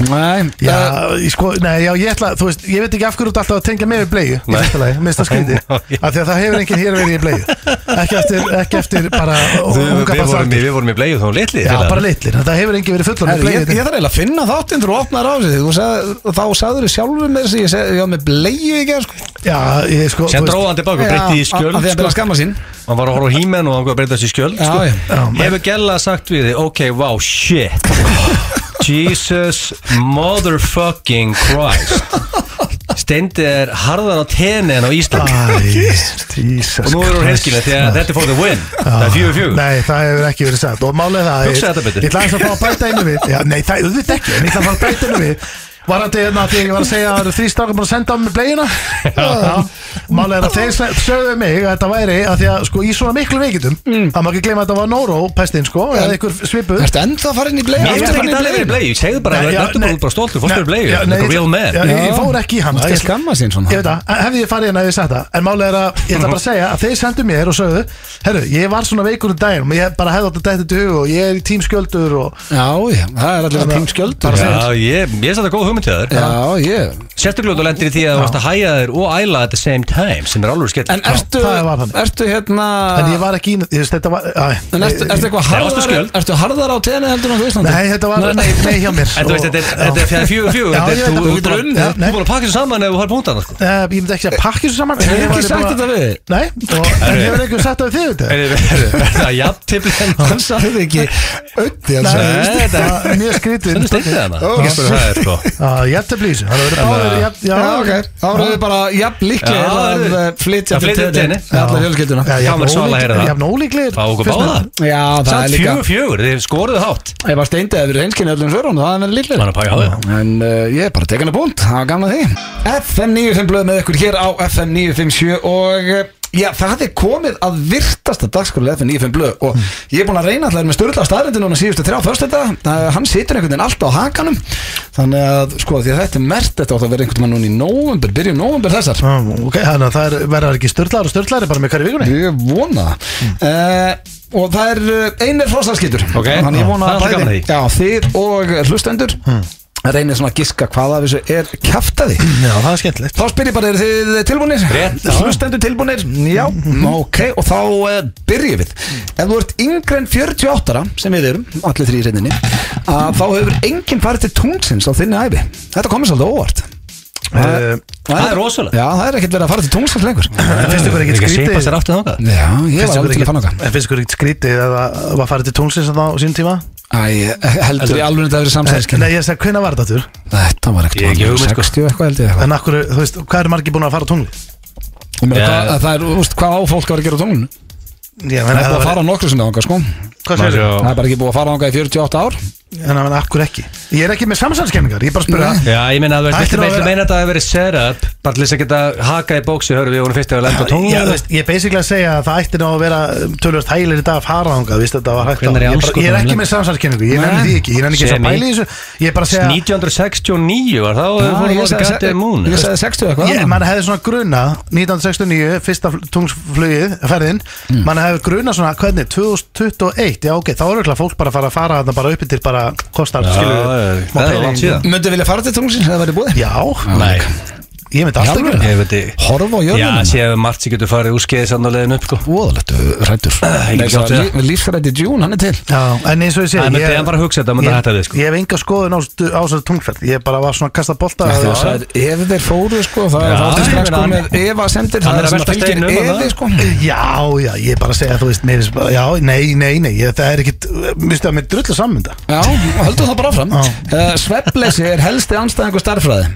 Nei, Eh,
Já,
það-
ég sko, nei, já, ég ætla, þú veist, ég veit ekki af hverju þú ert alltaf að tengja mig við bleiðu í
Nei.
fyrsta lagi, minnst það skrýti
Nei,
af
já, ég-
því að það hefur enginn hér verið í bleiðu ekki eftir, ekki eftir bara
Við
unga
við vorum í-
barnsaldri.
við vorum í bleið þá litli
Já, bara litlir, það hefur enginn verið fullur með
Herru, Ég,
bleiðu
ég þarf eiginlega að finna þáttinn þú opnar á sig þú sag, þá sagður þú sjálfur með þessi ég seg- ég var með bleiu í gerð sko.
Já, ég sko,
Sen dróðandi baka, breytti í
að
sko. skjöld
því að byrja að skamma sín
Hann var að horfa á hímen og hann var að breyta sér í skjöld
Já,
sko.
já.
Já,
Hefur Gella sagt við þig Ok, wow, shit Jesus motherfucking Christ Steindi er harðan á tenni en á Ísland
Ah, Æ, Jesus
Og nú er hún helgina því að þetta er for the win Það er fjögur fjögur
Ah. Nei, það hefur ekki verið sagt Og málið er það ég-
Hugsaðu þetta betur.
Ég ætla aðeins að fá að bæta einu við Já, nei, það er þetta ekki En ég ætla að fá að bæta einu við Varandi hérna að því að ég var að segja að það eru þrý strákar búin að senda á mig bleiðina Málið er að þeir se- sögðu mig að þetta væri að því að sko í svona miklu veikindum
Mm.
að maður ekki gleyma að þetta var Nóró pestin sko eða einhver svipuð
Ertu enda að fara inn í bleiu?
Mér
ég
finnst
er
ekki
að
það verið bleið Segðu bara,
Nei, já,
þetta
nei.
er bara stoltur Fólk er
Nei,
bleið,
já,
þetta
nei,
er real man
já, ég- Ég fór ekki í hana
Það
Ég-
er skamma sín svona
Ég veit það, hefði ég farið hérna að ég sagt það En málega er að, ég ætla bara að segja að þeir sendu mér og sögðu Herru, ég var svona veikur um daginn og Ég bara hefði átt að dætti til hug og ég er í tímskjöldur og
Já, já, það er allir að tím skjöldur
Já, ég, ég satt að góð hugmynd til þér
Já, ég
Sérstaklega þú lendir í því að þú varst að hæja þér og æla at the same time sem er alveg skell
En ertu,
það var þannig.
ertu hérna
En ég var ekki í, ég veist, þetta var æ,
En ertu, ertu eitthvað
Nei, varstu
harðar
skjöld?
Ertu harðar á tenni heldur en á Íslandi?
Nei, þetta var, nei, nei, hjá mér
En þú veist, þetta er- þetta er fjæði fjögur fjögur
Já,
þetta
ég
er-
veit það, þú
Þú þú ert búin
getur
að-
unnið.
þú ert búin að pakka þessu saman ef þú har punktana sko.
Eh, Ég myndi ekki að pakka þessu saman
Hefur
Ég
ekki
væri
sagt
bara-
þetta við þig?
Nei, og, en hefur einhver sagt það við þig þetta?
Er það jafntefli
Hann sagði ekki Ötti, hann sagði
Nei,
Það
þetta
var Mjög Ah, skrítin
Þetta er steindið hana Þú getur það er sko
Jæftablýs Það verður báðir jafn- já,
Já, ok Þá erum við bara jafn
Já,
líklega að
eruð-
eh, flytja
að
til
flytja til
Teney.
Teney.
Með alla fjölskylduna
Já, jafn
Gaman svala að heyra
ólíklegir-
það.
jafn ólíklegir
Fá okkur
finnst mér.
báða
Já, það er
Samt
líka
fjögur fjögur, þið skoruðu hátt
Ég var steindið að við reynskynni öllum svörunum, það er verið lillið
Þannig að pakka á þig
En uh, ég er bara að teka hana búnt, það var gaman að því FM 95 blöð með ykkur hér á FM 957 og uh, já, það er komið að virtasta dagskrúlega FM 95 blöð og ég er búin að reyna alltaf með störla staðrindin núna síðustu þrjá förstöta uh, hann situr einhvern veginn alltaf á hakanum þannig að sko því að þetta er mert þetta átt að vera einhvern veginn núna í nóvember, byrjum nóvember þessar
Já, ok, Þannig að það er- verða ekki störtlar og störtlar bara með hverju vikunni
ég vona það uh, og það er uh, einir frostaskýtur
Ok,
þannig ég vona
það er alltaf gaman að því. Hmm.
já, þið og hlustendur reynir svona að giska hvaða af þessu er kjaftaði
Já, það er skemmtilegt
Þá spyr ég bara, eru þið tilbúinir?
Rétt.
Hlustendur tilbúinir? Já Ok, og þá uh, byrjum við Ef þú ert yngri en 48 ára, sem við erum, allir þrý í reyninni að þá hefur enginn farið til tungsins á þinni æfi Þetta komið svolítið óvart
Eh,
það er rosalegt.
Já, það er ekkert verið að fara til tungsins lengur
En finnst ykkur ekkert
Ekki að
skrítið
sipast þér aftur þangað
Já, ég
Finnst
var
ykkur
alveg til að fann okkar
ekkert- en finnst ykkur ekkert skrítið að það var farið til tónsins þá á sínum tíma? Eh,
Æ, heldur ég alveg þetta að vera samsæðiskenn
Nei, ég sagði, hvenær var þetta þurr?
Þetta var
Ég
ekkert
ekki hugmynd, sko.
60 eitthvað held ég eitthvað
En akkur, þú veist, hvað eru margir búin að fara á tunglið?
Ég meina,
Já.
hvað- Það er, þú veist, hvað á fólk að vera að gera á tunglinu?
Já,
Það er búið að fara á nokkru sinni þangað, sko
Hvað segir
Maður-
þú?
Það er bara ekki búið að fara þangað í 48 ár
En að akkur ekki Ég er ekki með samsælskenningar, ég er bara að spura
Já, ég meina að þú veist,
Ættir
viltu
að
viltu
vera-
meina að það hefur verið set up bara til þess að geta hakað í bóksi, hörðu við, hún fyrst hefur lenda
Já, þú
tónlega
veist, ég er basically að segja að það ætti ná að vera um, tölvöld hægilegir í dag að fara þangað, víst þetta var hægt
Hvenær
á Ég
í
er bara- Ég er
anskotanum
ekki
lengur?
með samsælskenningu, ég
Nei.
nenni því ekki, ég nenni ekki
Sem
að
í-
pæla í þessu Ég er bara að segja,
1969 var það og
Já,
við fórum
ég
út í
sagði se-
Goddamn Moon
Ég sagði 60 eitthvað
ég, mann hefði svona gruna 1969, fyrsta fl- tungsflugið ferðin, mm. mann hefði gruna svona hvernig, 2021, já ok þá er öll fólk bara að fara að fara þarna bara uppi til bara kostar,
Já,
skilur
já,
má
það er
pæla í
langt
því.
síðan.
Möndu vilja fara til tungsins eða verið búið?
Já,
Nei,
ég myndi alltaf
alvöru?
gera það
ég veit ekki
Horfa á
Já,
jörðunum
séu margt sem getur farið úr skeiðis annar leiðin upp, sko
Óðalegt rættur
Eh, ég get sagt þér það.
Lífsrætti June, hann er til
Já, en eins og ég
Það
segi,
myndi
ég,
hann bara hugsa þetta, myndi
ég,
hætta við, sko.
ég hef enga skoðun á stu- á þessari tungferð Ég bara var svona að kasta bolta
Já,
og-
þú sagðir, Ef þeir fóru sko Það
Já,
er
ég
þáttir strax
meina,
sko
hann-
með Eva sendir
hann
Það
er að
er sem að
velta
fylgir
steinum um
Evi
það.
sko
Já, já, ég er bara að segja, þú veist, mér, finnst bara- já, nei, nei, nei, ég, það er ekkit, mér finnst það að mér drullu sammynda
Já, og höldum það bara áfram Eh,
Já.
uh, Svefleysi er helsti anstæðingu starfræði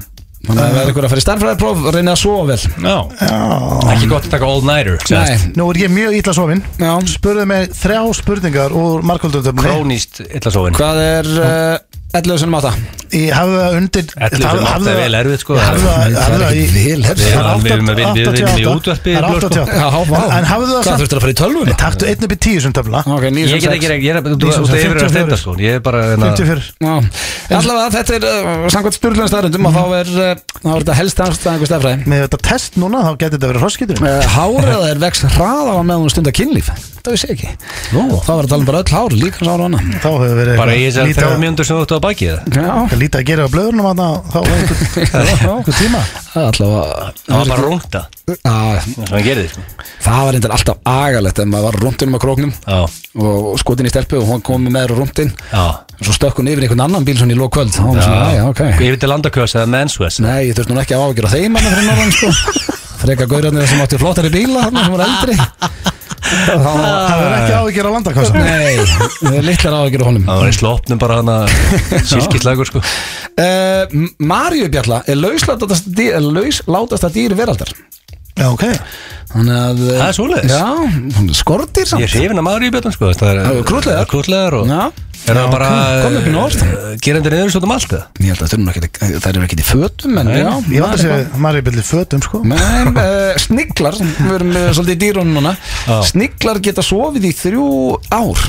Þannig að það er ykkur að fara í starfræðarpróf reyna að sofa vel
Já, ekki gott að taka all-nighter sagðist.
Nú er ég mjög illa sofin
Já.
Spurðu mig þrjá spurningar úr markvöldundöfni
Krónískt illa sofin
Hvað er uh, 11 sem átta?
Ég hafði það undir
Ellefu sem átta er vel erfitt, sko.
Hafði það- hafði það í
vel
Við
herri
erum alveg með við- við- við- við- í
88.
útvarpi
Það er
blöð, sko.
88.
Já, vá
En hafðu
Hvað
það samt
þurftur að fara í tölvuna?
Taktu einn upp í tíu sem töfla
Ok, 9
Ég
sem
get
6
ekki, ég er þú- þú
Lýsum
þú-
sem
þú yfir
54.
að stenda sko Ég er bara hérna-
54
Já, allavega þetta er uh, samkvæmt styrlun staðröndum og þá er, uh, þá er þetta helst anstæðingu stafræði
Með þetta test núna þá getur þetta verið hroskitur
uh, Háraða er vex hraða á meðan hún stundar kynlíf Það vissi ég ekki Nú. Þá var að tala um bara öll hár, líka hár og annað
Þá hefur verið
Bara í þessar þrjá
lítið
mjöndur sem þú ættu á baki það
Já,
að- lítið að gera á blöðurnum þarna, þá var einhver- einhver tíma
það er allavega
Það var bara rúnta
Já,
Það sem hann gerði sko
Það var reyndar alltaf agalegt ef maður var rúndinum á króknum
Já,
og skotin í stelpu og hún kom með mér á rúndin
já
og svo stökk hún yfir einhvern annan bíl svona í lók kvöld þá var hún svona, já, ok Mm.
Ég veit að landakösa eða mensvess
Nei, ég þurft nú ekki að ágjöra þeim hann fyrir norðan sko Freka gaurarnir sem átti flottari bíla hann sem var eldri Þá,
Það verður ekki áhyggjur á landakvæmsa
Nei, það er litlar ágjöra honum
Það var í slopnum bara hana Silkislagur sko
uh, Marjubjalla er lauslátast dýr, er lauslátasta dýr veraldar
Já, ok
Þannig að eh,
Það er svoleiðis.
Já, hún er skordýr
Ég
samt
er hrifin að maður í bjötun sko Það
Já, krútlegar.
Krútlegar og
Já.
Er það bara
kom- kom upp í norð.
eh, Gerandi niður svo um allt það
Ég held að það eru nú ekkert- þær eru ekki í fötum en já
Ég vant að
maður er
segja, maður er byrðið fötum sko
Men, uh, sniglar, við erum uh, svolítið í dýrunum núna
Já.
Sniglar geta sofið í þrjú ár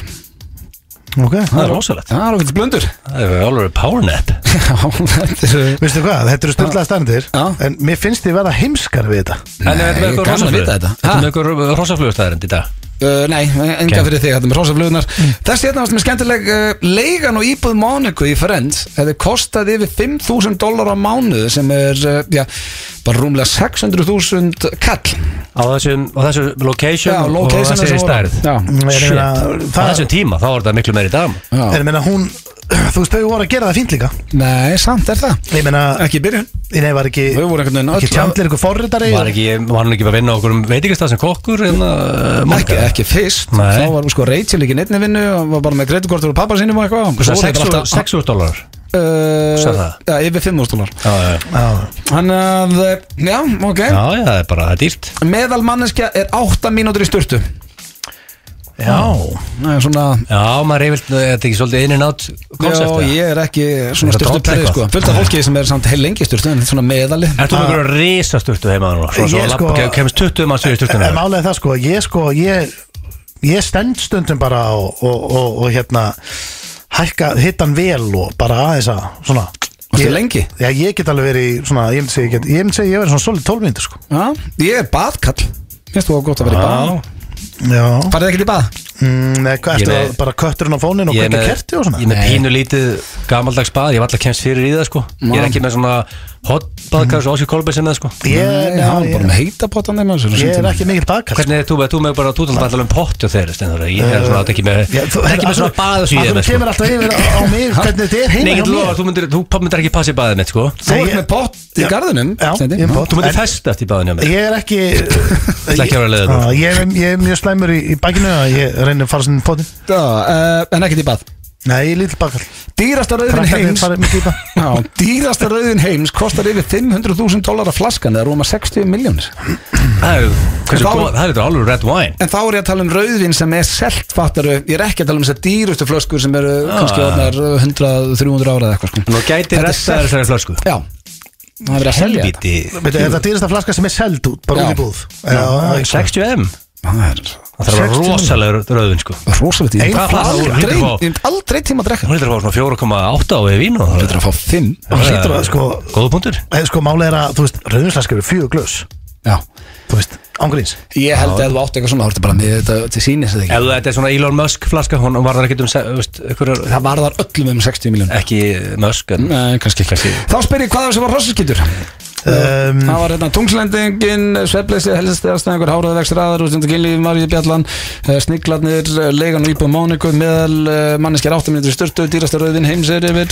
Ok
Það er rosalegt
Það er okkur blöndur
Það er alveg power nap eh,
Já, þetta er
Veistu hvað, þetta eru styrlaða stærndir
Já.
En mér finnst þið verða heimskar við þetta
En er þetta
Nei,
með eitthvað
gaman að vita þetta.
rosaflöð? Þetta
Ha?
er með eitthvað rosaflöðstæðarind í dag
uh, Nei, enga
Ok.
fyrir þig, þetta er með rosa flugurnar Þessi hérna varst með skemmtileg uh, Leigan og íbúð Monaco í Friends Hefði kostað yfir 5.000 dólar á mánuð sem er, uh, já, bara rúmlega 600.000 kall
Á þessum, á þessum location
Já,
og
location
þessari stærð
Já,
Ég
Shit.
meina,
Á
Það
þessum tíma, þá var þetta miklu meiri dam
já.
En ég meina hún, þú veist þau voru að gera það fínt líka
Nei, samt er það
Ég meina,
Ekki í byrjun
nei var ekki
Þau voru einhvern veginn
Ekki
öll-
tjandlir ykkur forritari
Var ekki, var hann ekki að vinna á okkur um veitingastað sem kokkur hérna, en
ekki, ekki fyrst,
Eh, Nei.
þá var sko Rachel ekki neittni vinnu og var bara með greiðukortur og pappa sínum og eitthvað Svo voru þetta alltaf-
600 dólar
Eh,
Sagði það?
Já, yfir 5.000 dólar
Já, já,
Já,
Þannig að, eh, já, ok
já, já, það er bara, það er dýrt
Meðal manneskja er 8 mínútur í sturtu
já
Nei, svona
Já, maður er yfir, þetta er ekki svolítið in and out koncept
Já, ég er ekki svona
Er það
styrtu
dropp eitthvað?
sko Fullt af fólki sem er samt heil lengi styrtu En svona meðali
Er þú með einhverju risasturtu heima núna? Svo, svo
Ég
sko,
sko-
kemst 20 manns yfir
En
sturtuna
málega það sko, ég sko, ég Ég stend stundum bara og, og, og, og hérna Hækka hittan vel og bara aðeins að Svona
Varstu
Ég-
lengi?
Já, ég get alveg verið í svona, ég myndi segja, ég get- ég myndi segja, ég verið svona solid 12 mínútur sko
Já, ég er baðkall Finnst þú gott að vera í bað?
Já
Farið ekkert í bað?
mm, Nei, hvað,
Ég
ertu
með-
að- bara kötturinn á fónin og
Ég er
kveikja
með,
kerti og svona?
ég er með pínu lítið gamaldags bað, ég var alltaf kemst fyrir í það sko Ég er ekki með svona hotbaðkar svo Óskar Kolbeins sem það sko
Ég,
Nei,
já,
hann er
ég,
bara með heita potan þeim
ég er ekki mikil bakkar
Hvernig er þú með, þú með bara tútalum allar um pott og þeir, Steinar, ég er svona þetta er ekki með, þetta er ekki með svona baðu sem ég er með
Þú
sko.
kemur alltaf yfir á á mig hvernig þetta er
Nei,
heima hjá
ég get lofa,
mér
þú myndir, þú myndir ekki passa í baðið mitt, sko
Þú ert með pott í
Já.
garðinum
Já,
Steindi.
ég er með pott.
Þú myndir
En-
festast í baðinu hjá mér
Ég er ekki
ætla ekki að vera leiður.
Já, Ég er- ég er mjög slæmur í, í bakinu að ég reynir að fara svona potin
Já, eh, En ekkert í bað
Nei, ég er lítill bakkar
Dýrasta rauðin
Krakkarnir
heims
fara mikið í bað
Já, dýrasta rauðin heims kostar yfir 500.000 dólar að flaskan eða rúma 60 miljónir
Það er, hversu
Þá-
góð, það er þetta alveg red wine
En þá er ég að tala um rauðvin sem er selt fattaru Ég er ekki að tala um þessar dýrustu flöskur sem eru
Ah.
kannski orðnar 100-300 ára eða eitthvað sko.
Nú gæti
Þetta er
resta
selt-
þessari flösku
Já, það er verið að selja þetta
Helviti,
Veitu, er það dýrasta flaska sem er seld út, bara
Já.
út í búð Já, já, ekki.
60M
Það er
Það þarf að vera
60.
rosalega rauðin, sko
rosalegt
Ein
Ég hef
flaska úr
aldrei,
hundrað og-
ég hef aldrei tíma að drekka
Hún heitir að fá svona 4,8 á við vín og
Þetta er að fá 5
Hún hlýtur að, sko-
Góðu punktur
Eða sko, máli er að, þú veist, rauðinslaska eru fjögur glös
Já
Þú veist, ángríns
Ég held að ef þú átt eitthvað svona, þá ertu bara með þetta til sínis eða
Ef
ekki.
þú- þetta er svona Elon Musk flaska, hún var það ekki um, se- veist, einhverjar-
Það varðar öllum um 60 miljón.
ekki Musk en
Nei, kannski ekki. Þá spyr ég hvað það sem var rossaskýtur.
um,
Það var hérna tungslendingin, svefleysi, helstæðastæðingur, háraða vextur aðar, útstöndu kynlíf, margir bjallan, eh, sniglarnir, eh, leigan og íbúð mániku, meðal eh, manneskjar áttaminundur í störtu, dýrasta rauðin heims er yfir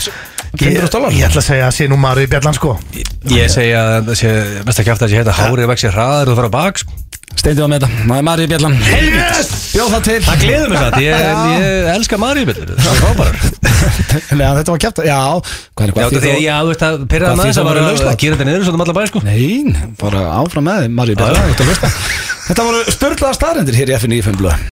500
ég,
dólar.
ég ætla að segja að sé nú maður í bjallan sko
Ég segi að það sé mest að kjæfta að sé heita hárið vexi hraðar og þú fara á bak sko.
Steindið á með það, það er margir bjallan. Helvist! Bjóð það til.
Það gleður mig satt, ég,
Já.
ég elska Maríu betur Það er frábærar
Nei, þetta var kæft Já, hvað er
Já, þetta því að ég aðvist að pyrraða
Hvað,
maður
því
þess
þú
að var
voru
að
lauslátt?
gera þetta niður svo um alla bæði sko
Nein, bara áfram með þið, Marí Bjarni, þetta hlusta. Þetta voru störlaða staðrendir hér í FNÍ 5 blöð